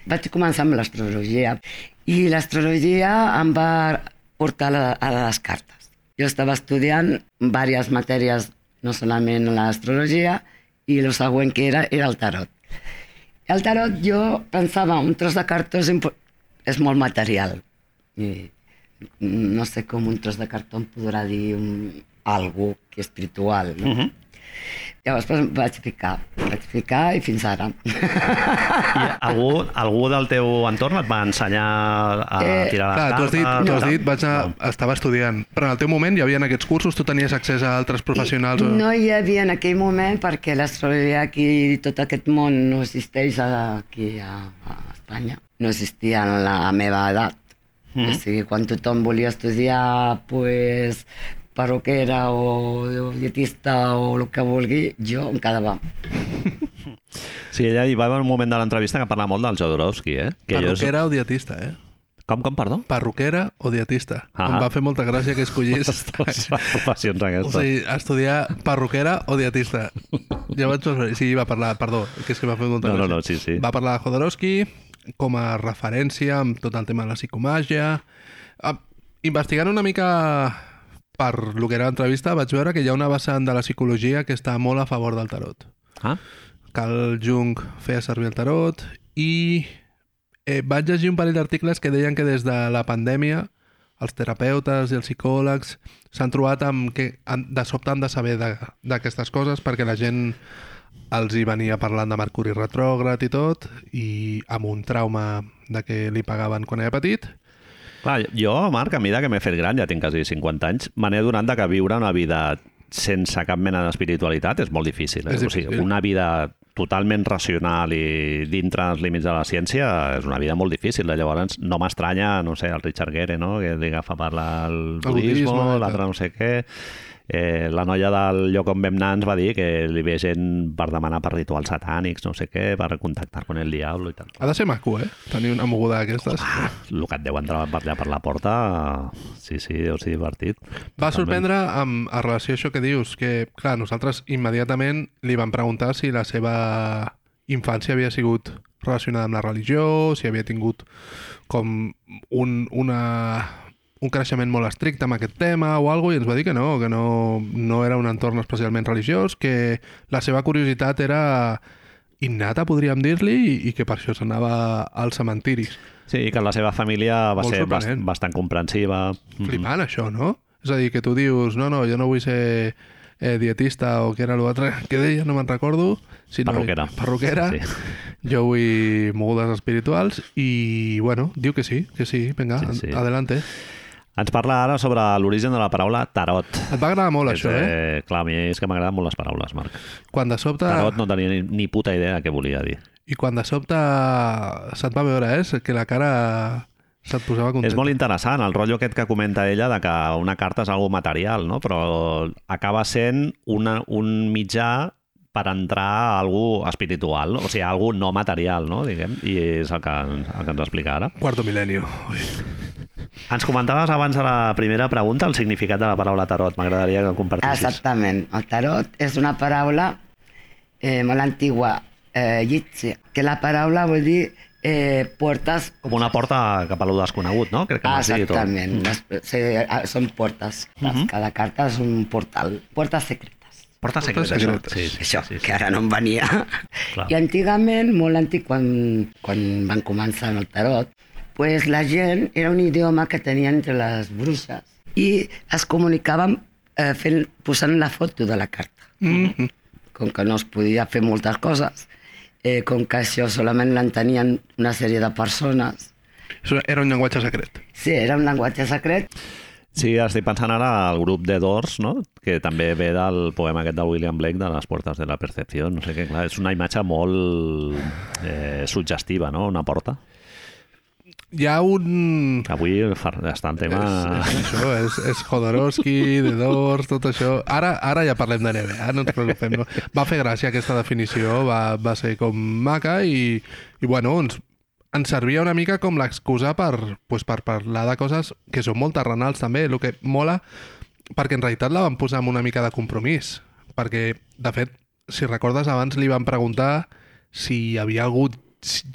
Speaker 3: Vaig començar amb l'astrologia i l'astrologia em va portar a, la- a les cartes. Jo estava estudiant diverses matèries, no solament l'astrologia, i el següent que era era el tarot. El tarot jo pensava, un tros de cartó és, impo- és molt material. I no sé com un tros de cartó em podrà dir un, algú que és espiritual. No? Llavors pues, vaig ficar, vaig ficar i fins ara.
Speaker 1: I algú, algú del teu entorn et va ensenyar a
Speaker 3: Eh,
Speaker 1: tirar les
Speaker 2: Clar, tu has dit,
Speaker 1: cartes?
Speaker 2: tu has
Speaker 1: tal?
Speaker 2: dit vaig anar, estava estudiant, però en el teu moment hi havia aquests cursos, tu tenies accés a altres professionals? eh? o-
Speaker 3: No hi havia en aquell moment perquè l'astrologia aquí i tot aquest món no existeix a- aquí a, a Espanya. No existia en la meva edat. Mm -hmm. O sigui, quan tothom volia estudiar pues, perruquera o dietista o el que vulgui, jo em quedava.
Speaker 1: Sí, ella hi va haver un moment de l'entrevista que parla molt del Jodorowsky, eh? Que jo és-
Speaker 2: Perruquera o dietista, eh?
Speaker 1: Com, com, perdó?
Speaker 2: Perruquera o dietista.
Speaker 1: Ah.
Speaker 2: Em va fer molta gràcia que escollís...
Speaker 1: Les professions
Speaker 2: O
Speaker 1: aquestes.
Speaker 2: sigui, estudiar perruquera o dietista. Ja vaig veure... Sí, va parlar... Perdó, que és que m'ha fet molta
Speaker 1: No, no,
Speaker 2: gràcia.
Speaker 1: no, sí, sí.
Speaker 2: Va parlar de Jodorowsky com a referència amb tot el tema de la psicomàgia. Ah, investigant una mica per lo que era l'entrevista, vaig veure que hi ha una vessant de la psicologia que està molt a favor del tarot.
Speaker 1: Ah,
Speaker 2: Carl Jung feia servir el tarot i eh, vaig llegir un parell d'articles que deien que des de la pandèmia els terapeutes i els psicòlegs s'han trobat amb que han- de sobte han de saber de- d'aquestes coses perquè la gent els hi venia parlant de Mercuri retrògrad i tot i amb un trauma de que li pagaven quan era petit
Speaker 1: Clar, jo, Marc, a mida que m'he fet gran, ja tinc quasi 50 anys, me n'he adonat de que viure una vida sense cap mena d'espiritualitat és molt difícil. Eh?
Speaker 2: És difícil.
Speaker 1: O sigui, una vida totalment racional i dintre dels límits de la ciència és una vida molt difícil. Llavors, no m'estranya, no sé, el Richard Gere, no? que li agafa parlar el
Speaker 2: budisme,
Speaker 1: budisme,
Speaker 2: i
Speaker 1: l'altre
Speaker 2: tal.
Speaker 1: no sé què... Eh, la noia del lloc on vam anar ens va dir que li ve gent per demanar per rituals satànics, no sé què, per contactar amb el diablo i tal.
Speaker 2: ha de ser maco, eh? Tenir una moguda d'aquestes
Speaker 1: El que et deu entrar per allà per la porta, sí, sí, deu ser divertit.
Speaker 2: Va
Speaker 1: Totalment.
Speaker 2: sorprendre amb, a relació a això que dius, que, clar, nosaltres immediatament li vam preguntar si la seva infància havia sigut relacionada amb la religió, si havia tingut com un, una, un creixement molt estricte amb aquest tema o alguna i ens va dir que no, que no, no era un entorn especialment religiós, que la seva curiositat era innata, podríem dir-li, i, i que per això s'anava als cementiris.
Speaker 1: Sí, i que la seva família va
Speaker 2: Molt
Speaker 1: ser bast
Speaker 2: sorprenent.
Speaker 1: bastant comprensiva.
Speaker 2: Flipant, això, no? És a dir, que tu dius, no, no, jo no vull ser eh, dietista o que era l'altre que deia, no me'n recordo. Sinó
Speaker 1: Perruquera.
Speaker 2: Perruquera.
Speaker 1: Sí.
Speaker 2: Sí. Jo vull mogudes espirituals i, bueno, diu que sí, que sí, vinga,
Speaker 1: Sí,
Speaker 2: sí,
Speaker 1: sí.
Speaker 2: sí. adelante.
Speaker 1: Ens parla ara sobre l'origen de la paraula tarot.
Speaker 2: Et va agradar molt,
Speaker 1: És,
Speaker 2: això, eh? Ah.
Speaker 1: eh, clar, a mi és que m'agraden molt les paraules, Marc.
Speaker 2: Quan de sobte...
Speaker 1: Tarot no tenia ni, ni puta idea de què volia dir.
Speaker 2: I quan de sobte se't va veure, eh? Que la cara se't posava contenta.
Speaker 1: És molt interessant el rotllo aquest que comenta ella de que una carta és algo material, no? però acaba sent una, un mitjà per entrar a algú espiritual, no? o sigui, a algú no material, no? diguem, i és el que, el que ens explica ara.
Speaker 2: Quarto milenio. Ui.
Speaker 1: Ens comentaves abans a la primera pregunta el significat de la paraula tarot. M'agradaria que el compartissis.
Speaker 3: Exactament. El tarot és una paraula eh, molt antigua, eh, yitzi, que la paraula vol dir eh, portes
Speaker 1: Com una porta cap a lo desconegut, no? Crec que m'has dit. o- Mm. Mhm.
Speaker 3: Exactament. Les, sí, ah, són portes. Cada carta és un portal. Portes secretes.
Speaker 1: Porta secreta.
Speaker 2: Porta
Speaker 1: això.
Speaker 2: secreta.
Speaker 1: Sí, sí,
Speaker 3: Això,
Speaker 1: sí, sí.
Speaker 3: que ara no em venia.
Speaker 1: Clar.
Speaker 3: I antigament, molt antic, quan, quan van començar amb el tarot, pues la gent era un idioma que tenien entre les bruixes i es comunicaven eh, fent, posant la foto de la carta. Com que no es podia fer moltes coses, eh, com que això solament l'entenien una sèrie de persones,
Speaker 2: Això Era un llenguatge secret.
Speaker 3: sí, era un llenguatge secret,
Speaker 1: Sí, estic pensant ara al grup de Doors, no? que també ve del poema aquest del William Blake de les portes de la percepció. No sé què, clar, és una imatge molt eh, suggestiva, no? Una porta.
Speaker 2: Hi ha un...
Speaker 1: Avui fa- està en tema...
Speaker 2: És, és això, és, és Jodorowsky, The Doors, tot això. Ara ara ja parlem de NBA, no ens preocupem. No? Va fer gràcia aquesta definició, va, va ser com maca i, i bueno, ens, ens servia una mica com l'excusa per, pues, per parlar de coses que són molt terrenals també, el que mola, perquè en realitat la van posar amb una mica de compromís, perquè, de fet, si recordes, abans li van preguntar si hi havia hagut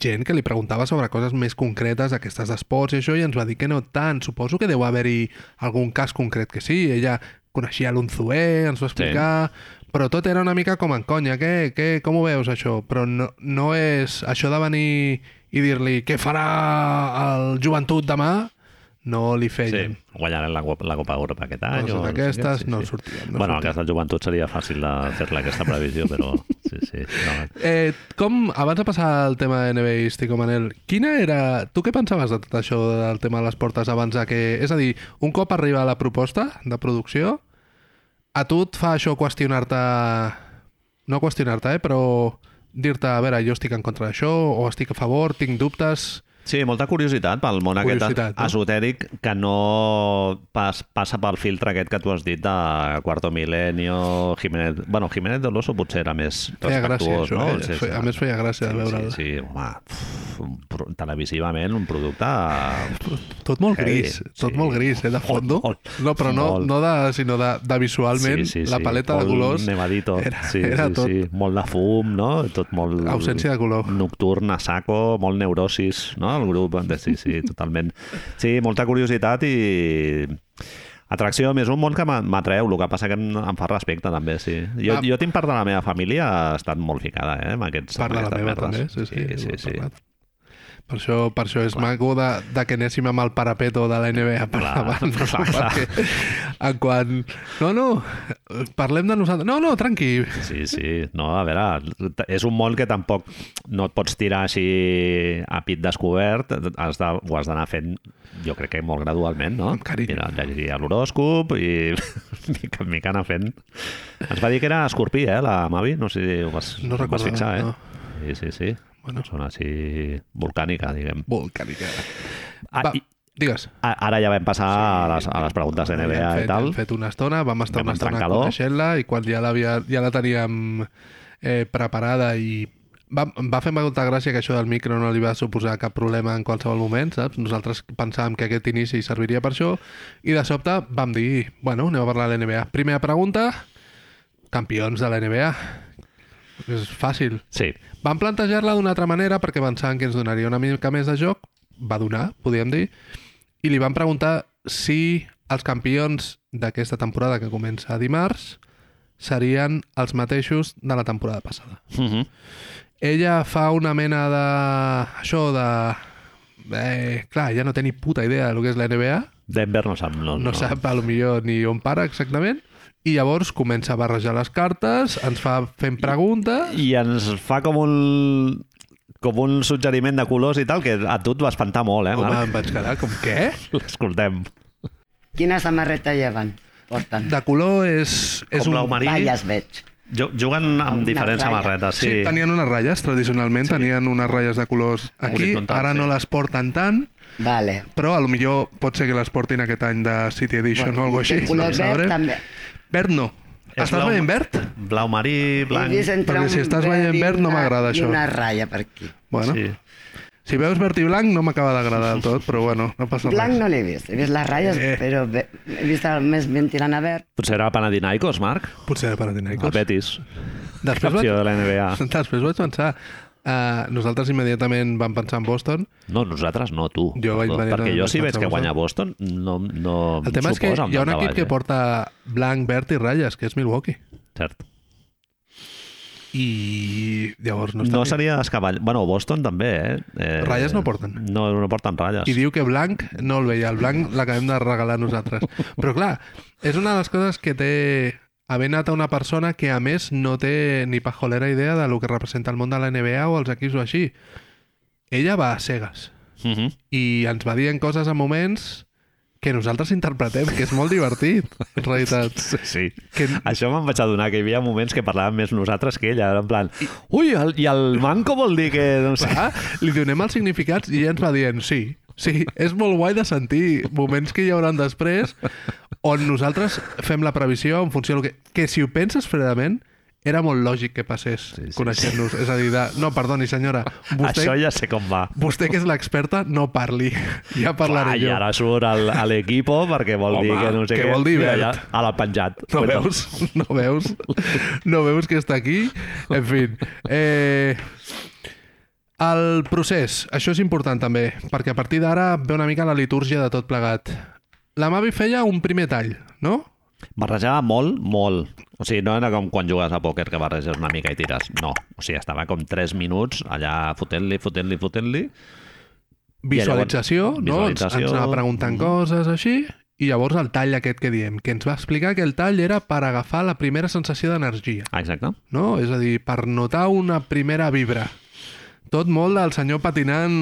Speaker 2: gent que li preguntava sobre coses més concretes, aquestes d'esports i això, i ens va dir que no tant. Suposo que deu haver-hi algun cas concret que sí. Ella coneixia l'Unzué, ens ho va explicar... Però tot era una mica com en conya, què, què, com ho veus això? Però no, no és... Això de venir i dir-li què farà el joventut demà, no li
Speaker 1: Sí,
Speaker 2: feien.
Speaker 1: guanyaran la, Copa- la Copa Europa aquest any.
Speaker 2: Coses
Speaker 1: o no sé què,
Speaker 2: Doncs d'aquestes no sortien, no
Speaker 1: bueno, en el
Speaker 2: sortien.
Speaker 1: cas del joventut seria fàcil de fer-la aquesta previsió, però sí, sí. No.
Speaker 2: Eh, com, abans de passar al tema de NBA, Estico Manel, quina era... Tu què pensaves de tot això del tema de les portes abans de que... És a dir, un cop arriba la proposta de producció, a tu et fa això qüestionar-te... No qüestionar-te, eh, però dir-te, a veure, jo estic en contra d'això, o estic a favor, tinc dubtes...
Speaker 1: Sí, molta curiositat pel món aquest
Speaker 2: Curiositat, no?
Speaker 1: esotèric que no pas, passa pel filtre aquest que tu has dit de Quarto Milenio, Jiménez... Bueno, Jiménez Doloso potser era més
Speaker 2: Feia gràcia,
Speaker 1: respectuós,
Speaker 2: això,
Speaker 1: no?
Speaker 2: eh? Feia- a més feia gràcia de veure-la.
Speaker 1: Sí, sí, home, pf, un pro- televisivament un producte...
Speaker 2: Tot molt
Speaker 1: Heavy,
Speaker 2: gris, tot
Speaker 1: sí.
Speaker 2: molt gris, eh, de fondo.
Speaker 1: Molt,
Speaker 2: No, però no,
Speaker 1: molt.
Speaker 2: no de, sinó de, de visualment, la paleta
Speaker 1: molt
Speaker 2: de colors
Speaker 1: nemadito.
Speaker 2: era,
Speaker 1: sí,
Speaker 2: era
Speaker 1: sí,
Speaker 2: tot
Speaker 1: sí. Molt de fum, no? Tot molt...
Speaker 2: Ausència de color.
Speaker 1: Nocturn, a saco, molt neurosis, no? El grup, sí, sí, totalment. Sí, molta curiositat i... Atracció, a més, un món que m'a- m'atreu, el que passa que em, em fa respecte, també, sí. Jo,
Speaker 2: Va.
Speaker 1: jo tinc part de la meva família, ha estat molt ficada, eh, amb aquests...
Speaker 2: Part de
Speaker 1: amb
Speaker 2: la
Speaker 1: aquestes
Speaker 2: meva també,
Speaker 1: merdes.
Speaker 2: sí, sí. ho
Speaker 1: sí,
Speaker 2: hem
Speaker 1: sí, sí.
Speaker 2: parlat. Per això, per això és maco de, de que anéssim amb el parapeto de la NBA per
Speaker 1: Clar,
Speaker 2: davant. no?
Speaker 1: clar, clar.
Speaker 2: Perquè en quan... No, no, parlem de nosaltres. No, no, tranqui.
Speaker 1: Sí, sí. No, a veure, t- és un món que tampoc no et pots tirar així a pit descobert. Has de, ho has d'anar fent, jo crec que molt gradualment, no?
Speaker 2: Amb carinyo.
Speaker 1: Mira, llegiria l'horòscop i mica en mica anar fent. Ens va dir que era escorpí, eh, la Mavi? No sé si ho vas,
Speaker 2: No
Speaker 1: ho vas
Speaker 2: recordava,
Speaker 1: fixar, eh?
Speaker 2: no.
Speaker 1: Sí, sí, sí.
Speaker 2: Bueno.
Speaker 1: Bueno. Sona així volcànica, diguem.
Speaker 2: Volcànica.
Speaker 1: Ah,
Speaker 2: Va,
Speaker 1: i,
Speaker 2: digues.
Speaker 1: a- ara ja vam passar a, les, a les preguntes de
Speaker 2: Ja
Speaker 1: NBA
Speaker 2: hem fet,
Speaker 1: i tal.
Speaker 2: Hem fet una estona, vam estar
Speaker 1: Vam
Speaker 2: una estona
Speaker 1: trencar-lo.
Speaker 2: coneixent-la i quan ja, l'havia- ja la teníem eh, preparada i va, em va fer molta gràcia que això del micro no li va suposar cap problema en qualsevol moment, saps? Nosaltres pensàvem que aquest inici serviria per això i de sobte vam dir, bueno, anem a parlar de l'NBA. Primera pregunta, campions de la NBA. És fàcil.
Speaker 1: Sí,
Speaker 2: Van plantejar-la d'una altra manera perquè pensaven que ens donaria una mica més de joc, va donar, podríem dir, i li van preguntar si els campions d'aquesta temporada que comença dimarts serien els mateixos de la temporada passada.
Speaker 1: uh -huh.
Speaker 2: Ella fa una mena de... això de... Eh, clar, ja no té ni puta idea del que és la NBA,
Speaker 1: Denver no sap. No,
Speaker 2: no sap a lo millor ni on para exactament, i llavors comença a barrejar les cartes, ens fa fent preguntes...
Speaker 1: i ens fa com un com un suggeriment de colors i tal, que a tu et va espantar molt, eh,
Speaker 2: Home,
Speaker 1: Marc?
Speaker 2: em vaig quedar com, què?
Speaker 1: L'escoltem.
Speaker 3: quina samarreta lleven? Porten.
Speaker 2: de color és... és
Speaker 1: Com
Speaker 2: un...
Speaker 1: blau marí.
Speaker 3: Valles veig.
Speaker 1: Jo, juguen amb
Speaker 3: Una
Speaker 1: diferents
Speaker 3: ratlla.
Speaker 1: samarretes, sí.
Speaker 2: Sí, tenien unes ratlles, tradicionalment sí. tenien unes ratlles de colors aquí,
Speaker 1: Horitzontal,
Speaker 2: ara
Speaker 1: sí.
Speaker 2: no les porten tant,
Speaker 3: Vale.
Speaker 2: però a lo millor pot ser que les portin aquest any de City Edition
Speaker 3: Bueno,
Speaker 2: o alguna
Speaker 3: té
Speaker 2: cosa així.
Speaker 3: color
Speaker 2: ho
Speaker 3: verd
Speaker 2: sabrem.
Speaker 3: també.
Speaker 2: Verd no.
Speaker 1: És
Speaker 2: Estàs veient verd?
Speaker 1: Blau marí,
Speaker 3: He vist
Speaker 1: blanc...
Speaker 3: entre
Speaker 2: Perquè si
Speaker 3: un
Speaker 2: estàs veient
Speaker 3: i
Speaker 2: verd, no
Speaker 3: una-
Speaker 2: m'agrada
Speaker 3: I
Speaker 2: això.
Speaker 3: una ratlla per aquí.
Speaker 2: Bueno,
Speaker 1: Sí. Doncs
Speaker 2: sí. si veus verd i blanc no m'acaba d'agradar del tot, però bueno, no passa
Speaker 3: Blanc
Speaker 2: res.
Speaker 3: no l'he vist, he vist les ratlles,
Speaker 2: Eh.
Speaker 3: però ve- he vist el més ben tirant a verd.
Speaker 1: Potser era Panathinaikos, Marc?
Speaker 2: Potser era
Speaker 1: El
Speaker 2: Panathinaikos.
Speaker 1: Betis.
Speaker 2: Després vaig,
Speaker 1: Campió de la NBA.
Speaker 2: després vaig pensar... Uh, nosaltres immediatament vam pensar en Boston.
Speaker 1: No, nosaltres no, tu.
Speaker 2: Jo vaig
Speaker 1: Perdó,
Speaker 2: venir
Speaker 1: Perquè
Speaker 2: a-
Speaker 1: jo si
Speaker 2: vaig
Speaker 1: veig que
Speaker 2: a
Speaker 1: guanya Boston, no, no
Speaker 2: El tema és que
Speaker 1: suposa
Speaker 2: hi ha un
Speaker 1: daltabaix,
Speaker 2: equip que
Speaker 1: eh?
Speaker 2: porta blanc, verd i ratlles, que és Milwaukee.
Speaker 1: Cert.
Speaker 2: i I llavors no està
Speaker 1: No
Speaker 2: ni-
Speaker 1: seria descavall. Bueno, Boston també, eh? eh
Speaker 2: Ratlles no porten.
Speaker 1: No, no porten ratlles.
Speaker 2: I diu que blanc no el veia, el blanc l'acabem de regalar nosaltres. Però clar, és una de les coses que té haver anat a una persona que a més no té ni pajolera idea de lo que representa el món de la NBA o els equips o així. Ella va a cegues
Speaker 1: Uh -huh.
Speaker 2: i ens va dient coses a moments que nosaltres interpretem, que és molt divertit, en realitat.
Speaker 1: Sí.
Speaker 2: Que,
Speaker 1: Això me'n vaig adonar, que hi havia moments que parlàvem més nosaltres que ella, en plan, ui, el, i el manco vol dir que... No sé.
Speaker 2: clar, Ah? li donem els significats i ella ens va dient sí, sí, és molt guai de sentir moments que hi hauran després on nosaltres fem la previsió en funció del que... Que si ho penses fredament, era molt lògic que passés sí, sí, coneixent-nos. És a dir, de... no, perdoni senyora, vostè,
Speaker 1: Això ja sé com va.
Speaker 2: vostè que és l'experta, no parli. Ja parlaré
Speaker 1: Clar, I
Speaker 2: jo.
Speaker 1: ara surt el- a l'equipo perquè vol
Speaker 2: Home,
Speaker 1: dir que no sé
Speaker 2: què
Speaker 1: què.
Speaker 2: vol dir,
Speaker 1: Mira,
Speaker 2: Bert?
Speaker 1: ja, a l'ha penjat.
Speaker 2: No
Speaker 1: Bueno,
Speaker 2: veus? No veus? No veus que està aquí? En fi. Eh, el procés, això és important també, perquè a partir d'ara ve una mica la litúrgia de tot plegat. La Mavi feia un primer tall, no?
Speaker 1: Barrejava molt, molt. O sigui, no era com quan jugues a pòquer que barreges una mica i tires. No. O sigui, estava com 3 minuts allà fotent-li, fotent-li, fotent-li.
Speaker 2: Visualització,
Speaker 1: I llavors,
Speaker 2: no? Ens,
Speaker 1: visualització. mm.
Speaker 2: ens anava preguntant coses així, i llavors el tall aquest que diem, que ens va explicar que el tall era per agafar la primera sensació d'energia.
Speaker 1: Ah, exacte.
Speaker 2: no? És a dir, per notar una primera vibra. Tot molt del senyor patinant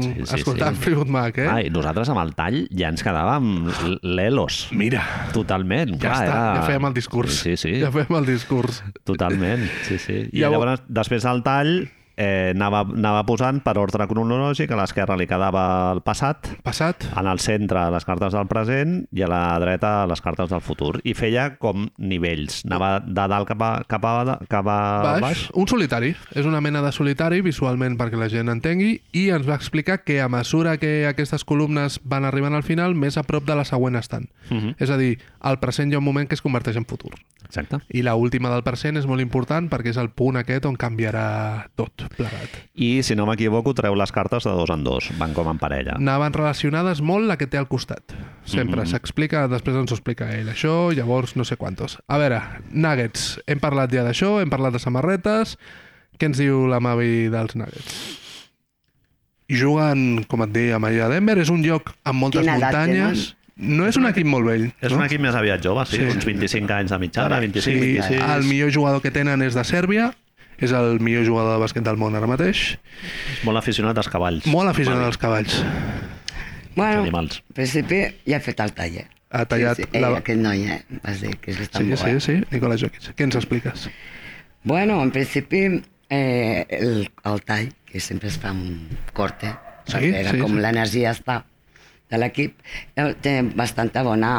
Speaker 2: sí,
Speaker 1: Sí, sí,
Speaker 2: sí,
Speaker 1: sí.
Speaker 2: escoltant sí. Fleetwood Mac, eh?
Speaker 1: Ah, i nosaltres amb el tall ja ens quedàvem l- l'elos.
Speaker 2: Mira,
Speaker 1: Totalment.
Speaker 2: ja
Speaker 1: clar,
Speaker 2: està,
Speaker 1: era...
Speaker 2: ja fèiem el discurs.
Speaker 1: Sí, sí,
Speaker 2: Ja fèiem el discurs.
Speaker 1: totalment. Sí, sí. I
Speaker 2: Llavors-
Speaker 1: llavors, després del tall, eh, anava, anava posant per ordre cronològic, a l'esquerra li quedava el passat,
Speaker 2: Passat,
Speaker 1: en el centre les cartes del present i a la dreta les cartes del futur. I feia com nivells. Anava de dalt cap a, cap a, cap a
Speaker 2: baix,
Speaker 1: Ah, baix.
Speaker 2: baix, un solitari. És una mena de solitari visualment perquè la gent entengui i ens va explicar que a mesura que aquestes columnes van arribant al final, més a prop de la següent estan.
Speaker 1: Mhm.
Speaker 2: És a dir, al present hi ha un moment que es converteix en futur.
Speaker 1: Exacte.
Speaker 2: I la última del present és molt important perquè és el punt aquest on canviarà tot plegat.
Speaker 1: I, si no m'equivoco, treu les cartes de dos en dos. Van com en parella.
Speaker 2: anaven relacionades molt la que té al costat. Sempre mm
Speaker 1: Mm-hmm.
Speaker 2: -hmm. s'explica, després ens ho explica ell, això, llavors no sé quantos. A veure, Nuggets, hem parlat ja d'això, hem parlat de samarretes, què ens diu la Mavi dels Nuggets? Juguen, com et deia, Maria Denver, és un lloc amb moltes
Speaker 3: Quina edat
Speaker 2: muntanyes, no és un equip molt vell.
Speaker 1: És
Speaker 2: no?
Speaker 1: un equip més aviat jove, sí,
Speaker 2: Sí.
Speaker 1: uns 25 anys de mitjana, 25,
Speaker 2: sí,
Speaker 1: 26...
Speaker 2: el millor jugador que tenen és de Sèrbia, és el millor jugador de bàsquet del món ara mateix,
Speaker 1: Molt aficionat als cavalls.
Speaker 2: molt aficionat als cavalls.
Speaker 1: Els
Speaker 3: Bueno,
Speaker 1: animals.
Speaker 3: en principi ja ha fet el tall, eh?
Speaker 2: Ha tallat
Speaker 3: Sí, sí.
Speaker 2: la-
Speaker 3: La... Aquest noi, eh? Vas dir que és bastant
Speaker 2: Sí,
Speaker 3: bo,
Speaker 2: sí,
Speaker 3: eh?
Speaker 2: sí, Nicola Jokic. Què ens expliques?
Speaker 3: Bueno, en principi eh, el, el tall, que sempre es fa un corte,
Speaker 2: Sí,
Speaker 3: perquè era
Speaker 2: sí,
Speaker 3: com
Speaker 2: sí.
Speaker 3: l'energia està de l'equip, eh, té bastanta bona...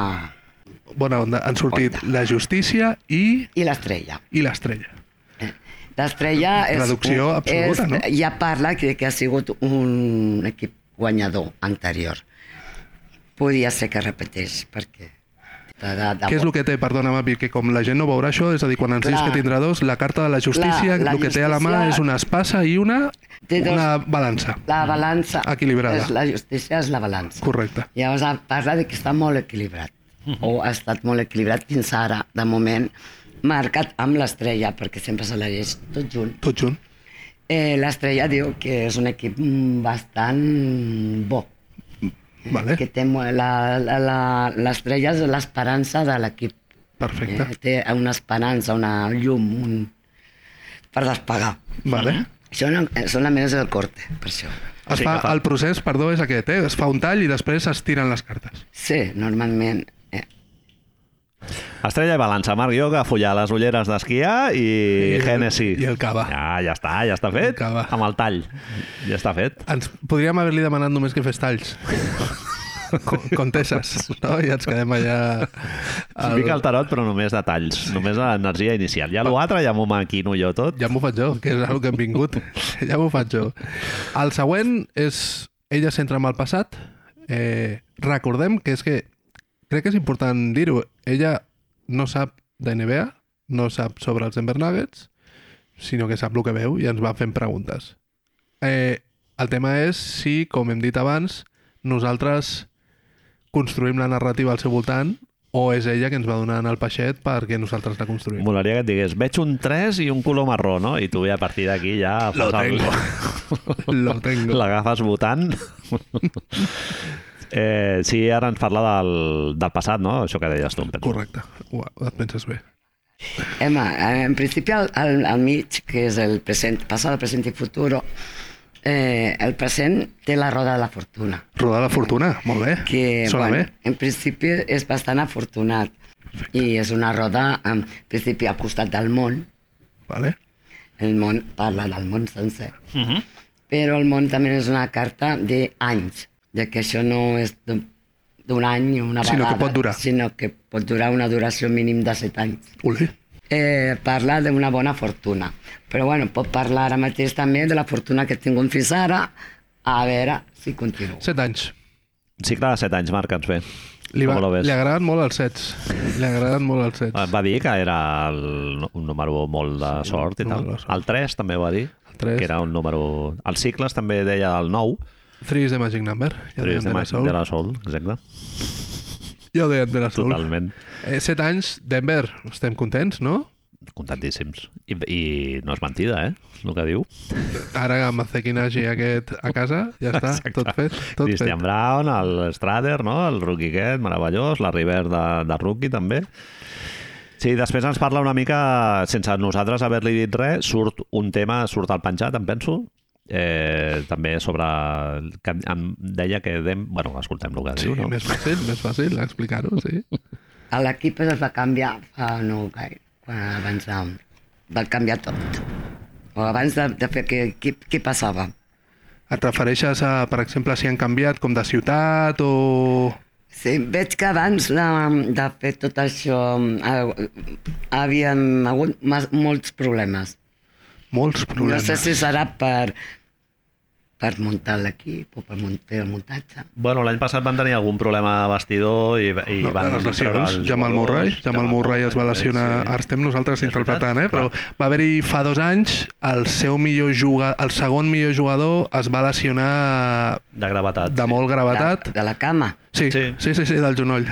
Speaker 2: Bona onda, han sortit
Speaker 3: Onda.
Speaker 2: la justícia i,
Speaker 3: I l'estrella. eh.
Speaker 2: i l'estrella.
Speaker 3: L'estrella és...
Speaker 2: Reducció absoluta,
Speaker 3: és, eh,
Speaker 2: no?
Speaker 3: Ja parla que, que ha sigut un equip guanyador anterior. Podia ser que repeteix, perquè... De, de, de
Speaker 2: Què és el que té, perdona, Mapi, que com la gent no veurà això, és a dir, quan ens dius
Speaker 3: Clar.
Speaker 2: que tindrà dos, la carta de la justícia,
Speaker 3: Clar, la
Speaker 2: el que té a la mà
Speaker 3: justícia-
Speaker 2: és una espasa i una,
Speaker 3: Té dos-
Speaker 2: una balança.
Speaker 3: La balança...
Speaker 2: Equilibrada.
Speaker 3: És la justícia és la balança.
Speaker 2: Correcte.
Speaker 3: Llavors em parla de que està molt equilibrat,
Speaker 2: Mhm.
Speaker 3: o ha estat molt equilibrat fins ara, de moment, marcat amb l'estrella, perquè sempre se l'hagués tot junt.
Speaker 2: Tot junt.
Speaker 3: Eh, l'estrella diu que és un equip mm, bastant bo,
Speaker 2: Vale,
Speaker 3: que té mo- la- la- la- l'estrella és l'esperança de l'equip. Eh?
Speaker 2: perfecte.
Speaker 3: Té una esperança, una llum, un... per despegar.
Speaker 2: Vale.
Speaker 3: Això no, eh, són la menys del corte, per això.
Speaker 2: Es
Speaker 1: Sí,
Speaker 2: fa,
Speaker 1: que fa-
Speaker 2: el procés, perdó, és aquest, eh? Es fa un tall i després es tiren les cartes.
Speaker 3: Sí, normalment... Eh?
Speaker 1: Estrella i balança, Marc Ioga, follar les ulleres d'esquiar i,
Speaker 2: I-
Speaker 1: I Hennessy.
Speaker 2: i el cava.
Speaker 1: Ja, ja està, ja està fet.
Speaker 2: El cava.
Speaker 1: Amb el tall. Ja està fet.
Speaker 2: Ens podríem haver-li demanat només que fes talls. Con- Conteses, no? I ens quedem allà...
Speaker 1: El... Fica el tarot, però només de talls, només de l'energia inicial. Ja l'altre ja m'ho maquino jo tot.
Speaker 2: Ja m'ho faig jo, que és el que hem vingut. Ja m'ho faig jo. El següent és... Ella s'entra en el passat. Eh, recordem que és que... Crec que és important dir-ho. Ella no sap de NBA, no sap sobre els Denver Nuggets, sinó que sap el que veu i ens va fent preguntes. Eh, el tema és si, com hem dit abans, nosaltres construïm la narrativa al seu voltant o és ella que ens va donar en el peixet perquè nosaltres la construïm.
Speaker 1: Molaria que et digués, veig un 3 i un color marró, no? I tu ja a partir d'aquí ja...
Speaker 2: Lo
Speaker 1: fas el-
Speaker 2: tengo. Lo tengo.
Speaker 1: L'agafes votant. eh, sí, ara ens parla del, del passat, no? Això que deies tu, em penso.
Speaker 2: Correcte. Uau, et penses bé.
Speaker 3: Home, eh, en principi al, al, al mig, que és el present, passat, el present i futuro, eh, el present té la roda de la fortuna.
Speaker 2: Rodar la fortuna, molt bé.
Speaker 3: que
Speaker 2: Sona
Speaker 3: bueno,
Speaker 2: bé.
Speaker 3: en principi és bastant afortunat i és una roda en principi al costat del món
Speaker 2: Vale.
Speaker 3: el món parla del món sencer
Speaker 2: Mhm.
Speaker 3: però el món també és una carta d'anys de que això no és d'un d'un any una
Speaker 2: Sinó que
Speaker 3: vegada
Speaker 2: pot durar.
Speaker 3: sinó que pot durar una duració mínim de set anys
Speaker 2: Uli.
Speaker 3: eh, parla d'una bona fortuna. Però bueno, pot parlar ara mateix també de la fortuna que he tingut fins ara, a veure si continuo.
Speaker 2: Set anys.
Speaker 1: Cicle de 7 anys, Marc, ens ve.
Speaker 2: Li, va,
Speaker 1: Com lo ves?
Speaker 2: li agraden molt els sets. Li agraden molt els sets.
Speaker 1: Va dir que era el, un número molt de sí, sort i
Speaker 2: un
Speaker 1: tal.
Speaker 2: número de sort.
Speaker 1: El 3 també va dir,
Speaker 2: El tres.
Speaker 1: que era un número... Els cicles també deia el 9,
Speaker 2: Three is the magic number. Ja ho
Speaker 1: però
Speaker 2: deien
Speaker 1: és de,
Speaker 2: de la
Speaker 1: Magic
Speaker 2: Soul.
Speaker 1: de la Sol, exacte,
Speaker 2: Ja ho deien de la Soul.
Speaker 1: totalment.
Speaker 2: Eh, set anys, Denver, estem contents, no?
Speaker 1: Contentíssims. I, I no és mentida, eh? El que diu.
Speaker 2: Ara amb el Zekinagi aquest a casa, ja està, tot fet. Tot
Speaker 1: Christian
Speaker 2: fet.
Speaker 1: Brown, el Strader, no? el rookie aquest, meravellós, la River de, de rookie també. Sí, després ens parla una mica, sense nosaltres haver-li dit res, surt un tema, surt al penjat, em penso, eh, també sobre... Que em deia que... Dem... Bueno, escoltem el que
Speaker 2: Sí,
Speaker 1: diu, no?
Speaker 2: més fàcil, més fàcil explicar-ho, sí.
Speaker 3: A l'equip es va canviar fa no gaire, quan abans de, va canviar tot. O abans de, de fer què, què, què passava.
Speaker 2: Et refereixes a, per exemple, si han canviat com de ciutat o...
Speaker 3: Sí, veig que abans de, de fer tot això eh, havien hagut mas- molts problemes.
Speaker 2: Molts
Speaker 3: No
Speaker 2: problemes.
Speaker 3: sé si serà per, per muntar l'equip o per mun- fer el muntatge.
Speaker 1: Bueno, l'any passat van tenir algun problema de vestidor i, i
Speaker 2: no,
Speaker 1: van...
Speaker 2: les
Speaker 1: treure els
Speaker 2: lesions. Jamal Murray,
Speaker 1: jugadors.
Speaker 2: Jamal Murray es va lesionar, ara estem nosaltres interpretant, eh? però va haver-hi fa dos anys el seu millor jugador, el segon millor jugador es va lesionar
Speaker 1: De gravetat.
Speaker 2: de molt gravetat.
Speaker 3: De, de la cama.
Speaker 2: Sí,
Speaker 1: Sí.
Speaker 2: sí, sí, sí, del genoll.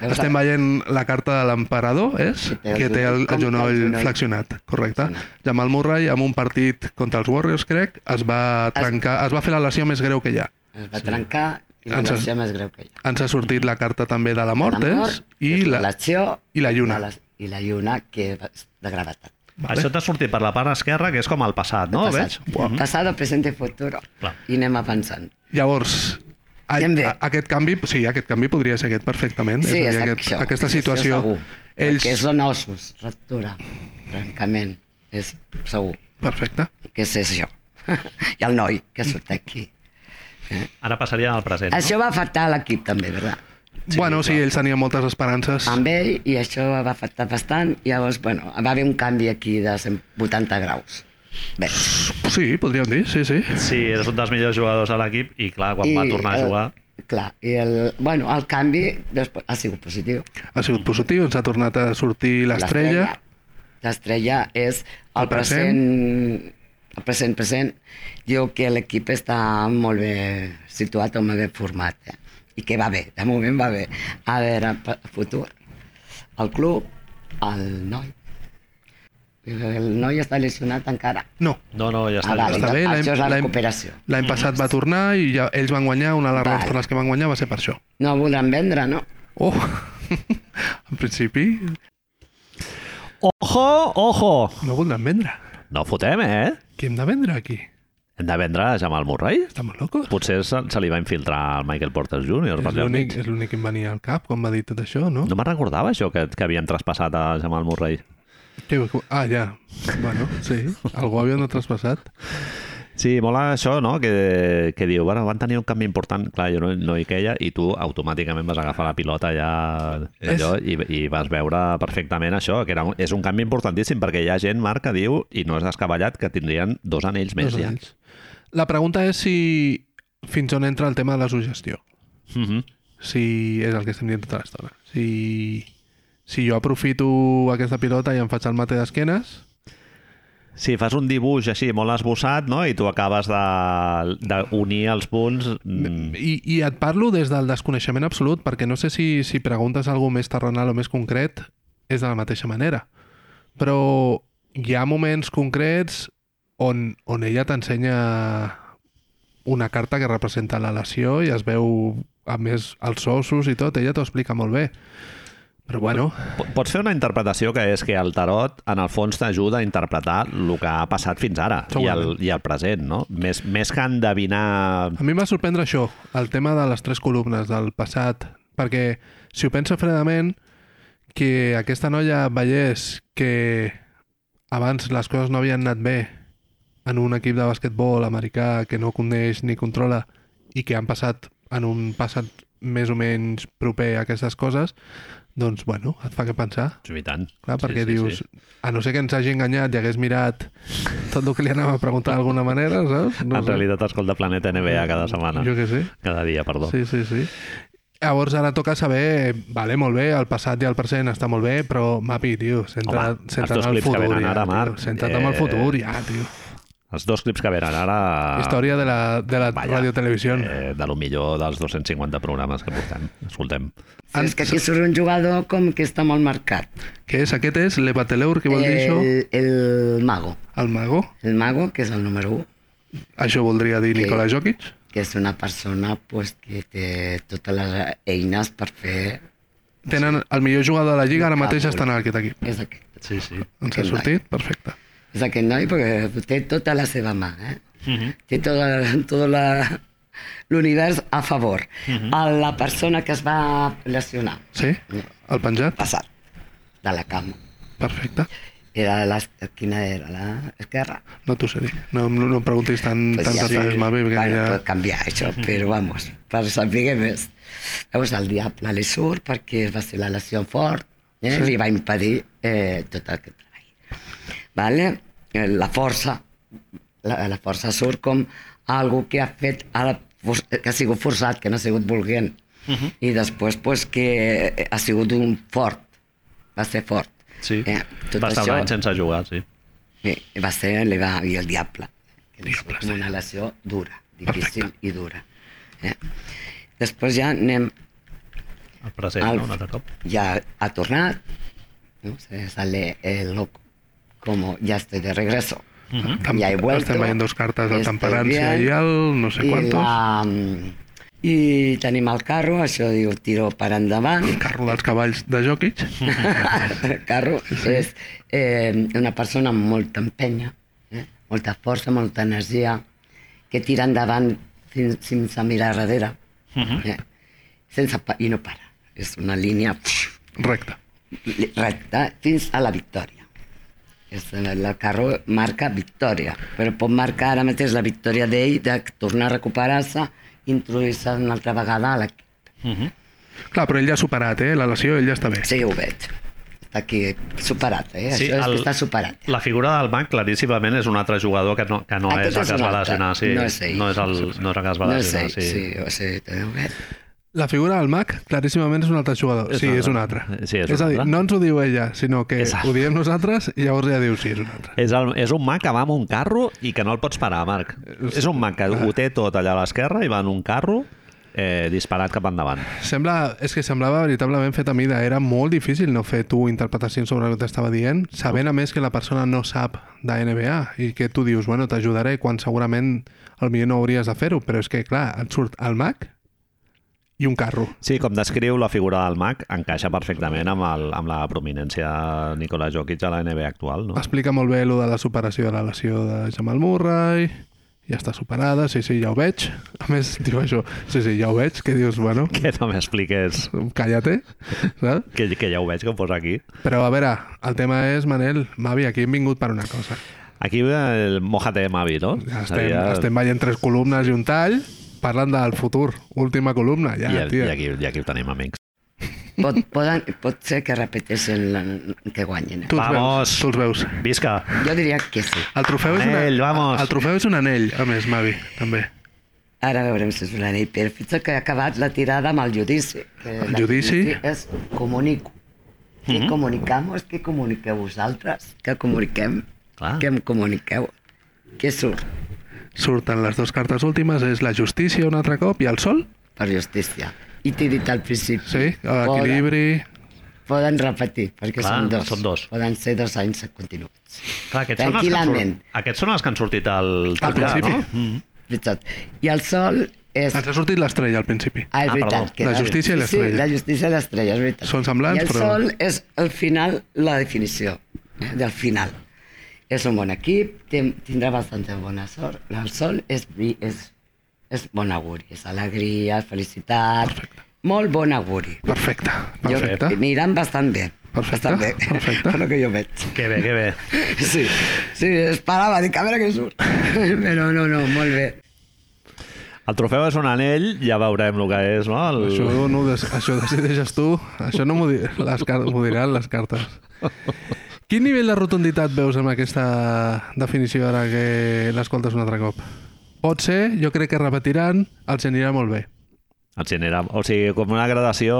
Speaker 3: Veus,
Speaker 2: Estem veient la carta de l'emperador, és?
Speaker 3: Que té
Speaker 2: Que té
Speaker 3: el genoll-
Speaker 2: el,
Speaker 3: com
Speaker 2: el genoll
Speaker 3: el genoll.
Speaker 2: flexionat, correcte. Jamal Murray, en un partit contra els Warriors, crec, es va trencar, es va fer la lesió més greu que hi ha.
Speaker 3: Es va trencar i la
Speaker 2: Ens-
Speaker 3: lesió més greu que hi ha.
Speaker 2: Ens ha sortit la carta també de la mort,
Speaker 3: La
Speaker 2: és?
Speaker 3: mort,
Speaker 2: I la...
Speaker 3: lesió
Speaker 2: i la lluna.
Speaker 3: les- I la lluna, que va- de gravetat.
Speaker 1: Vale. Això t'ha sortit per la part esquerra, que és com el
Speaker 2: Ah,
Speaker 1: passat, no?
Speaker 3: Passat.
Speaker 1: Veig?
Speaker 3: Uau. Passado, presente i futuro.
Speaker 1: Clar.
Speaker 3: I anem avançant.
Speaker 2: Llavors, a,
Speaker 3: Anem bé.
Speaker 2: a, aquest canvi, sí, aquest canvi podria ser aquest perfectament.
Speaker 3: Sí,
Speaker 2: és
Speaker 3: és
Speaker 2: a dir,
Speaker 3: això.
Speaker 2: aquesta
Speaker 3: això
Speaker 2: situació...
Speaker 3: Segur,
Speaker 2: ells...
Speaker 3: Ells... són ossos, fractura, trencament, és segur
Speaker 2: Perfecte.
Speaker 3: que és això. I el noi que surt aquí.
Speaker 1: Ara passaria al present, no?
Speaker 3: Això va afectar a l'equip també, verdad?
Speaker 2: Sí, bueno, sí, ells tenien moltes esperances.
Speaker 3: Amb ell, i això va afectar bastant. Llavors, bueno, va haver un canvi aquí de 180 graus. Bé,
Speaker 2: Sí, podríem dir, sí, sí.
Speaker 1: Sí, és un dels millors jugadors de l'equip i clar, quan va tornar a
Speaker 3: el-
Speaker 1: jugar...
Speaker 3: eh, Clar, i el, bueno, el canvi després, ha sigut positiu.
Speaker 2: Ha sigut positiu, ens ha tornat a sortir l'estrella.
Speaker 3: L'estrella és el,
Speaker 2: El present.
Speaker 3: present, el present, present. Diu que l'equip està molt bé situat o molt bé format. Eh? I que va bé, de moment va bé. A veure, pe- futur. El club, el noi. El noi està lesionat encara.
Speaker 2: No,
Speaker 1: No, no, ja està.
Speaker 3: Ah,
Speaker 1: ja
Speaker 3: vale.
Speaker 1: està.
Speaker 2: està bé.
Speaker 3: Això és la
Speaker 2: l'any-
Speaker 3: recuperació.
Speaker 2: L'any passat va tornar i ja, ells van guanyar, una de les raons
Speaker 3: Vale.
Speaker 2: per les que van guanyar va ser per això.
Speaker 3: No el voldran vendre, no?
Speaker 2: Oh, en principi
Speaker 1: Ojo, ojo!
Speaker 2: no voldran vendre.
Speaker 1: No fotem, eh?
Speaker 2: Què hem de vendre aquí?
Speaker 1: Hem de vendre a Jamal Murray?
Speaker 2: Estamos locos?
Speaker 1: Potser se, se li va infiltrar el Michael Porter Jr. per
Speaker 2: És
Speaker 1: allà
Speaker 2: l'únic
Speaker 1: enmig.
Speaker 2: és l'únic que em venia al cap quan va dir tot això, no?
Speaker 1: No me'n recordava això que, que havien traspassat a Jamal Murray.
Speaker 2: Què, ah, ja. Bueno, sí. Algú havia de traspassat.
Speaker 1: Sí, mola això, no? Que, que diu, bueno, van tenir un canvi important, clar, jo no, no hi queia, i tu automàticament vas agafar la pilota ja allò, i, i vas veure perfectament això, que era un, és un canvi importantíssim, perquè hi ha gent, Marc, que diu, i no és descabellat, que tindrien dos anells més
Speaker 2: Dos
Speaker 1: ja.
Speaker 2: anells. La pregunta és si fins on entra el tema de la sugestió.
Speaker 1: Mm -hmm.
Speaker 2: Si és el que estem dient tota l'estona. Si, si jo aprofito aquesta pilota i em faig el mate d'esquenes,
Speaker 1: Si fas un dibuix així molt esbossat no? i tu acabes d'unir de, de unir els punts... mm,
Speaker 2: I, I et parlo des del desconeixement absolut, perquè no sé si, si preguntes alguna més terrenal o més concret, és de la mateixa manera. Però hi ha moments concrets on, on ella t'ensenya una carta que representa la lesió i es veu, a més, els ossos i tot, ella t'ho explica molt bé. Però bueno,
Speaker 1: po- Pots fer una interpretació que és que el tarot, en el fons, t'ajuda a interpretar el que ha passat fins ara i el,
Speaker 2: Segurament.
Speaker 1: i el present, no? Més, més que endevinar...
Speaker 2: A mi em va sorprendre això, el tema de les tres columnes del passat, perquè si ho penso fredament, que aquesta noia veiés que abans les coses no havien anat bé en un equip de basquetbol americà que no coneix ni controla i que han passat en un passat més o menys proper a aquestes coses, doncs, bueno, et fa que pensar.
Speaker 1: I tant.
Speaker 2: Clar, perquè sí, sí, dius, sí. a no ser que ens hagi enganyat i hagués mirat tot el que li anava a preguntar d'alguna manera, saps?
Speaker 1: en
Speaker 2: No sé. Eh,
Speaker 1: realitat escolta Planeta NBA cada setmana.
Speaker 2: Jo què sé.
Speaker 1: Cada dia, perdó. Sí.
Speaker 2: Sí, sí, sí. Llavors ara toca saber, vale, molt bé, el passat i el present està molt bé, però, mapi, tio, centra,
Speaker 1: Home, els
Speaker 2: centra't
Speaker 1: dos
Speaker 2: en el
Speaker 1: clips que
Speaker 2: futur
Speaker 1: venen
Speaker 2: ja,
Speaker 1: ara, Marc,
Speaker 2: tio, centra't en el
Speaker 1: eh,
Speaker 2: futur ja, tio.
Speaker 1: Els dos clips que venen ara...
Speaker 2: Història de la, de la
Speaker 1: Vaja,
Speaker 2: radiotelevisió.
Speaker 1: Eh, de lo millor dels 250 programes que portem. Escoltem.
Speaker 3: Sí, és que aquí surt un jugador com que està molt marcat.
Speaker 2: Què és? Aquest és l'Epateleur, que vol dir això?
Speaker 3: El, Eh, el mago.
Speaker 2: El mago?
Speaker 3: El mago, que és el número 1,
Speaker 2: Això voldria dir
Speaker 3: Sí.
Speaker 2: Nicola Jokic?
Speaker 3: que és una persona pues, que té totes les eines per fer...
Speaker 2: Tenen el millor jugador de la Lliga, ara
Speaker 3: Ah,
Speaker 2: mateix
Speaker 3: molt
Speaker 2: estan en aquest equip.
Speaker 3: És aquest.
Speaker 1: Sí, sí.
Speaker 2: Ens ha
Speaker 3: Aquest noi.
Speaker 2: sortit? Perfecte.
Speaker 3: És aquest noi perquè té tota la seva mà, eh? Uh
Speaker 2: Mhm.
Speaker 3: -huh. Té tot, la- tot la- l'univers a favor. Uh
Speaker 2: Mhm.
Speaker 3: -huh. A la persona que es va lesionar,
Speaker 2: Sí?
Speaker 3: Mm.
Speaker 2: El penjat?
Speaker 3: passat, de la cama.
Speaker 2: Perfecte.
Speaker 3: Era la, quina era? La esquerra?
Speaker 2: No t'ho sé dir. No, no, no em preguntis tant, pues tantes ja, coses, Mavi, perquè
Speaker 3: bueno,
Speaker 2: ja...
Speaker 3: pot canviar això, però vamos, per saber més. Llavors el diable li surt perquè va ser la lesió fort, eh?
Speaker 2: Sí.
Speaker 3: sí. li va impedir eh, tot aquest treball. Vale? Eh, La força, la, la força surt com algú que ha fet, a la, for- que ha sigut forçat, que no ha sigut volguent. Uh -huh. I després pues, que eh, ha sigut un fort, va ser fort.
Speaker 1: sí.
Speaker 3: Eh, tot
Speaker 1: Va estar un
Speaker 3: això-
Speaker 1: any sense jugar, sí.
Speaker 3: Eh, va ser li va, i el diable. que li surt com Una lesió dura, difícil i dura. Eh? Després ja anem,
Speaker 1: El present,
Speaker 3: Al-
Speaker 1: no? Un altre cop.
Speaker 3: ja ha tornat, no? se sale el loco, como ya estoy de regreso.
Speaker 2: Tam-
Speaker 3: Ya he vuelto.
Speaker 2: Estem veient dos cartes de
Speaker 3: estoy
Speaker 2: temperancia
Speaker 3: bien,
Speaker 2: i el no sé
Speaker 3: i
Speaker 2: quantos.
Speaker 3: La... mm, I tenim el carro, això diu tiro per endavant,
Speaker 2: El carro dels cavalls de Jokic.
Speaker 3: El carro és eh, una persona amb molta empenya, eh? molta força, molta energia, que tira endavant fins, sense mirar darrere, uh -huh. eh? sense pa i no para. És una línia pf,
Speaker 2: Recte.
Speaker 3: recta fins a la victòria. És, el carro marca victòria, però pot marcar ara mateix la victòria d'ell de tornar a recuperar-se i introduir-se una altra vegada a l'equip.
Speaker 2: Clar, però ell ja ha superat, eh? La lesió, ell ja està bé.
Speaker 3: Sí, ho veig. Està aquí superat, eh? Sí, Això és el... que està superat.
Speaker 1: La figura del Mac claríssimament és un altre jugador que no, que no
Speaker 3: Aquest
Speaker 1: és el
Speaker 3: és
Speaker 1: que es
Speaker 3: un
Speaker 1: va
Speaker 3: altre.
Speaker 1: lesionar. Sí.
Speaker 3: No és ell.
Speaker 1: No és el, no és el que es va
Speaker 3: No
Speaker 1: lesionar.
Speaker 3: sé, sí, sí, o sigui, teniu bé.
Speaker 2: La figura del Mac, claríssimament, és un altre jugador.
Speaker 1: És
Speaker 2: sí,
Speaker 1: un
Speaker 2: és un
Speaker 1: altre.
Speaker 2: altre.
Speaker 1: Sí, és un
Speaker 2: és a dir,
Speaker 1: altre.
Speaker 2: no ens ho diu ella, sinó que
Speaker 1: És altre.
Speaker 2: ho diem nosaltres i llavors ja diu sí, és un altre.
Speaker 1: És, el, és un Mac que va amb un carro i que no el pots parar, Marc. És un Mac que ho té tot allà a l'esquerra i va en un carro eh, disparat cap endavant.
Speaker 2: Sembla, és que semblava veritablement fet a mida. Era molt difícil no fer tu interpretacions sobre el que t'estava dient, sabent a més que la persona no sap de NBA i que tu dius, bueno, t'ajudaré quan segurament el millor no hauries de fer-ho, però és que, clar, et surt el Mac i un carro.
Speaker 1: Sí, com descriu la figura del Mac, encaixa perfectament amb, el, amb la prominència de Nikola Jokic a la NBA actual, no?
Speaker 2: Explica molt bé lo de la superació de la lesió de Jamal Murray, ja està superada, sí, sí, ja ho veig. A més, diu això, sí, sí, ja ho veig, que dius, bueno,
Speaker 1: Que no m'expliques...
Speaker 2: calla-te, saps?
Speaker 1: Que, que ja ho veig que ho posa aquí.
Speaker 2: Però a veure, el tema és, Manel, Mavi, aquí hem vingut per una cosa.
Speaker 1: Aquí ve el Mojate Mavi, no?
Speaker 2: Ja estem, estem veient tres columnes i un tall, parlant del futur, última columna, ja,
Speaker 1: I,
Speaker 2: tia.
Speaker 1: i, aquí, I aquí ho tenim, amics.
Speaker 3: Pot, poden, pot ser que repeteixen la, que guanyin. eh?
Speaker 2: Tu els
Speaker 1: Vamos.
Speaker 2: veus, tu els veus.
Speaker 1: Visca!
Speaker 3: Jo diria que sí.
Speaker 2: El trofeu, és una,
Speaker 1: Anell, vamos.
Speaker 2: el trofeu és un anell, a més, Mavi, també.
Speaker 3: Ara veurem si és un anell, però fixa't que ha acabat la tirada amb el judici. Que
Speaker 2: El
Speaker 3: la-
Speaker 2: judici?
Speaker 3: És
Speaker 1: Mhm.
Speaker 3: comunico. Qui comunicamos, qui comuniqueu vosaltres, que comuniquem.
Speaker 1: Clar.
Speaker 3: que em comuniqueu. Què surt?
Speaker 2: Surten les dues cartes últimes, és la justícia un altre cop i el sol.
Speaker 3: Per justícia. I t'he dit al principi.
Speaker 2: Sí, equilibri...
Speaker 3: Poden, poden repetir, perquè
Speaker 1: Clar,
Speaker 3: són dos.
Speaker 1: són dos.
Speaker 3: Poden ser dos anys continuats.
Speaker 1: Clar, aquests, són els que han
Speaker 3: Tranquil·lament.
Speaker 1: surt... aquests són els que han sortit al
Speaker 2: Al
Speaker 1: Tancà,
Speaker 2: principi.
Speaker 1: no? Mm.
Speaker 3: Veritat. I el sol és...
Speaker 2: Ens ha sortit l'estrella al principi.
Speaker 3: Ah, és
Speaker 1: Ah,
Speaker 3: veritat.
Speaker 1: perdó.
Speaker 3: que
Speaker 2: Ah, La
Speaker 3: era-
Speaker 2: justícia i
Speaker 3: Sí,
Speaker 2: l'estrella.
Speaker 3: la justícia i l'estrella, és veritat.
Speaker 2: Són semblants,
Speaker 3: I el
Speaker 2: però-
Speaker 3: sol és al final la definició eh, del final. És un bon equip, ten- tindrà bastanta bona sort. El sol és, bri- és, és bon auguri, és alegria, felicitat, molt bon auguri.
Speaker 2: Perfecte,
Speaker 3: Jo,
Speaker 2: perfecte.
Speaker 3: aniran bastant bé.
Speaker 2: Perfecte,
Speaker 3: Bastant bé.
Speaker 2: perfecte.
Speaker 3: Per lo que jo veig.
Speaker 1: Que bé, que bé.
Speaker 3: Sí, sí, esperava, dic, a veure què surt. Però no, no, molt bé.
Speaker 1: El trofeu és un anell, ja veurem el que és, no? El...
Speaker 2: Això, no, ho des- això decideixes tu. Això no m'ho di les car- m'ho diran les cartes. Quin nivell de rotunditat veus amb aquesta definició ara que l'escoltes un altre cop? Pot ser, jo crec que repetiran, els anirà molt bé.
Speaker 1: El genera... O sigui, com una gradació...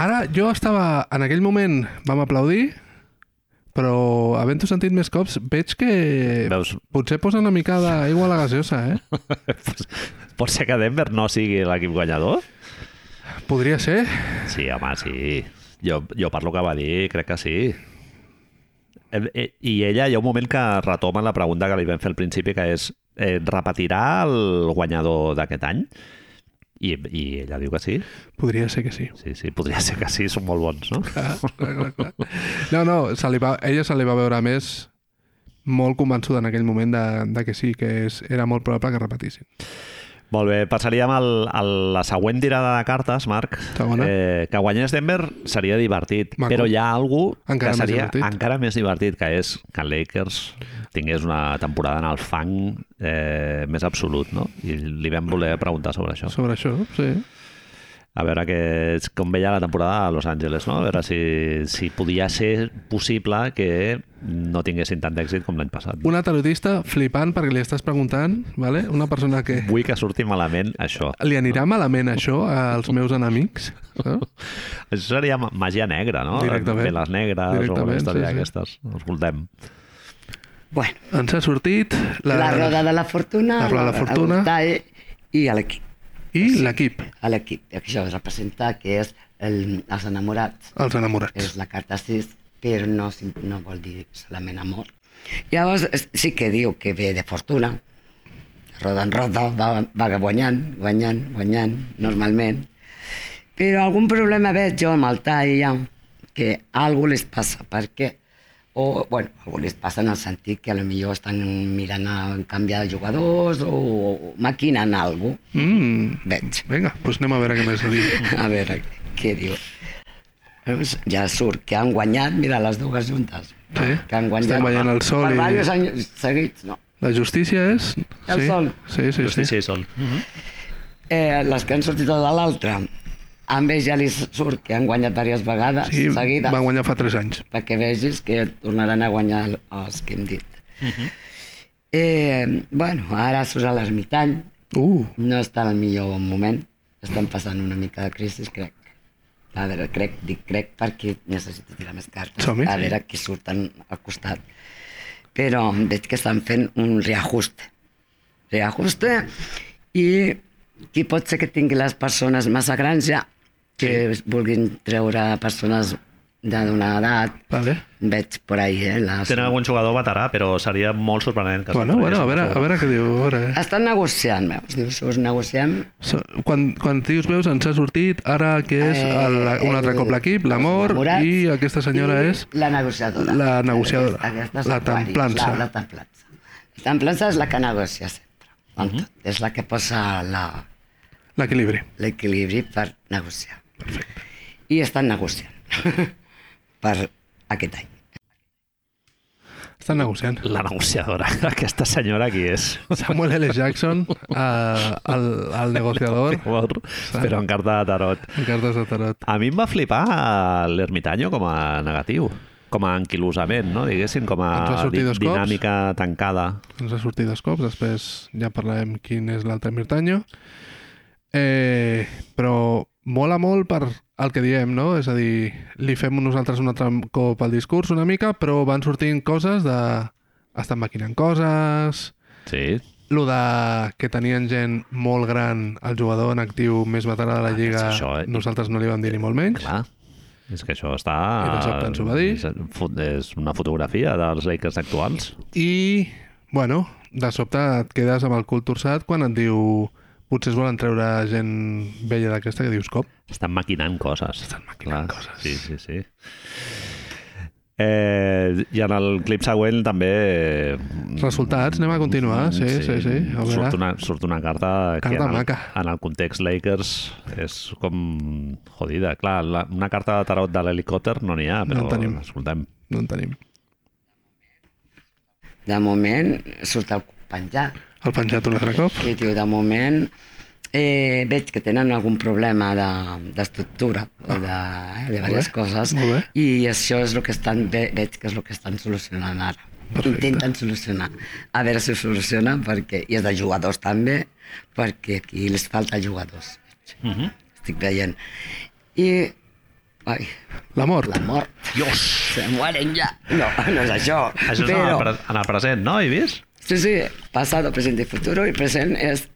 Speaker 2: Ara, jo estava... En aquell moment vam aplaudir, però havent-ho sentit més cops, veig que
Speaker 1: Veus?
Speaker 2: potser posa una mica d'aigua a la gaseosa, eh?
Speaker 1: Pot ser que Denver no sigui l'equip guanyador?
Speaker 2: Podria ser.
Speaker 1: Sí, home, sí. Jo, jo parlo que va dir, crec que sí. Eh, eh, I ella, hi ha un moment que retoma la pregunta que li vam fer al principi, que és, eh, repetirà el guanyador d'aquest any? I, I ella diu que sí.
Speaker 2: Podria ser que sí.
Speaker 1: Sí, sí, podria ser que sí, són molt bons, no?
Speaker 2: Clar, clar, clar. No, no, se li va, ella se li va veure més molt convençuda en aquell moment de, de que sí, que és, era molt probable que repetissin.
Speaker 1: Molt bé, passaríem al, a la següent tirada de cartes, Marc.
Speaker 2: Segona.
Speaker 1: Eh, que guanyés Denver seria divertit,
Speaker 2: Maco.
Speaker 1: però hi ha algú
Speaker 2: Encara
Speaker 1: que
Speaker 2: més
Speaker 1: seria
Speaker 2: divertit.
Speaker 1: encara més divertit, que és que Lakers tingués una temporada en el fang eh, més absolut, no? I li vam voler preguntar sobre això.
Speaker 2: Sobre això, sí.
Speaker 1: A veure que, és com veia la temporada a Los Angeles, no? A veure si, si podia ser possible que no tinguessin tant d'èxit com l'any passat.
Speaker 2: Un tarotista flipant perquè li estàs preguntant, vale? una persona que
Speaker 1: Vull que surti malament això.
Speaker 2: li anirà malament això als meus enemics. saps?
Speaker 1: Això seria ma- màgia negra, no?
Speaker 2: Directament.
Speaker 1: Veles negres o
Speaker 2: Directament,
Speaker 1: alguna història
Speaker 2: sí, sí.
Speaker 1: d'aquestes. Escoltem.
Speaker 3: Bueno,
Speaker 2: Ens ha sortit
Speaker 3: la,
Speaker 2: la,
Speaker 3: la roda de la fortuna,
Speaker 2: La roda de la
Speaker 3: a
Speaker 2: fortuna.
Speaker 3: Gustave i a l'equip.
Speaker 2: i l'equip,
Speaker 3: A l'equip, això representa que és el, els enamorats,
Speaker 2: els enamorats.
Speaker 3: és la carta 6, però no, sim- no vol dir solament amor. Llavors es- sí que diu que ve de fortuna, roda en roda, va, va guanyant, guanyant, guanyant, normalment. Però algun problema veig jo amb el tall ja, que algú les passa, perquè o, bueno, algú les passa en el sentit que a lo millor estan mirant a canviar de jugadors o, o maquinant alguna cosa,
Speaker 2: Mm,
Speaker 3: veig.
Speaker 2: vinga, doncs anem a veure què més diu.
Speaker 3: A veure, què diu? Doncs Ja surt, que han guanyat, mira, les dues juntes.
Speaker 2: Sí,
Speaker 3: Que han guanyat.
Speaker 2: estem veient el sol
Speaker 3: Per
Speaker 2: i-
Speaker 3: diversos anys seguits, no.
Speaker 2: La justícia és...
Speaker 3: El
Speaker 2: sí,
Speaker 3: sol.
Speaker 2: Sí, sí, sí. sí.
Speaker 1: sol.
Speaker 3: Eh, les que han sortit de l'altra, a ells ja li surt que han guanyat diverses vegades
Speaker 2: sí
Speaker 3: seguides.
Speaker 2: va guanyar fa 3 anys.
Speaker 3: perquè vegis que tornaran a guanyar el- els que hem dit.
Speaker 2: Mhm.
Speaker 3: eh, bueno, ara surt a l'ermitany,
Speaker 2: Uh,
Speaker 3: no està en el millor moment, estan passant una mica de crisi, crec. A veure, crec, dic crec perquè necessito tirar més cartes,
Speaker 2: Som-hi.
Speaker 3: a veure qui surten al costat. Però veig que estan fent un reajuste. Reajuste i qui pot ser que tingui les persones massa grans ja, que vulguin treure persones de d'una edat,
Speaker 2: vale.
Speaker 3: veig per ahí, eh? Les...
Speaker 1: Tenen algun jugador veterà, però seria molt sorprenent. Que
Speaker 2: Bueno, bueno, a veure, a veure què diu. A veure. eh?
Speaker 3: Estan negociant, veus? Dius, us negociem
Speaker 2: So- Quan, quan dius veus ens ha sortit ara que és
Speaker 1: Eh,
Speaker 2: el, un altre cop l'equip, l'amor,
Speaker 3: enamorats
Speaker 2: i aquesta senyora
Speaker 3: i
Speaker 2: és...
Speaker 3: La negociadora.
Speaker 2: la negociadora,
Speaker 3: Aquestes
Speaker 2: la
Speaker 3: aquaris,
Speaker 2: templança.
Speaker 3: La, la templança. La templança és la que negocia sempre.
Speaker 2: Mhm.
Speaker 3: Amb tot. És la que posa la-
Speaker 2: L'equilibri.
Speaker 3: l'equilibri per negociar. Perfecte. I estan negociant per aquest any.
Speaker 2: Estan negociant.
Speaker 1: La negociadora. Aquesta senyora qui és?
Speaker 2: Samuel L. Jackson, eh, el, el negociador,
Speaker 1: Però en carta de tarot.
Speaker 2: en cartes de tarot.
Speaker 1: A mi em va flipar l'ermitanyo com a negatiu com a anquilosament, no? diguéssim, com
Speaker 2: Ens va
Speaker 1: a
Speaker 2: sortir
Speaker 1: di-
Speaker 2: dos cops.
Speaker 1: dinàmica tancada.
Speaker 2: Ens ha sortit dos cops, després ja parlarem quin és l'altre Mirtanyo. Eh, però mola molt per el que diem, no? És a dir, li fem nosaltres un altre cop el discurs una mica, però van sortint coses de... Estan maquinant coses...
Speaker 1: Sí,
Speaker 2: Lo de que tenien gent molt gran, el jugador en actiu més veterà de la Lliga,
Speaker 1: és això, eh?
Speaker 2: nosaltres no li vam dir ni molt menys.
Speaker 1: clar. És que això està...
Speaker 2: I de sobte ens ho va dir.
Speaker 1: És, fo- és una fotografia dels Lakers actuals.
Speaker 2: I, bueno, de sobte et quedes amb el cul torçat quan et diu potser es volen treure gent vella d'aquesta que dius com?
Speaker 1: Estan maquinant coses.
Speaker 2: Estan maquinant coses.
Speaker 1: Sí, sí, sí. Eh, I en el clip següent també... eh,
Speaker 2: Resultats, anem a continuar, sí, sí, sí, a
Speaker 1: Mm,
Speaker 2: veure.
Speaker 1: Surt una, surt una carta, que
Speaker 2: Carta
Speaker 1: en el,
Speaker 2: maca.
Speaker 1: en el context Lakers és com jodida. Clar, la, una carta de tarot de l'helicòpter no n'hi ha, però
Speaker 2: No en tenim.
Speaker 1: escoltem.
Speaker 2: No en tenim.
Speaker 3: De moment surt el penjat.
Speaker 2: El penjat un altre cop.
Speaker 3: I diu, de moment eh, veig que tenen algun problema de- d'estructura de, de, eh, de diverses
Speaker 2: bé,
Speaker 3: coses
Speaker 2: molt bé.
Speaker 3: i això és el que estan, ve, veig que és el que estan solucionant ara.
Speaker 2: Perfecte.
Speaker 3: Intenten solucionar. A veure si ho solucionen perquè, i és de jugadors també, perquè aquí els falta jugadors. Uh
Speaker 1: Mhm.
Speaker 3: -huh. Estic veient. I... Ai,
Speaker 2: La mort.
Speaker 3: la mort. Dios! Se mueren ja. No, no és això.
Speaker 1: Això és en el, pre- en el present, no? He vist?
Speaker 3: Sí, sí, pasado, presente y futuro, i present és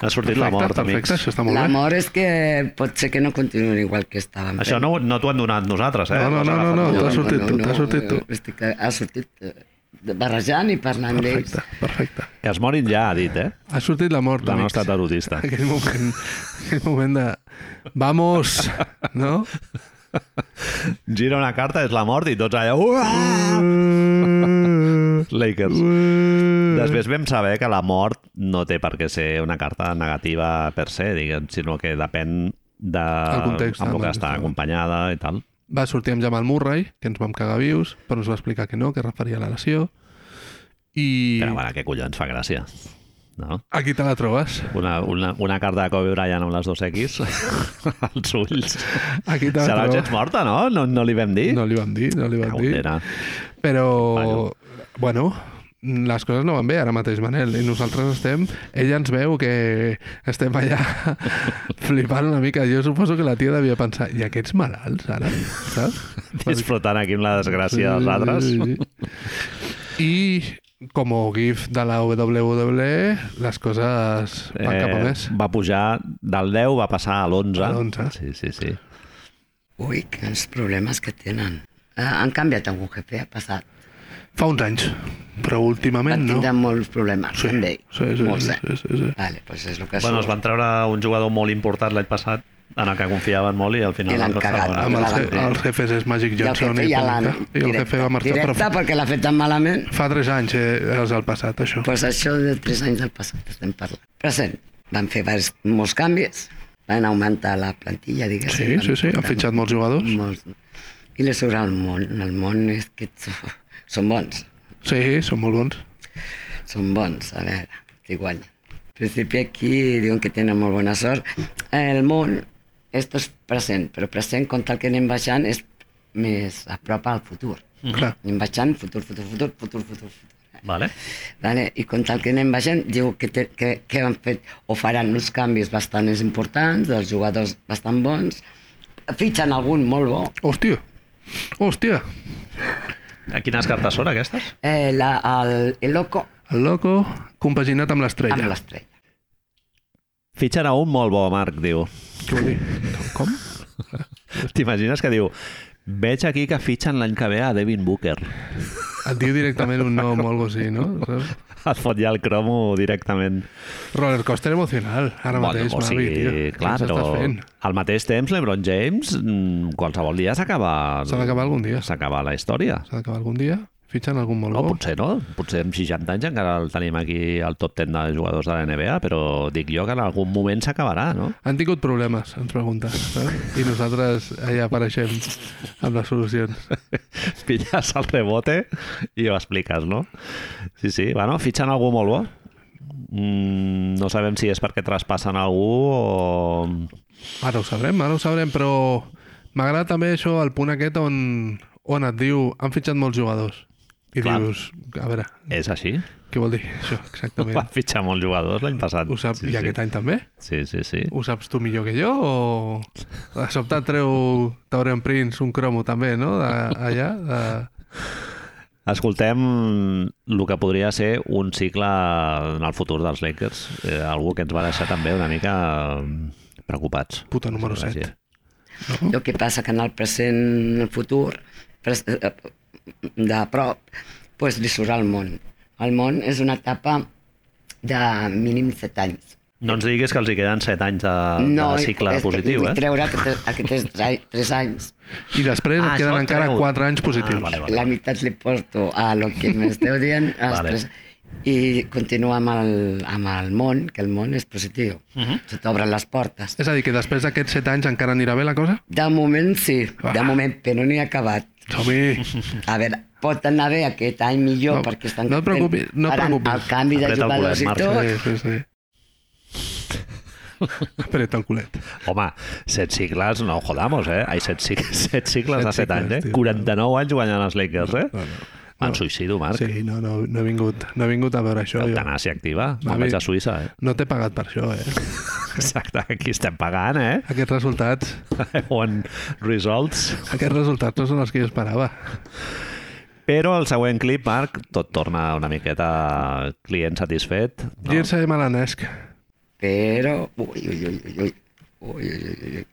Speaker 1: Ha sortit la mort,
Speaker 2: perfecte,
Speaker 1: amics.
Speaker 2: això està Ah, molt bé.
Speaker 3: L'amor és que pot ser que no continuïn igual que estàvem.
Speaker 1: Això no, no t'ho han donat nosaltres, eh?
Speaker 2: No, no,
Speaker 1: Ho has
Speaker 2: no, no,
Speaker 1: agafat tu.
Speaker 2: no, t'ha sortit tu, t'ha sortit tu.
Speaker 3: eh, Estic, ha sortit eh, barrejant i parlant d'ells.
Speaker 2: Perfecte, perfecte.
Speaker 1: Que es morin ja, ha dit, eh?
Speaker 2: Ha sortit la mort,
Speaker 1: La
Speaker 2: amics.
Speaker 1: nostra tarotista.
Speaker 2: Aquell moment, aquell moment de... Vamos! No?
Speaker 1: Gira una carta, és la mort i tots allà... Uah! Lakers. Després vam saber que la mort no té per què ser una carta negativa per se, diguem, sinó que depèn de...
Speaker 2: context, eh,
Speaker 1: amb el
Speaker 2: amb
Speaker 1: que
Speaker 2: el
Speaker 1: està
Speaker 2: context.
Speaker 1: acompanyada i tal.
Speaker 2: Va sortir amb Jamal Murray, que ens vam cagar vius, però ens va explicar que no, que es referia a la lesió. I
Speaker 1: Però, bueno, què collons, fa gràcia. No?
Speaker 2: aquí te la trobes.
Speaker 1: Una, una, una carta de Kobe Bryant amb les dos X als ulls.
Speaker 2: Aquí te
Speaker 1: Serà
Speaker 2: la
Speaker 1: gens
Speaker 2: trobes.
Speaker 1: morta, no? no? No li vam dir?
Speaker 2: No li vam dir, no li vam dir.
Speaker 1: Cautela.
Speaker 2: Però, bueno, les coses no van bé ara mateix, Manel, i nosaltres estem... Ella ens veu que estem allà flipant una mica. Jo suposo que la tia devia pensar, i aquests malalts, ara, saps?
Speaker 1: Disfrutant aquí amb la desgràcia dels altres.
Speaker 2: sí. I com a GIF de la WWE, les coses van cap a més.
Speaker 1: Eh, va pujar del 10, va passar a l'11.
Speaker 2: A l'11.
Speaker 1: Sí, sí, sí.
Speaker 3: Ui, quins problemes que tenen. Eh, Han canviat algun jefe, ha passat.
Speaker 2: Fa uns anys, però
Speaker 3: Va
Speaker 2: últimament no.
Speaker 3: tindre molts problemes,
Speaker 2: Sí,
Speaker 3: també.
Speaker 2: sí, sí,
Speaker 3: molts,
Speaker 2: sí,
Speaker 3: eh?
Speaker 2: sí, sí, sí.
Speaker 3: Vale, pues és el que
Speaker 1: Bueno, es
Speaker 3: surt.
Speaker 1: van treure un jugador molt important l'any passat, en el que confiaven molt i al final...
Speaker 3: I l'han
Speaker 1: no estava
Speaker 3: cagat.
Speaker 1: agradant.
Speaker 2: Amb els,
Speaker 3: van-
Speaker 2: els jefes és Magic
Speaker 3: I el
Speaker 2: Johnson
Speaker 3: jefe
Speaker 2: i,
Speaker 3: ja l'han...
Speaker 2: Pelinka. i el jefe va marxar,
Speaker 3: Directe,
Speaker 2: però
Speaker 3: perquè l'ha fet tan malament.
Speaker 2: fa tres anys eh, és el passat, això.
Speaker 3: Pues això de tres anys del passat estem parlant. Present. Van fer vers, molts canvis, van augmentar la plantilla, diguéssim.
Speaker 2: Sí,
Speaker 3: van
Speaker 2: sí, sí, han
Speaker 3: portar
Speaker 2: fitxat molts jugadors.
Speaker 3: Molts. I les sobre al món. El món és que t- són bons.
Speaker 2: Sí, són molt bons.
Speaker 3: Són bons, a veure, qui guanya. Al principi aquí diuen que tenen molt bona sort. El món, esto és present, però present, com tal que anem baixant, és més a prop al futur.
Speaker 2: Clar.
Speaker 3: Anem baixant, futur, futur, futur, futur, futur, futur.
Speaker 1: Vale.
Speaker 3: Vale? I com tal que anem baixant, diu que, te, que, que han fet o faran uns canvis bastant importants, dels jugadors bastant bons, fitxen algun molt bo.
Speaker 2: Hòstia, hòstia,
Speaker 1: A quines cartes són aquestes?
Speaker 3: Eh, la, el, el loco
Speaker 2: el loco compaginat amb
Speaker 3: amb
Speaker 2: l'estrella.
Speaker 3: l'estrella.
Speaker 1: Fitxen a un molt bo, Marc, diu.
Speaker 2: Què vol dir? Com?
Speaker 1: T'imagines que diu... Veig aquí que fitxen l'any que ve a Devin Booker.
Speaker 2: Et diu directament un nom o algo així, no? Saps?
Speaker 1: Et fot ja el cromo directament.
Speaker 2: Rollercoaster emocional, ara mateix,
Speaker 1: o
Speaker 2: Mavi, tio.
Speaker 1: sigui,
Speaker 2: Què
Speaker 1: clar,
Speaker 2: ens
Speaker 1: però
Speaker 2: estàs fent?
Speaker 1: al mateix temps LeBron James mm, qualsevol dia s'acaba...
Speaker 2: S'ha d'acabar algun dia.
Speaker 1: S'acaba la història.
Speaker 2: S'ha d'acabar algun dia, fitxen algun molt
Speaker 1: No,
Speaker 2: bo.
Speaker 1: potser no. Potser amb 60 anys encara el tenim aquí al top 10 de jugadors de la NBA, però dic jo que en algun moment s'acabarà, no?
Speaker 2: Han tingut problemes, ens pregunta. Eh? I nosaltres allà apareixem amb les solucions.
Speaker 1: Pilles el rebote i ho expliques, no? Sí, sí. Bueno, fitxen algú molt bo. Mm, no sabem si és perquè traspassen algú o...
Speaker 2: Ara ho sabrem, ara ho sabrem, però m'agrada també això, el punt aquest on, on et diu han fitxat molts jugadors. I
Speaker 1: Clar.
Speaker 2: dius, a veure,
Speaker 1: És així?
Speaker 2: què vol dir això
Speaker 1: També. Va
Speaker 2: exactament?
Speaker 1: fitxar molts jugadors l'any passat.
Speaker 2: Ho saps,
Speaker 1: sí,
Speaker 2: I aquest
Speaker 1: sí.
Speaker 2: any també?
Speaker 1: Sí, sí, sí.
Speaker 2: Ho saps tu millor que jo? O de sobte et treu Taurean Prince, un cromo també, no? De, allà, de...
Speaker 1: Escoltem el que podria ser un cicle en el futur dels Lakers. Eh, algú que ens va deixar també una mica eh, preocupats.
Speaker 2: Puta número
Speaker 1: Sí,
Speaker 2: set.
Speaker 1: sí.
Speaker 3: El que passa que en el present, en el futur, pres- eh, de prop, doncs li surt al món. El món és una etapa de mínim 7 anys.
Speaker 1: No ens diguis que els hi queden 7 anys de, de cicle
Speaker 3: és que
Speaker 1: positiu,
Speaker 3: vull
Speaker 1: eh?
Speaker 3: treure aquests, aquests 3 anys.
Speaker 2: I després
Speaker 1: Ah,
Speaker 2: ah, et
Speaker 1: això
Speaker 2: queden
Speaker 1: el
Speaker 2: encara
Speaker 1: treu.
Speaker 2: 4 anys positius.
Speaker 1: Ah, vale, vale.
Speaker 3: La meitat li porto a lo que m'esteu dient. els
Speaker 1: Vale.
Speaker 3: tres, I continua amb el, amb el món, que el món és positiu. Uh -huh.
Speaker 1: Mhm.
Speaker 3: Se t'obren les portes.
Speaker 2: És a dir, que després d'aquests 7 anys encara anirà bé la cosa?
Speaker 3: De moment sí, de
Speaker 2: Ah.
Speaker 3: moment, però no n'he acabat.
Speaker 2: Som-hi!
Speaker 3: A veure, pot anar bé aquest any millor
Speaker 2: No,
Speaker 3: perquè estan
Speaker 2: no et preocupis, no et
Speaker 3: faran
Speaker 2: preocupis.
Speaker 3: el canvi de
Speaker 1: Apreta el
Speaker 3: jugadors
Speaker 1: culet,
Speaker 3: i
Speaker 1: Marc.
Speaker 3: tot.
Speaker 2: Sí, sí, Ah, sí. Apreta el culet.
Speaker 1: Home, 7 cicles, no jodamos, eh? Ai, 7 cicles, set cicles
Speaker 2: Set
Speaker 1: de 7
Speaker 2: cicles,
Speaker 1: anys, eh?
Speaker 2: tio.
Speaker 1: 49 anys guanyant els Lakers, eh?
Speaker 2: No, no.
Speaker 1: Em suïcido, Marc. Sí,
Speaker 2: Sí, no, no, no, he vingut, no he vingut a veure això. Jo.
Speaker 1: Eutanàsia activa.
Speaker 2: Va
Speaker 1: Me'n
Speaker 2: bé.
Speaker 1: vaig a Suïssa, eh?
Speaker 2: No t'he pagat per això, eh?
Speaker 1: Exacte, aquí estem pagant, eh?
Speaker 2: Aquests resultats,
Speaker 1: On results.
Speaker 2: aquests resultats no són els que jo esperava.
Speaker 1: Però el següent clip, Marc, tot torna una miqueta client satisfet.
Speaker 2: No. Girse Malanesc.
Speaker 3: Però... Ui, ui, ui, ui, ui. Ui, ui, ui, ui.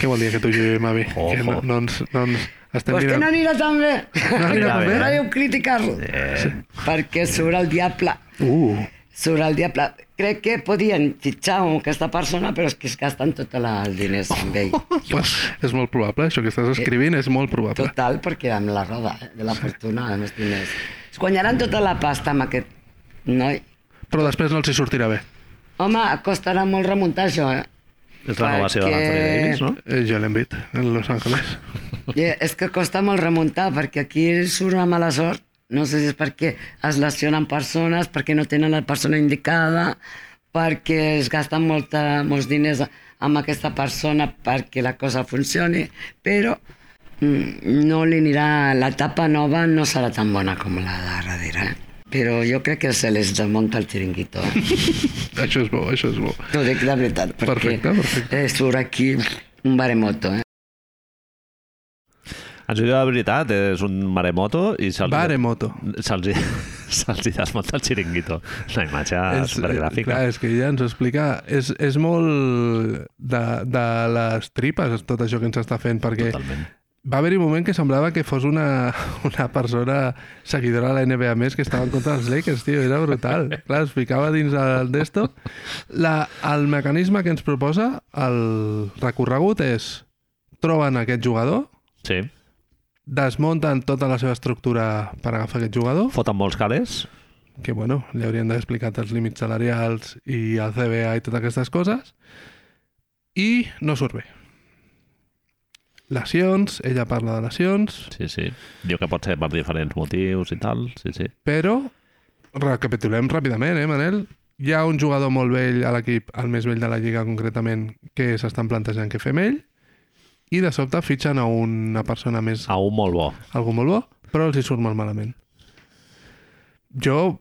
Speaker 2: Què vol dir que tu i jo i Mavi?
Speaker 1: Ojo.
Speaker 2: Que no, no, ens, no ens estem
Speaker 3: Pues que no
Speaker 2: mirant...
Speaker 3: anirà tan bé.
Speaker 2: No anirà
Speaker 1: Anirà
Speaker 2: bé?
Speaker 3: No deu criticar-lo.
Speaker 1: Eh,
Speaker 3: Perquè surt el diable.
Speaker 2: Uh,
Speaker 3: Surt el diable. Crec que podien fitxar un- aquesta persona, però és que es gasten tots els diners amb ell.
Speaker 2: pues, és molt probable, això que estàs escrivint és molt probable.
Speaker 3: Total, perquè amb la roda eh, de la fortuna, amb els diners. Es guanyaran tota la pasta amb aquest noi.
Speaker 2: Però després no els hi sortirà bé.
Speaker 3: Home, costarà molt remuntar això, eh?
Speaker 1: és la nova seva
Speaker 3: Perquè-
Speaker 1: d'Anthony Davis, no?
Speaker 2: Eh, Jo l'hem vist, en Los Angeles.
Speaker 3: Eh, És que costa molt remuntar, perquè aquí surt una mala sort. No sé si és perquè es lesionen persones, perquè no tenen la persona indicada, perquè es gasten molta, molts diners amb aquesta persona perquè la cosa funcioni, però mm, no li anirà... L'etapa nova no serà tan bona com la de darrere, eh? Però jo crec que se les desmunta el xiringuito. Eh?
Speaker 2: Això és bo, això és bo.
Speaker 3: T'ho dic la veritat, perquè
Speaker 2: Perfecte, perfecte.
Speaker 3: Eh, surt aquí un baremoto, eh?
Speaker 1: Ens ho diu la veritat, és un maremoto i se'ls
Speaker 2: Baremoto.
Speaker 1: se'ls se'ls desmunta el xiringuito. És una imatge
Speaker 2: És, eh,
Speaker 1: Ah, supergràfica.
Speaker 2: clar, és que ja ens ho explica. És, és molt de, de les tripes tot això que ens està fent, perquè
Speaker 1: Totalment.
Speaker 2: va haver-hi un moment que semblava que fos una, una persona seguidora de la NBA més que estava en contra dels Lakers, tio, era brutal. Clar, es ficava dins el desto. La, el mecanisme que ens proposa, el recorregut, és troben aquest jugador,
Speaker 1: Sí.
Speaker 2: desmunten tota la seva estructura per agafar aquest jugador,
Speaker 1: Foten molts calés.
Speaker 2: que bueno, li haurien d'haver explicat els límits salarials i el CBA i totes aquestes coses, i no surt bé. Lesions, ella parla de lesions,
Speaker 1: Sí, sí. Diu que pot ser per diferents motius i tal. Sí, sí.
Speaker 2: però recapitulem ràpidament, eh, Manel? Hi ha un jugador molt vell a l'equip, el més vell de la Lliga concretament, que s'estan plantejant que fem ell, i de sobte fitxen a una persona més
Speaker 1: A un molt bo.
Speaker 2: algú molt bo, però els hi surt molt malament. Jo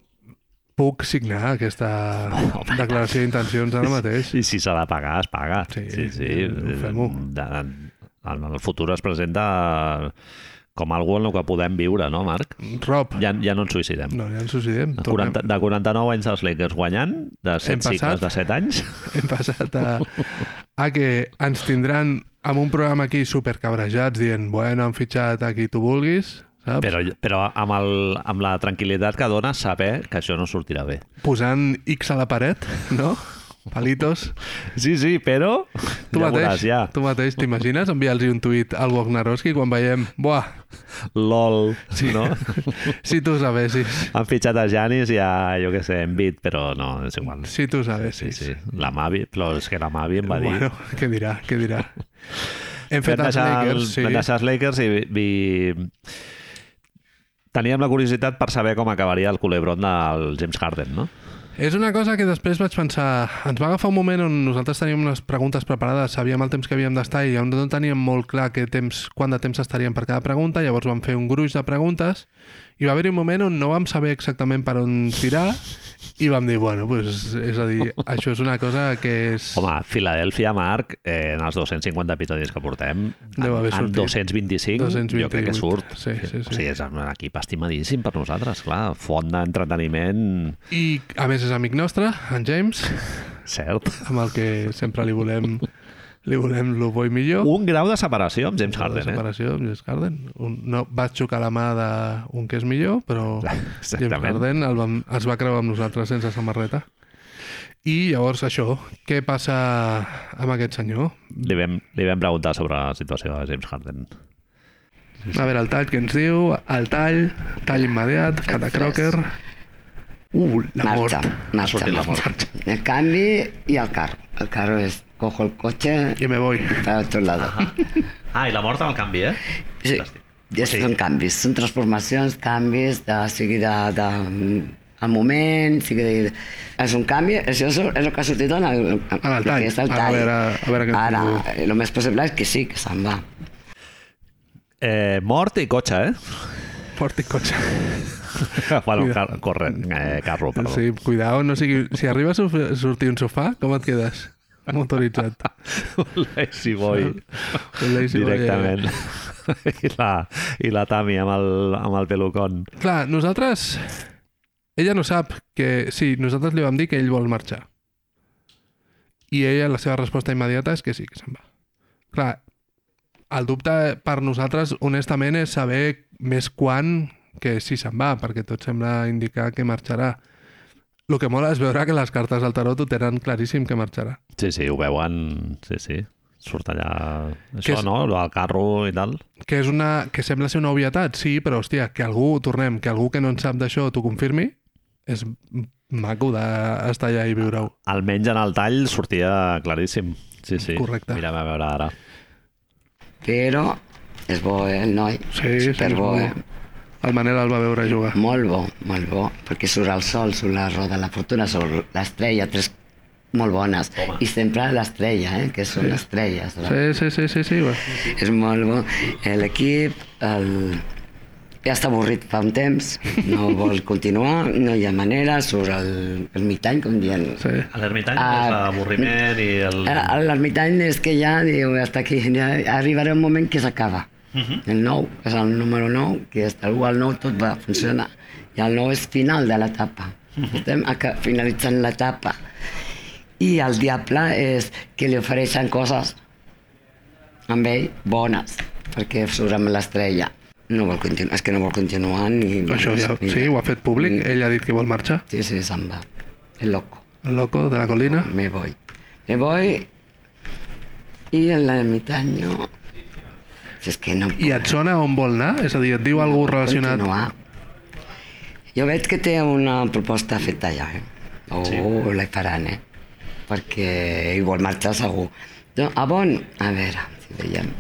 Speaker 2: puc signar aquesta
Speaker 1: Oh,
Speaker 2: declaració d'intencions ara mateix.
Speaker 1: I si s'ha de pagar, es paga.
Speaker 2: Sí,
Speaker 1: sí. sí.
Speaker 2: eh, fem-ho.
Speaker 1: De, en el futur es presenta com algú en el que podem viure, no, Marc?
Speaker 2: Rob,
Speaker 1: Ja, ja no ens suïcidem.
Speaker 2: no, ja ens suïcidem.
Speaker 1: De
Speaker 2: Tornem.
Speaker 1: 40, de 49 anys dels Lakers guanyant, de 7
Speaker 2: passat.
Speaker 1: cicles de 7 anys,
Speaker 2: Hem passat a, a que ens tindran amb un programa aquí supercabrejats dient, bueno, han fitxat a qui tu vulguis, saps?
Speaker 1: però, però amb, el, amb la tranquil·litat que dona saber que això no sortirà bé.
Speaker 2: Posant X a la paret, no? Palitos.
Speaker 1: Sí, sí, però...
Speaker 2: Tu
Speaker 1: ja
Speaker 2: mateix,
Speaker 1: veuràs, ja.
Speaker 2: tu mateix t'imagines enviar-los un tuit al Wagnarowski quan veiem, buah,
Speaker 1: LOL,
Speaker 2: Sí.
Speaker 1: no?
Speaker 2: si tu ho sabessis.
Speaker 1: Han fitxat a Janis i a, jo què sé, Envit, però no, és igual.
Speaker 2: Si tu ho
Speaker 1: Sí,
Speaker 2: sabessis.
Speaker 1: sí. La Mavi, però és que la Mavi em va dir...
Speaker 2: Bueno, què dirà, què dirà? Hem fet
Speaker 1: Vam
Speaker 2: els
Speaker 1: deixar,
Speaker 2: Lakers,
Speaker 1: el,
Speaker 2: sí.
Speaker 1: vam deixar els Lakers i, i teníem la curiositat per saber com acabaria el culebron del James Harden, no?
Speaker 2: És una cosa que després vaig pensar... Ens va agafar un moment on nosaltres teníem unes preguntes preparades, sabíem el temps que havíem d'estar i on no teníem molt clar què temps, quant de temps estaríem per cada pregunta, llavors vam fer un gruix de preguntes i va haver-hi un moment on no vam saber exactament per on tirar i vam dir, bueno, pues, és a dir, això és una cosa que és...
Speaker 1: Home, Filadèlfia, Marc, eh, en els 250 episodis que portem, en,
Speaker 2: Deu haver
Speaker 1: en
Speaker 2: sortit.
Speaker 1: 225, 228. jo crec que
Speaker 2: 228.
Speaker 1: surt.
Speaker 2: Sí, sí, sí.
Speaker 1: O sigui, és un equip estimadíssim per nosaltres, clar. Font d'entreteniment,
Speaker 2: I a més és amic nostre, en James,
Speaker 1: cert.
Speaker 2: amb el que sempre li volem li volem lo bo i millor.
Speaker 1: Un grau de separació amb James
Speaker 2: la
Speaker 1: Harden, eh?
Speaker 2: separació amb James Harden. Un, no, va xocar la mà d'un que és millor, però James
Speaker 1: Exactament.
Speaker 2: Harden el vam, es va creuar amb nosaltres sense samarreta. I llavors això, què passa amb aquest senyor?
Speaker 1: Li vam, li vam preguntar sobre la situació de James Harden.
Speaker 2: A veure, el tall que ens diu, el tall, tall immediat, catacroker... Uh, la mort.
Speaker 3: marxa, marxa,
Speaker 1: sortit la
Speaker 3: marxa. El canvi i el carro. El carro és, cojo el cotxe
Speaker 2: I me voy.
Speaker 3: para otro lado.
Speaker 1: Ah, i la mort amb el canvi, eh?
Speaker 3: Sí, ja
Speaker 1: Sí.
Speaker 3: són canvis, són transformacions, canvis, de, sigui de, de, el moment, sigui de, és un canvi, això és, és el que ha sortit en el, en
Speaker 2: En Ah, el tall.
Speaker 3: aquest
Speaker 2: A veure- a veure què ens
Speaker 3: Ara,
Speaker 2: diu.
Speaker 3: el més possible és que sí, que se'n va.
Speaker 1: Eh, mort i cotxe, eh?
Speaker 2: Fort i cotxe.
Speaker 1: bueno,
Speaker 2: Mira.
Speaker 1: car corre, eh, carro, perdó.
Speaker 2: Sí, cuidao, no sigui... Si arriba a sof- sortir un sofà, com et quedes? Motoritzat.
Speaker 1: Lazy Boy.
Speaker 2: Un lazy boy, eh?
Speaker 1: Directament. I la, I la Tami amb el, amb el pelucón.
Speaker 2: Clar, nosaltres... Ella no sap que... Sí, nosaltres li vam dir que ell vol marxar. I ella, la seva resposta immediata és que sí, que se'n va. Clar, el dubte per nosaltres, honestament, és saber més quan que si se'n va, perquè tot sembla indicar que marxarà. El que mola és veure que les cartes del tarot ho tenen claríssim que marxarà.
Speaker 1: Sí, sí, ho veuen... Sí, sí. Surt allà...
Speaker 2: Que
Speaker 1: Això,
Speaker 2: és-
Speaker 1: no? El carro i tal.
Speaker 2: Que, és una, que sembla ser una obvietat, sí, però, hòstia, que algú, tornem, que algú que no en sap d'això t'ho confirmi, és maco d'estar allà i viure-ho.
Speaker 1: Almenys en el tall sortia claríssim. Sí, sí.
Speaker 2: Correcte.
Speaker 1: Mira'm a veure ara.
Speaker 3: Però és bo, eh, el noi?
Speaker 2: Sí, sí, és
Speaker 3: Superbo,
Speaker 2: bo.
Speaker 3: eh?
Speaker 2: El Manel el va veure jugar.
Speaker 3: Molt bo, molt bo, perquè surt el sol, surt la roda, la fortuna, surt l'estrella, tres molt bones. I sempre l'estrella, eh, que són estrelles. La...
Speaker 2: Sí, sí, sí, sí, sí. va.
Speaker 3: És molt bo. Eh, L'equip el... ja està avorrit fa un temps, no vol continuar, no hi ha manera, surt el- l'ermitany, com dient.
Speaker 2: sí.
Speaker 1: L'ermitany
Speaker 3: Ah.
Speaker 1: és l'avorriment i el...
Speaker 3: Ara, L'ermitany és que ja, diu, hasta aquí, ja arribarà un moment que s'acaba.
Speaker 2: Uh-huh.
Speaker 3: El 9 és el número 9, que és el 1 al 9 tot va funcionar. I el 9 és final de l'etapa.
Speaker 2: Uh-huh.
Speaker 3: Estem aca- finalitzant l'etapa. I el diable és que li ofereixen coses amb ell bones, perquè surt amb l'estrella. No vol continuar, és que no vol continuar ni...
Speaker 2: Això ja, sí, ho ha fet públic. Ell ha dit que vol marxar.
Speaker 3: Sí, sí, se'n va. És loco.
Speaker 2: El loco de la colina.
Speaker 3: Me voy. Me voy. Y el ermitaño. Si es que no.
Speaker 2: I et sona on vol anar? És a dir, et diu alguna cosa relacionat...
Speaker 3: Continuar. Jo veig que té una proposta feta ja, eh? O sí. la hi faran, eh? Perquè ell vol marxar segur. No, a bon, a ah, veure, si veiem...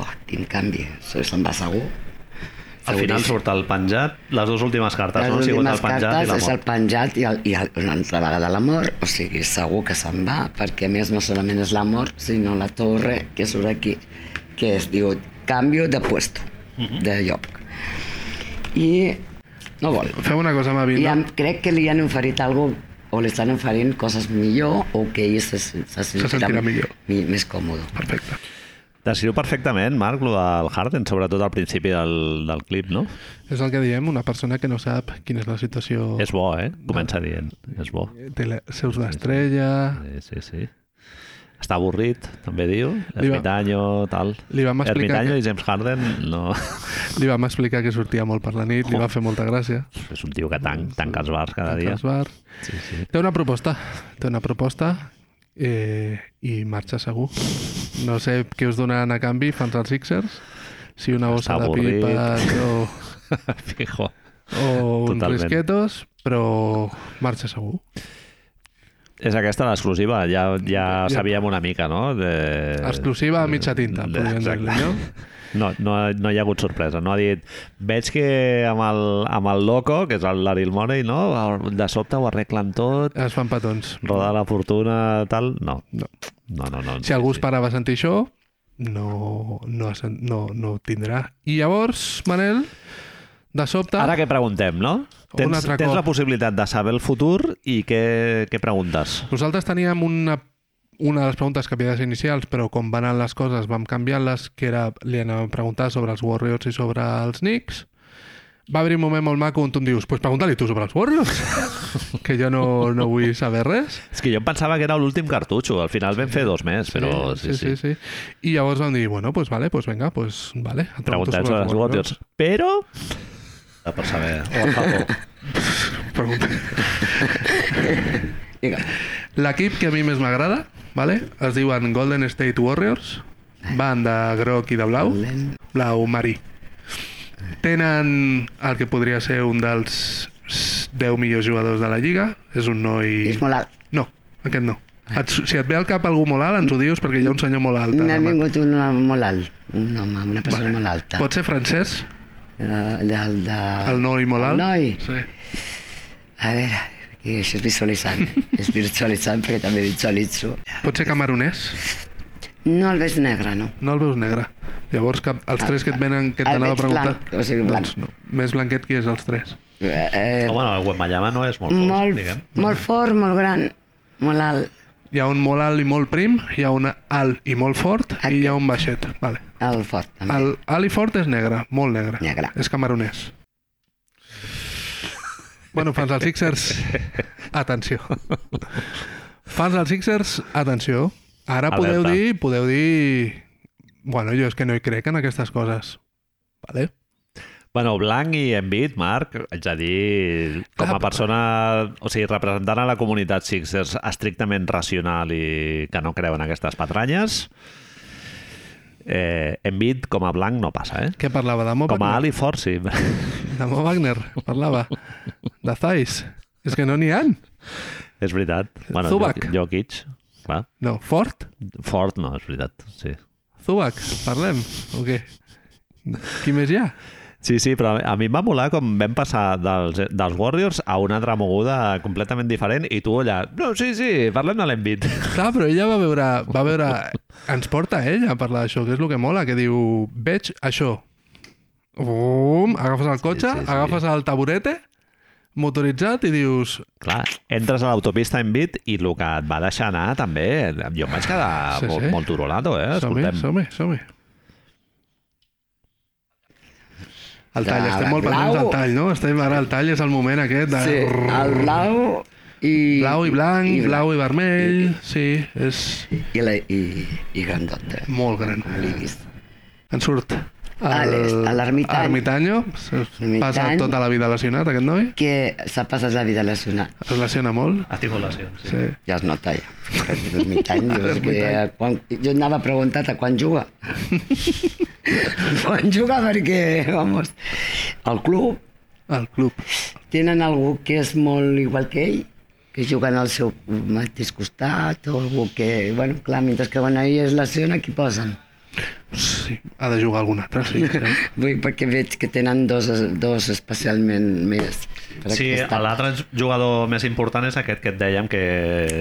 Speaker 3: Oh, quin canvi, se- se'n va segur.
Speaker 1: Al final surt el penjat, les dues últimes cartes,
Speaker 3: Les
Speaker 1: no? Han sigut el
Speaker 3: últimes
Speaker 1: penjat i
Speaker 3: cartes
Speaker 1: la
Speaker 3: és el
Speaker 1: mort.
Speaker 3: penjat i, el, i el, una altra vegada l'amor, o sigui, segur que se'n va, perquè a més no solament és l'amor, sinó la torre que surt aquí, que es diu canvio de puesto, de lloc. I no vol.
Speaker 2: Fem una cosa, Mavi.
Speaker 3: I
Speaker 2: No?
Speaker 3: em, crec que li han oferit alguna o li estan oferint coses millor o que ell se, se, se,
Speaker 2: sentirà millor.
Speaker 3: mi- més còmode.
Speaker 2: Perfecte.
Speaker 1: Descriu perfectament, Marc, lo del Harden, sobretot al principi del, del clip, no?
Speaker 2: És el que diem, una persona que no sap quina és la situació...
Speaker 1: És bo, eh? Comença dient. És bo.
Speaker 2: Té la, seus d'estrella...
Speaker 1: Sí, sí, sí. Està avorrit, també diu.
Speaker 2: Li va-
Speaker 1: Ermitaño, tal.
Speaker 2: li vam explicar
Speaker 1: Ermitaño
Speaker 2: que-
Speaker 1: i James Harden, no...
Speaker 2: Li vam explicar que sortia molt per la nit, li va fer molta gràcia.
Speaker 1: és un tio que tan, tanca els bars Oh. cada dia.
Speaker 2: Els bars...
Speaker 1: Sí, sí.
Speaker 2: Té una proposta, té una proposta eh, i marxa segur. No sé què us donaran a canvi, fans als Sixers, si una bossa
Speaker 1: Està
Speaker 2: de
Speaker 1: avorrit.
Speaker 2: pipes o,
Speaker 1: Fijo.
Speaker 2: o uns
Speaker 1: Totalment.
Speaker 2: risquetos, però marxa segur.
Speaker 1: És aquesta l'exclusiva, ja, ja sabíem una mica, no? De...
Speaker 2: Exclusiva a mitja tinta,
Speaker 1: de-
Speaker 2: podríem dir-li,
Speaker 1: Eh, exacte.
Speaker 2: no?
Speaker 1: No, no, ha- no hi ha hagut sorpresa. No ha dit, veig que amb el, amb el Loco, que és el Larry Money, no? de sobte ho arreglen tot,
Speaker 2: Es fan petons.
Speaker 1: rodar la fortuna, tal... No. No, no, no. no
Speaker 2: Si algú es parava a sentir això, no, no, ha sent- no, no ho tindrà. I llavors, Manel, de sobte...
Speaker 1: Ara què preguntem, no?
Speaker 2: Un
Speaker 1: Tens,
Speaker 2: altre
Speaker 1: tens
Speaker 2: cop.
Speaker 1: la possibilitat de saber el futur i què, què preguntes?
Speaker 2: Nosaltres teníem una, una de les preguntes que havies inicials, però com van anar les coses vam canviar-les, que era, li anàvem a preguntar sobre els Warriors i sobre els Knicks. Va haver un moment molt maco on tu em dius pues pregunta-li tu sobre els Warriors, que jo no, no vull saber res.
Speaker 1: És que jo em pensava que era l'últim cartutxo. Al final vam fer dos més, però sí, sí.
Speaker 2: sí, sí, sí. I llavors vam dir, bueno, pues vale, pues venga, pues vale. et pregunto
Speaker 1: Preguntar sobre els Warriors. Però... Ah, per saber. O el Japó.
Speaker 2: Pregunta.
Speaker 3: Vinga.
Speaker 2: L'equip que a mi més m'agrada, vale? es diuen Golden State Warriors, van de groc i de blau,
Speaker 3: Golden.
Speaker 2: blau marí. Tenen el que podria ser un dels 10 millors jugadors de la Lliga, és un noi...
Speaker 3: És molt alt.
Speaker 2: No, aquest no. Et, si et ve al cap algú molt alt, ens ho dius perquè hi ha un senyor molt alt.
Speaker 3: M'ha
Speaker 2: ara mateix.
Speaker 3: vingut un home molt alt, un home, una persona molt alta.
Speaker 2: Pot ser francès,
Speaker 3: Era del de...
Speaker 2: el noi molt alt?
Speaker 3: Ah. El noi.
Speaker 2: Sí.
Speaker 3: A veure, que això és visualitzant. és visualitzant perquè també visualitzo.
Speaker 2: Pot ser camerunès?
Speaker 3: No el veig negre, no.
Speaker 2: No el veus negre. Llavors, cap, els tres que et venen, que
Speaker 3: El
Speaker 2: t'anava a
Speaker 3: Ah, veig
Speaker 2: preguntar...
Speaker 3: blanc, o sigui, blanc.
Speaker 2: Doncs no. Més blanquet que és els tres.
Speaker 3: Eh, eh,
Speaker 1: Home, Oh, no, el Guamayama no és molt fos,
Speaker 3: molt,
Speaker 1: diguem.
Speaker 3: molt fort, molt gran, molt alt.
Speaker 2: Hi ha un molt alt i molt prim, hi ha un alt i molt fort i hi ha un baixet. Vale.
Speaker 3: El fort, també.
Speaker 2: El alt i fort és negre, molt negre.
Speaker 3: Negre.
Speaker 2: És camerunès. Bueno, fans dels Sixers, atenció. Fans dels Sixers, atenció. Ara podeu
Speaker 1: Alerta.
Speaker 2: dir, podeu dir... Bueno, jo és que no hi crec en aquestes coses. Vale?
Speaker 1: Bueno, Blanc i Envid, Marc, haig de dir, com a
Speaker 2: Ah,
Speaker 1: persona, o sigui, representant a la comunitat Sixers estrictament racional i que no creu en aquestes patranyes, eh, Envid com a Blanc no passa, eh?
Speaker 2: Què parlava de Mo
Speaker 1: Com a
Speaker 2: Wagner?
Speaker 1: Ali Ford, sí.
Speaker 2: De Mo Wagner, parlava. De Thais. És que no n'hi han.
Speaker 1: és veritat. Bueno,
Speaker 2: Zubac.
Speaker 1: Jo, Jokic, clar.
Speaker 2: No, Fort,
Speaker 1: Ford no, és veritat, sí.
Speaker 2: Zubac, parlem, o què? Qui més hi ha?
Speaker 1: Sí, sí, però a mi em va molar com vam passar dels, dels Warriors a una altra moguda completament diferent i tu allà, no, sí, sí, parlem de l'Envid.
Speaker 2: Clar, però ella va veure, va veure... Ens porta ella a parlar d'això, que és el que mola, que diu, veig això. Bum, agafes el cotxe,
Speaker 1: sí, sí.
Speaker 2: agafes el taburete, motoritzat, i dius...
Speaker 1: Clar, entres a l'autopista en bit i el que et va deixar anar també, jo em vaig quedar
Speaker 2: Sí,
Speaker 1: sí, molt,
Speaker 2: sí.
Speaker 1: molt turolato, eh?
Speaker 2: Som-hi,
Speaker 1: Escoltem.
Speaker 2: som-hi, som-hi. El tall,
Speaker 3: Ah,
Speaker 2: estem molt pendents
Speaker 3: blau.
Speaker 2: del tall, no? Estem ara al tall, és el moment aquest de...
Speaker 3: Sí, el blau i...
Speaker 2: Blau i blanc,
Speaker 3: I,
Speaker 2: i blau i vermell, sí, és
Speaker 3: I, la, i, i grandot, eh?
Speaker 2: molt gran.
Speaker 3: Com l'he vist.
Speaker 2: En surt
Speaker 3: A l'est, a l'ermitany.
Speaker 2: Ermitanyo. Passa
Speaker 3: Ermitany.
Speaker 2: tota la vida lesionat, aquest noi.
Speaker 3: Que s'ha passat la vida lesionat.
Speaker 2: Es lesiona molt.
Speaker 1: Ha tingut lesions, sí.
Speaker 2: Sí.
Speaker 3: Ja es nota, ja. Dos mig anys, jo, és que, eh, quan, jo anava preguntat a quan juga. quan juga perquè, vamos, al club
Speaker 2: Al club.
Speaker 3: tenen algú que és molt igual que ell, que juguen al seu mateix costat, o algú que, bueno, clar, mentre que quan ell es lesiona, qui posen?
Speaker 2: Sí, ha de jugar algun altre, sí. sí.
Speaker 3: Vull dir, perquè veig que tenen dos, dos especialment més. per
Speaker 1: Sí,
Speaker 3: aquesta
Speaker 1: l'altre jugador més important és aquest que et dèiem que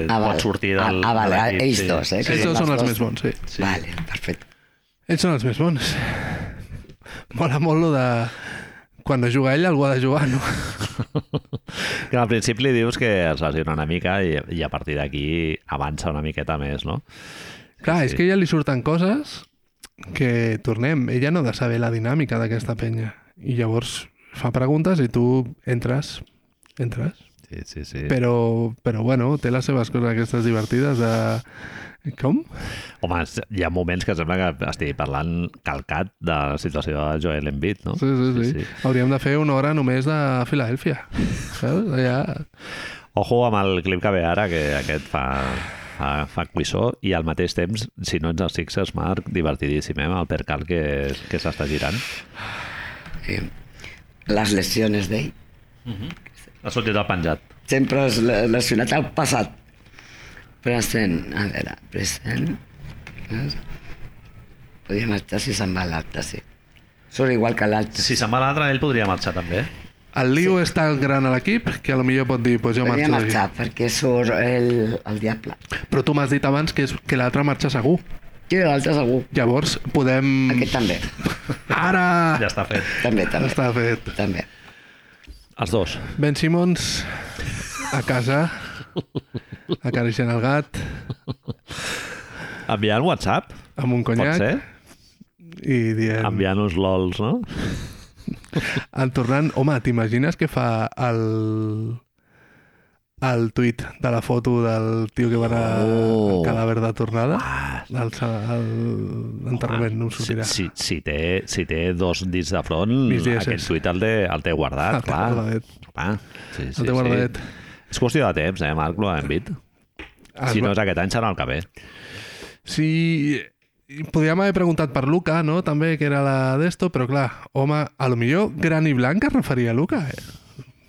Speaker 3: Ah, val.
Speaker 1: pot sortir del...
Speaker 3: Ah, ah, vale,
Speaker 1: de l'equip,
Speaker 3: ells dos, eh?
Speaker 1: Sí,
Speaker 2: Ells
Speaker 1: sí.
Speaker 2: dos són els més bons, sí.
Speaker 3: Sí. Vale, perfecte.
Speaker 2: Ells són els més bons. Mola molt lo de... Quan no juga ell, algú ha de jugar, no?
Speaker 1: Que al principi li dius que es lesiona una mica i, i a partir d'aquí avança una miqueta més, no?
Speaker 2: Clar, és que a ella li surten coses que, tornem, ella no ha de saber la dinàmica d'aquesta penya. I llavors fa preguntes i tu entres, entres.
Speaker 1: Sí, sí, sí.
Speaker 2: Però, però bueno, té les seves coses aquestes divertides de... Com?
Speaker 1: Home, es- hi ha moments que sembla que estigui parlant calcat de la situació de Joel Embiid, no?
Speaker 2: Sí, sí, sí. sí, Hauríem de fer una hora només de Filadèlfia. Saps? Allà...
Speaker 1: Ojo amb el clip que ve ara, que aquest fa, fa, fa cuissó, i al mateix temps, si no ens els fixes, Marc, divertidíssim, eh, amb el percal que, que s'està girant.
Speaker 3: Eh, les lesiones d'ell.
Speaker 1: Ha sortit el penjat.
Speaker 3: sempre és le- lesionat al passat. Present, a veure, present... Podria marxar si se'n va l'altre, sí. Surt igual que l'altre.
Speaker 1: Si se'n va l'altre, ell podria marxar també.
Speaker 2: El lío sí. és tan gran a l'equip que a lo millor pot dir, pues jo
Speaker 3: Podria
Speaker 2: marxo
Speaker 3: marxar,
Speaker 2: d'aquí.
Speaker 3: perquè surt el, el diable.
Speaker 2: Però tu m'has dit abans que, és, que l'altre marxa segur.
Speaker 3: I l'altre segur.
Speaker 2: Llavors, podem...
Speaker 3: Aquest també.
Speaker 2: Ara!
Speaker 1: Ja està fet.
Speaker 3: També, també.
Speaker 2: Està fet.
Speaker 3: També.
Speaker 1: Els dos.
Speaker 2: Ben Simmons a casa, acariciant el gat,
Speaker 1: Enviant WhatsApp,
Speaker 2: amb un
Speaker 1: pot
Speaker 2: conyac
Speaker 1: ser?
Speaker 2: i dient...
Speaker 1: Enviant-nos lols, no?
Speaker 2: En tornant, home, t'imagines que fa el el tuit de la foto del tio que va anar
Speaker 1: Oh. Ah,
Speaker 2: al cadàver de tornada del enterrament, no em sortirà.
Speaker 1: Si, si, si, té, si té dos dits de front,
Speaker 2: Mis dies
Speaker 1: aquest
Speaker 2: és.
Speaker 1: tuit el té, el té guardat,
Speaker 2: Ah, El té
Speaker 1: Ah, clar.
Speaker 2: guardadet.
Speaker 1: clar. Sí, sí,
Speaker 2: El té guardadet.
Speaker 1: Sí. És qüestió de temps, eh, Marc, l'ho hem vist.
Speaker 2: Es
Speaker 1: Si
Speaker 2: Ah, va-
Speaker 1: no és aquest any, serà el que ve.
Speaker 2: Sí, i podríem haver preguntat per Luca, no? També, que era la d'esto, però clar, home, a lo millor gran i blanc es referia a Luca, eh?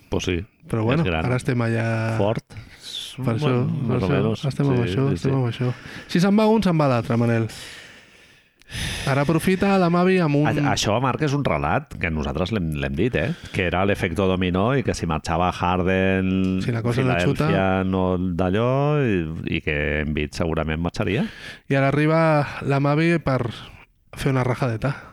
Speaker 1: Pues sí,
Speaker 2: Però bueno,
Speaker 1: és gran,
Speaker 2: ara estem allà...
Speaker 1: fort.
Speaker 2: Per això, per
Speaker 1: més o
Speaker 2: això
Speaker 1: menos.
Speaker 2: estem amb
Speaker 1: Sí,
Speaker 2: això,
Speaker 1: sí,
Speaker 2: estem
Speaker 1: sí.
Speaker 2: amb això. Si se'n va un, se'n va l'altre, Manel. Ara aprofita la Mavi amb un...
Speaker 1: A- Això, Marc, és un relat que nosaltres l'hem l'hem dit, eh? Que era l'efecte dominó i que si marxava Harden,
Speaker 2: Si la cosa no
Speaker 1: Filadèlfia
Speaker 2: xuta.
Speaker 1: no d'allò i, i que Embiid segurament marxaria.
Speaker 2: I ara arriba la Mavi per fer una rajadeta.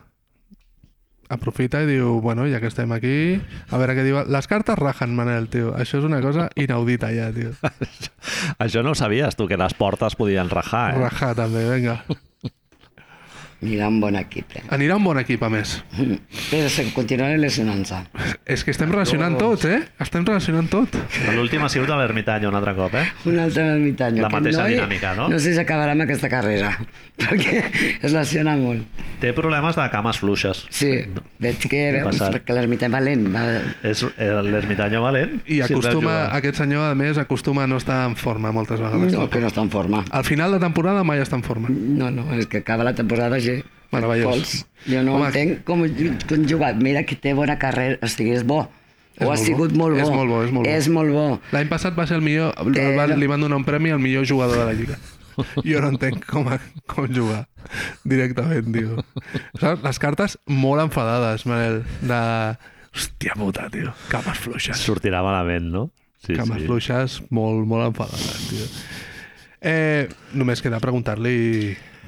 Speaker 2: Aprofita i diu, bueno, ja que estem aquí... A veure què diu... Les cartes rajen, Manel, tio. Això és una cosa inaudita ja, tio.
Speaker 1: Això no ho sabies, tu, que les portes podien rajar, eh?
Speaker 2: Rajar també, vinga.
Speaker 3: Anirà un bon equip, eh? Mm.
Speaker 2: Anirà un bon equip, a més.
Speaker 3: Però se continuarà lesionant-se.
Speaker 2: És que estem relacionant tot, eh? Estem relacionant tot.
Speaker 1: A l'última ha sigut a l'Ermitany un altre cop, eh?
Speaker 3: Un altre ermitany.
Speaker 1: La
Speaker 3: Aquest
Speaker 1: mateixa
Speaker 3: noi,
Speaker 1: dinàmica, no?
Speaker 3: No sé si acabarà amb aquesta carrera, perquè es lesiona molt.
Speaker 1: Té problemes de cames fluixes.
Speaker 3: Sí, veig que, veus,
Speaker 1: passat.
Speaker 3: perquè l'ermitany va lent. Va...
Speaker 1: És eh, l'ermitanyo valent.
Speaker 2: I
Speaker 1: sempre
Speaker 2: acostuma,
Speaker 1: juga.
Speaker 2: aquest senyor, a més, acostuma a no estar en forma moltes vegades.
Speaker 3: No, que no està en forma.
Speaker 2: Al final de temporada mai està en forma.
Speaker 3: No, no, és que acaba la temporada ja.
Speaker 2: Meravellós.
Speaker 3: Pols. Jo no
Speaker 2: Home.
Speaker 3: Home, entenc com, com jugar. Mira que té bona carrera, o sigui, és bo.
Speaker 2: És
Speaker 3: Ho ha
Speaker 2: molt
Speaker 3: sigut
Speaker 2: bo.
Speaker 3: molt bo.
Speaker 2: És molt bo, és molt bo.
Speaker 3: És molt bo.
Speaker 2: L'any passat va ser el millor... El van, li van donar un premi al millor jugador de la Lliga. Jo no entenc com, a, com jugar directament, tio. Saps? Les cartes molt enfadades, Manel, de... Hòstia puta, tio. Cames fluixes.
Speaker 1: Sortirà malament, no? Sí,
Speaker 2: Cames fluixes molt, molt enfadades, tio. Eh, només queda preguntar-li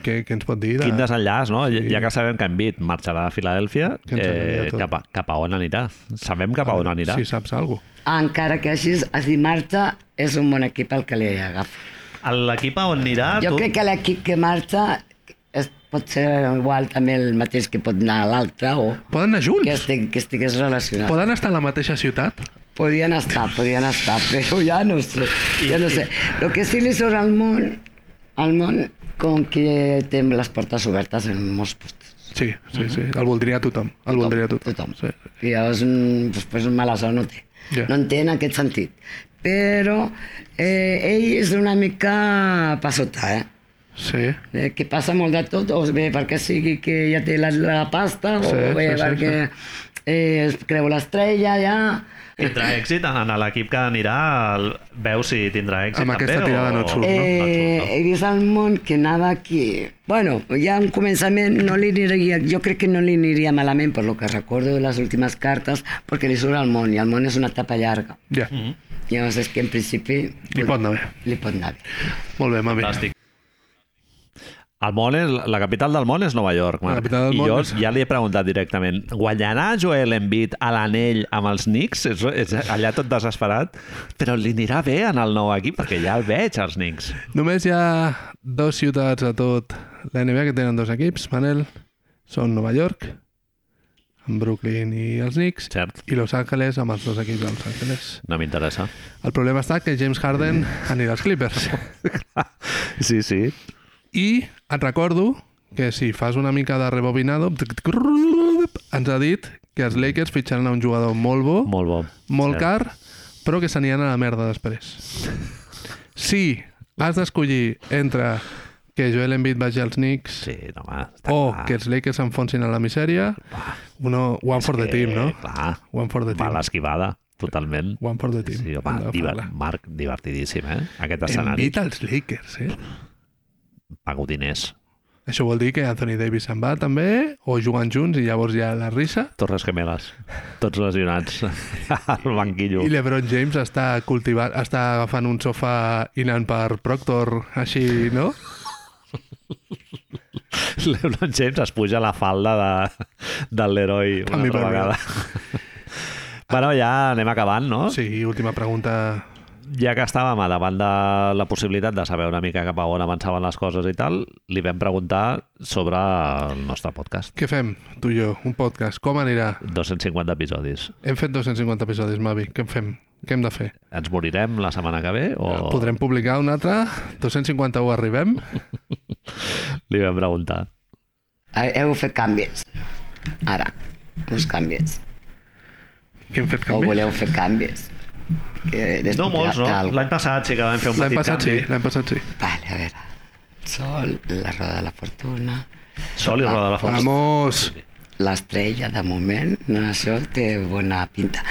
Speaker 2: què, què ens pot dir. De...
Speaker 1: Quin desenllaç, no? Ja- Ja que sabem que Embiid marxarà a Filadèlfia,
Speaker 2: Que ens agradaria
Speaker 1: eh,
Speaker 2: tot.
Speaker 1: cap, a, cap a on anirà? Sabem cap a on anirà.
Speaker 2: Si saps alguna cosa.
Speaker 3: Ah, encara que així, a Dimarta és un bon equip el que li agafa.
Speaker 1: A L'equip a on anirà...
Speaker 3: Jo crec que l'equip que marxa es, pot ser igual també el mateix que pot anar a l'altre o
Speaker 2: Poden anar
Speaker 3: que,
Speaker 2: junts?
Speaker 3: estic, que estigués relacionat.
Speaker 2: Poden estar en la mateixa ciutat?
Speaker 3: Podien estar, podien estar, però ja no sé, ja no sé. El que sí li surt al món, al món, com que té les portes obertes en molts postos.
Speaker 2: Sí, sí, sí. El voldria Mhm. tothom. El voldria tothom.
Speaker 3: Tothom.
Speaker 2: Sí.
Speaker 3: I llavors, mm, després, un mala sort no té.
Speaker 2: Ja.
Speaker 3: No en té en aquest sentit. Però eh, ell és una mica passota, eh?
Speaker 2: sí.
Speaker 3: Eh, que passa molt de tot, o bé perquè sigui que ja té la, la pasta,
Speaker 2: Sí,
Speaker 3: o
Speaker 2: sí,
Speaker 3: bé
Speaker 2: sí,
Speaker 3: perquè Eh, es creu l'estrella ja...
Speaker 1: Tindrà èxit en, en l'equip que anirà, el... veu si tindrà èxit
Speaker 2: Amb
Speaker 1: també,
Speaker 2: aquesta tirada
Speaker 1: o...
Speaker 2: no et surt, no?
Speaker 1: et
Speaker 3: Eh,
Speaker 1: surt, no?
Speaker 3: he vist al món que anava aquí... Bueno, ja en començament no li aniria... Jo crec que no li aniria malament, per lo que recordo de les últimes cartes, perquè li surt al món, i el món és una etapa llarga.
Speaker 2: Ja.
Speaker 3: Llavors és que en principi
Speaker 2: Li pot anar bé.
Speaker 3: li pot anar bé.
Speaker 2: Molt bé, mami.
Speaker 1: Fantàstic. El món és, la capital del món és Nova York, Marc.
Speaker 2: La capital del
Speaker 1: I
Speaker 2: món
Speaker 1: jo
Speaker 2: és-
Speaker 1: ja li he preguntat directament, guanyarà Joel Embiid a l'anell amb els Knicks? És, és allà tot desesperat, però li anirà bé en el nou equip, perquè ja el veig, els Knicks.
Speaker 2: Només hi ha dos ciutats a tot la NBA que tenen dos equips, Manel. Són Nova York, amb Brooklyn i els Knicks,
Speaker 1: Cert.
Speaker 2: i Los Angeles amb els dos equips de Los Angeles.
Speaker 1: No m'interessa.
Speaker 2: El problema està que James Harden anirà als Clippers.
Speaker 1: Sí, sí.
Speaker 2: I et recordo que si fas una mica de rebobinado, ens ha dit que els Lakers fitxaran a un jugador molt bo,
Speaker 1: Molt bo.
Speaker 2: molt
Speaker 1: Cert.
Speaker 2: car, però que s'aniran a la merda després. Si has d'escollir entre que Joel Embiid vagi als Knicks sí,
Speaker 1: Sí, no, home, està
Speaker 2: o
Speaker 1: clar.
Speaker 2: Oh, que els Lakers s'enfonsin a la misèria, uno, one for the team, no?
Speaker 1: Eh, clar.
Speaker 2: One for the
Speaker 1: Va
Speaker 2: team.
Speaker 1: l'esquivada, totalment.
Speaker 2: One for the team.
Speaker 1: Sí,
Speaker 2: Hem
Speaker 1: home,
Speaker 2: d'agafar-la.
Speaker 1: diver, Marc, divertidíssim, eh? Aquest escenari.
Speaker 2: Embiid als Lakers, eh?
Speaker 1: Pago diners.
Speaker 2: Això vol dir que Anthony Davis se'n va també, o juguen junts i llavors hi ha la risa.
Speaker 1: Torres gemeles, tots lesionats al banquillo.
Speaker 2: I l'Ebron James està cultivant, està agafant un sofà i anant per Proctor, així, no?
Speaker 1: L'Ebron James es puja a la falda de, del Leroy una
Speaker 2: També
Speaker 1: altra
Speaker 2: per mi.
Speaker 1: vegada. bueno, ja anem acabant, no?
Speaker 2: Sí, última pregunta.
Speaker 1: Ja que estàvem a davant de la possibilitat de saber una mica cap a on avançaven les coses i tal, li vam preguntar sobre el nostre podcast.
Speaker 2: Què fem, tu i jo? Un podcast. Com anirà?
Speaker 1: 250 episodis.
Speaker 2: Hem fet 250 episodis, Mavi. Què en fem? Què hem de fer?
Speaker 1: Ens morirem la setmana que ve o
Speaker 2: Podrem publicar un altre? 251 arribem?
Speaker 1: li vam preguntar?
Speaker 3: Heu fet canvis. Ara, uns canvis.
Speaker 2: Que hem fet
Speaker 3: O
Speaker 2: canvi?
Speaker 3: voleu fer canvis. Que des-
Speaker 1: No molts, no?
Speaker 3: del-
Speaker 1: L'any passat sí que vam fer un
Speaker 2: L'any
Speaker 1: petit
Speaker 2: passat sí,
Speaker 1: canvi.
Speaker 2: l'any passat sí.
Speaker 3: Vale, a veure. Sol, la roda de la fortuna,
Speaker 1: Sol i
Speaker 2: Ah,
Speaker 1: roda de la força.
Speaker 2: Vamos!
Speaker 3: l'estrella, de moment, no, això té bona pinta.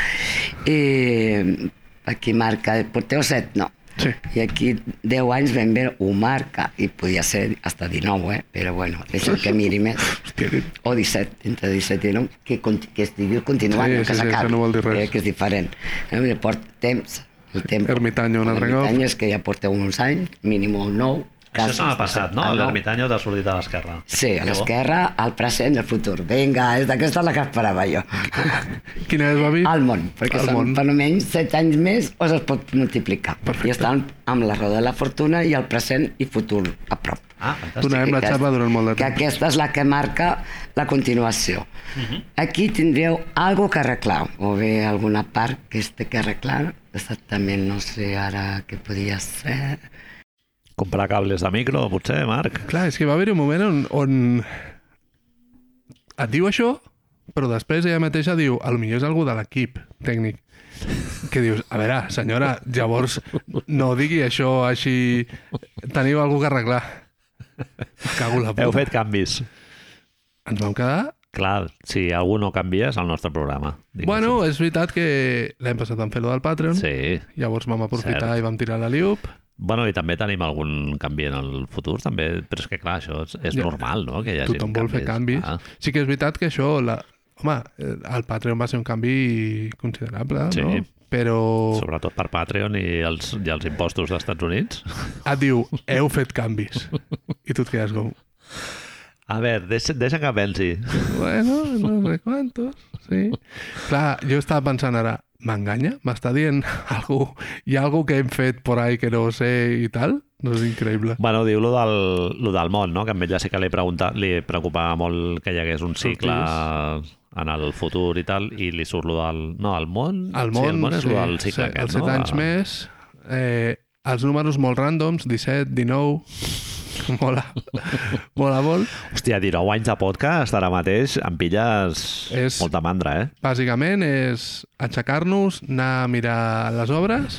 Speaker 3: I aquí marca, porteu set, no.
Speaker 2: Sí.
Speaker 3: I aquí 10 anys ben bé ho marca, i podia ser hasta 19, eh? però bueno, és el que miri més.
Speaker 2: Hòstia,
Speaker 3: O 17, entre 17 i 19, que, conti- que estigui continuant,
Speaker 2: Sí,
Speaker 3: no
Speaker 2: sí,
Speaker 3: que
Speaker 2: sí,
Speaker 3: s'acabi.
Speaker 2: això no vol dir res.
Speaker 3: Eh, que és diferent. Eh, li port temps, el temps.
Speaker 2: Ermitaño, un altre cop.
Speaker 3: Ermitaño és que ja porteu uns anys, mínim un nou.
Speaker 1: Això se m'ha
Speaker 3: casos,
Speaker 1: passat, no?
Speaker 3: ah,
Speaker 1: L'ermitanyo t'ha sortit a l'esquerra.
Speaker 3: Sí,
Speaker 1: Que
Speaker 3: a
Speaker 1: bo.
Speaker 3: l'esquerra, al present i al futur. Vinga, és d'aquesta la que esperava jo.
Speaker 2: Quina és, Mavi?
Speaker 3: Al món, perquè
Speaker 2: Al
Speaker 3: són
Speaker 2: món.
Speaker 3: per almenys 7 anys més o es pot multiplicar.
Speaker 2: Perfecte.
Speaker 3: I estan amb la roda de la fortuna i el present i futur a prop.
Speaker 1: Ah, fantàstic.
Speaker 2: Donarem la
Speaker 3: que-
Speaker 2: xapa durant molt de
Speaker 3: Que
Speaker 2: temps.
Speaker 3: aquesta és la que marca la continuació.
Speaker 2: Mhm.
Speaker 3: Aquí tindreu algo que arreglar, o bé alguna part que es té que arreglar. Exactament, no sé ara què podia ser.
Speaker 1: Comprar cables de micro, potser, Marc?
Speaker 2: Clar, és que va haver-hi un moment on, on et diu això, però després ella mateixa diu, a lo millor és algú de l'equip tècnic. Que dius, a veure, senyora, llavors no digui això així, teniu alguna que arreglar. Me Cago en la
Speaker 1: Heu
Speaker 2: puta.
Speaker 1: fet canvis.
Speaker 2: Ens vam quedar...
Speaker 1: Clar, si algú no canvia és el nostre programa. diguéssim.
Speaker 2: Bueno, és veritat que l'hem passat en fer-lo del Patreon,
Speaker 1: Sí.
Speaker 2: llavors vam aprofitar
Speaker 1: Cert.
Speaker 2: i vam tirar la liup.
Speaker 1: Bueno, i també tenim algun canvi en el futur, també. Però és que, clar, això és, és
Speaker 2: Ja.
Speaker 1: normal, no? Que hi hagi
Speaker 2: Tothom vol fer canvis.
Speaker 1: Ah,
Speaker 2: Sí que és veritat que això... La... Home, eh, el Patreon va ser un canvi considerable,
Speaker 1: Sí.
Speaker 2: no? Però
Speaker 1: sobretot per Patreon i els, i els impostos d'Estats Units.
Speaker 2: et diu, heu fet canvis. I tu et quedes com...
Speaker 1: A veure, deixa, deixa que pensi.
Speaker 2: Bueno, no sé quantos, sí. Clar, jo estava pensant ara, m'enganya? M'està dient algú? Hi ha algú que hem fet por ahí que no sé i tal? No és increïble.
Speaker 1: Bueno, diu lo del, lo del món, no? Que a ella sí que li, pregunta, li preocupava molt que hi hagués un cicle en el futur i tal, i li surt lo del... No, el món...
Speaker 2: El món,
Speaker 1: sí, el món és
Speaker 2: sí,
Speaker 1: lo del cicle aquest,
Speaker 2: els
Speaker 1: no? Ah.
Speaker 2: set anys
Speaker 1: De-
Speaker 2: més, eh, els números molt ràndoms, 17, 19... Mola. Mola molt.
Speaker 1: Hòstia, 19 anys de podcast, ara mateix em pilles és...
Speaker 2: És-
Speaker 1: molta mandra, eh?
Speaker 2: Bàsicament és aixecar-nos, anar a mirar les obres.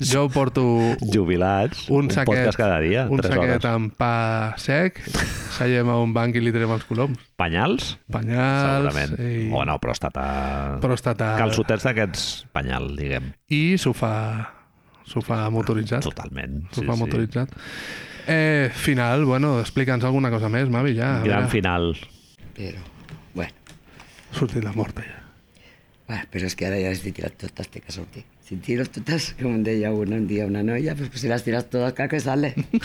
Speaker 2: Jo porto
Speaker 1: Jubilats,
Speaker 2: un, saquet,
Speaker 1: podcast cada dia,
Speaker 2: un
Speaker 1: 3
Speaker 2: saquet
Speaker 1: hores.
Speaker 2: amb pa sec, seiem a un banc i li traiem els coloms.
Speaker 1: Penyals?
Speaker 2: Penyals,
Speaker 1: Segurament.
Speaker 2: i
Speaker 1: O no, pròstata...
Speaker 2: pròstata
Speaker 1: Calçotets d'aquests penyal, diguem.
Speaker 2: i sofà, sofà motoritzat.
Speaker 1: Totalment. Sí,
Speaker 2: Sofà
Speaker 1: sí.
Speaker 2: motoritzat. Eh, final, bueno, explica'ns alguna cosa més, Mavi, ja. a
Speaker 1: Gran
Speaker 2: veure.
Speaker 1: final.
Speaker 3: Però, bueno,
Speaker 2: Ha sortit la mort, ja.
Speaker 3: bueno, però és Ah, que ara ja les he tirat totes, té que sortir. Si tiro totes, com em deia una, un dia una noia, pues, si les tiras totes, clar que sale.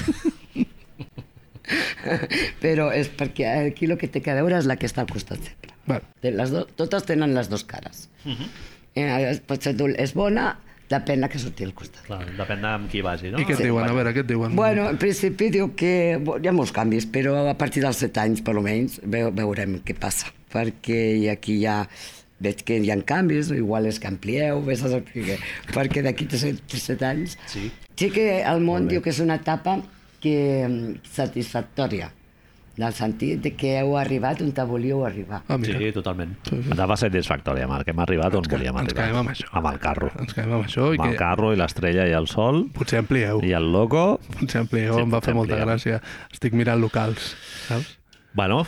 Speaker 3: però és perquè aquí el que té que veure és la que està al costat sempre.
Speaker 2: Vale.
Speaker 3: Té Les do, totes tenen les dues cares. Uh -huh. Potser tu és bona, depèn la que surti al costat.
Speaker 1: Clar, depèn de amb qui vagi, no?
Speaker 2: I què et diuen? A veure, què et diuen?
Speaker 3: Bueno, en principi diu que bo, hi ha molts canvis, però a partir dels 7 anys, per almenys, ve, veurem què passa. Perquè aquí ja veig que hi ha canvis, igual és que amplieu, vés a saber què. Perquè d'aquí 7 anys... Sí. sí que el món diu que és una etapa que, mm, satisfactòria, en el sentit de que heu arribat on te volíeu arribar.
Speaker 2: Ah, mira.
Speaker 1: Sí, totalment. Etapa satisfactòria, Marc. Hem arribat on volíem
Speaker 2: ens
Speaker 1: arribar.
Speaker 2: quedem amb això.
Speaker 1: Amb el carro.
Speaker 2: Ens quedem amb això i
Speaker 1: Amb el
Speaker 2: que
Speaker 1: carro i l'estrella i el sol
Speaker 2: potser amplieu.
Speaker 1: i el loco.
Speaker 2: Potser amplieu,
Speaker 1: Sí,
Speaker 2: em va
Speaker 1: potser
Speaker 2: fer molta
Speaker 1: amplieu.
Speaker 2: gràcia. Estic mirant locals, saps?
Speaker 1: Bueno,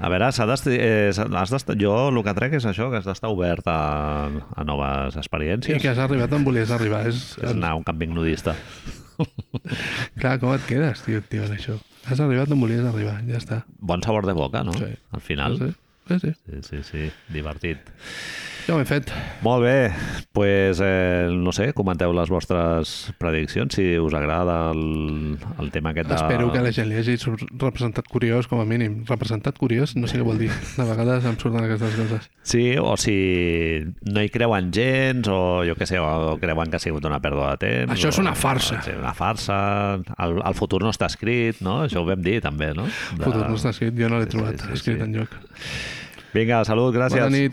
Speaker 1: a veure, s'ha d'esti- eh, s'ha- has d'estar... Jo el que trec és això, que has d'estar obert a, a noves
Speaker 2: I
Speaker 1: experiències.
Speaker 2: que has arribat on volies arribar. És,
Speaker 1: És anar a un càmping nudista.
Speaker 2: Clar, com et quedes, tio, tio, en això? Has arribat on volies arribar, ja està.
Speaker 1: Bon sabor de boca, no?
Speaker 2: Sí.
Speaker 1: Al final.
Speaker 2: Sí, sí. sí.
Speaker 1: Sí, sí, sí. Divertit.
Speaker 2: Ja ho he fet.
Speaker 1: Molt bé, doncs, pues, eh, no sé, comenteu les vostres prediccions, si us agrada el, el tema aquest de...
Speaker 2: Espero que a la gent li hagi sur- representat curiós, com a mínim. Representat curiós, no sé què vol dir. De vegades em surten aquestes coses.
Speaker 1: Sí, o si no hi creuen gens, o jo què sé, o creuen que ha sigut una pèrdua de temps.
Speaker 2: Això és
Speaker 1: o-
Speaker 2: una farsa.
Speaker 1: Sí, una farsa. El, el futur no està escrit, no? Això ho vam dir també, no? De-
Speaker 2: De... Futur, no està escrit, jo no l'he
Speaker 1: Sí,
Speaker 2: trobat
Speaker 1: sí, sí,
Speaker 2: escrit
Speaker 1: sí.
Speaker 2: enlloc.
Speaker 1: Vinga, salut, gràcies.
Speaker 2: Bona nit.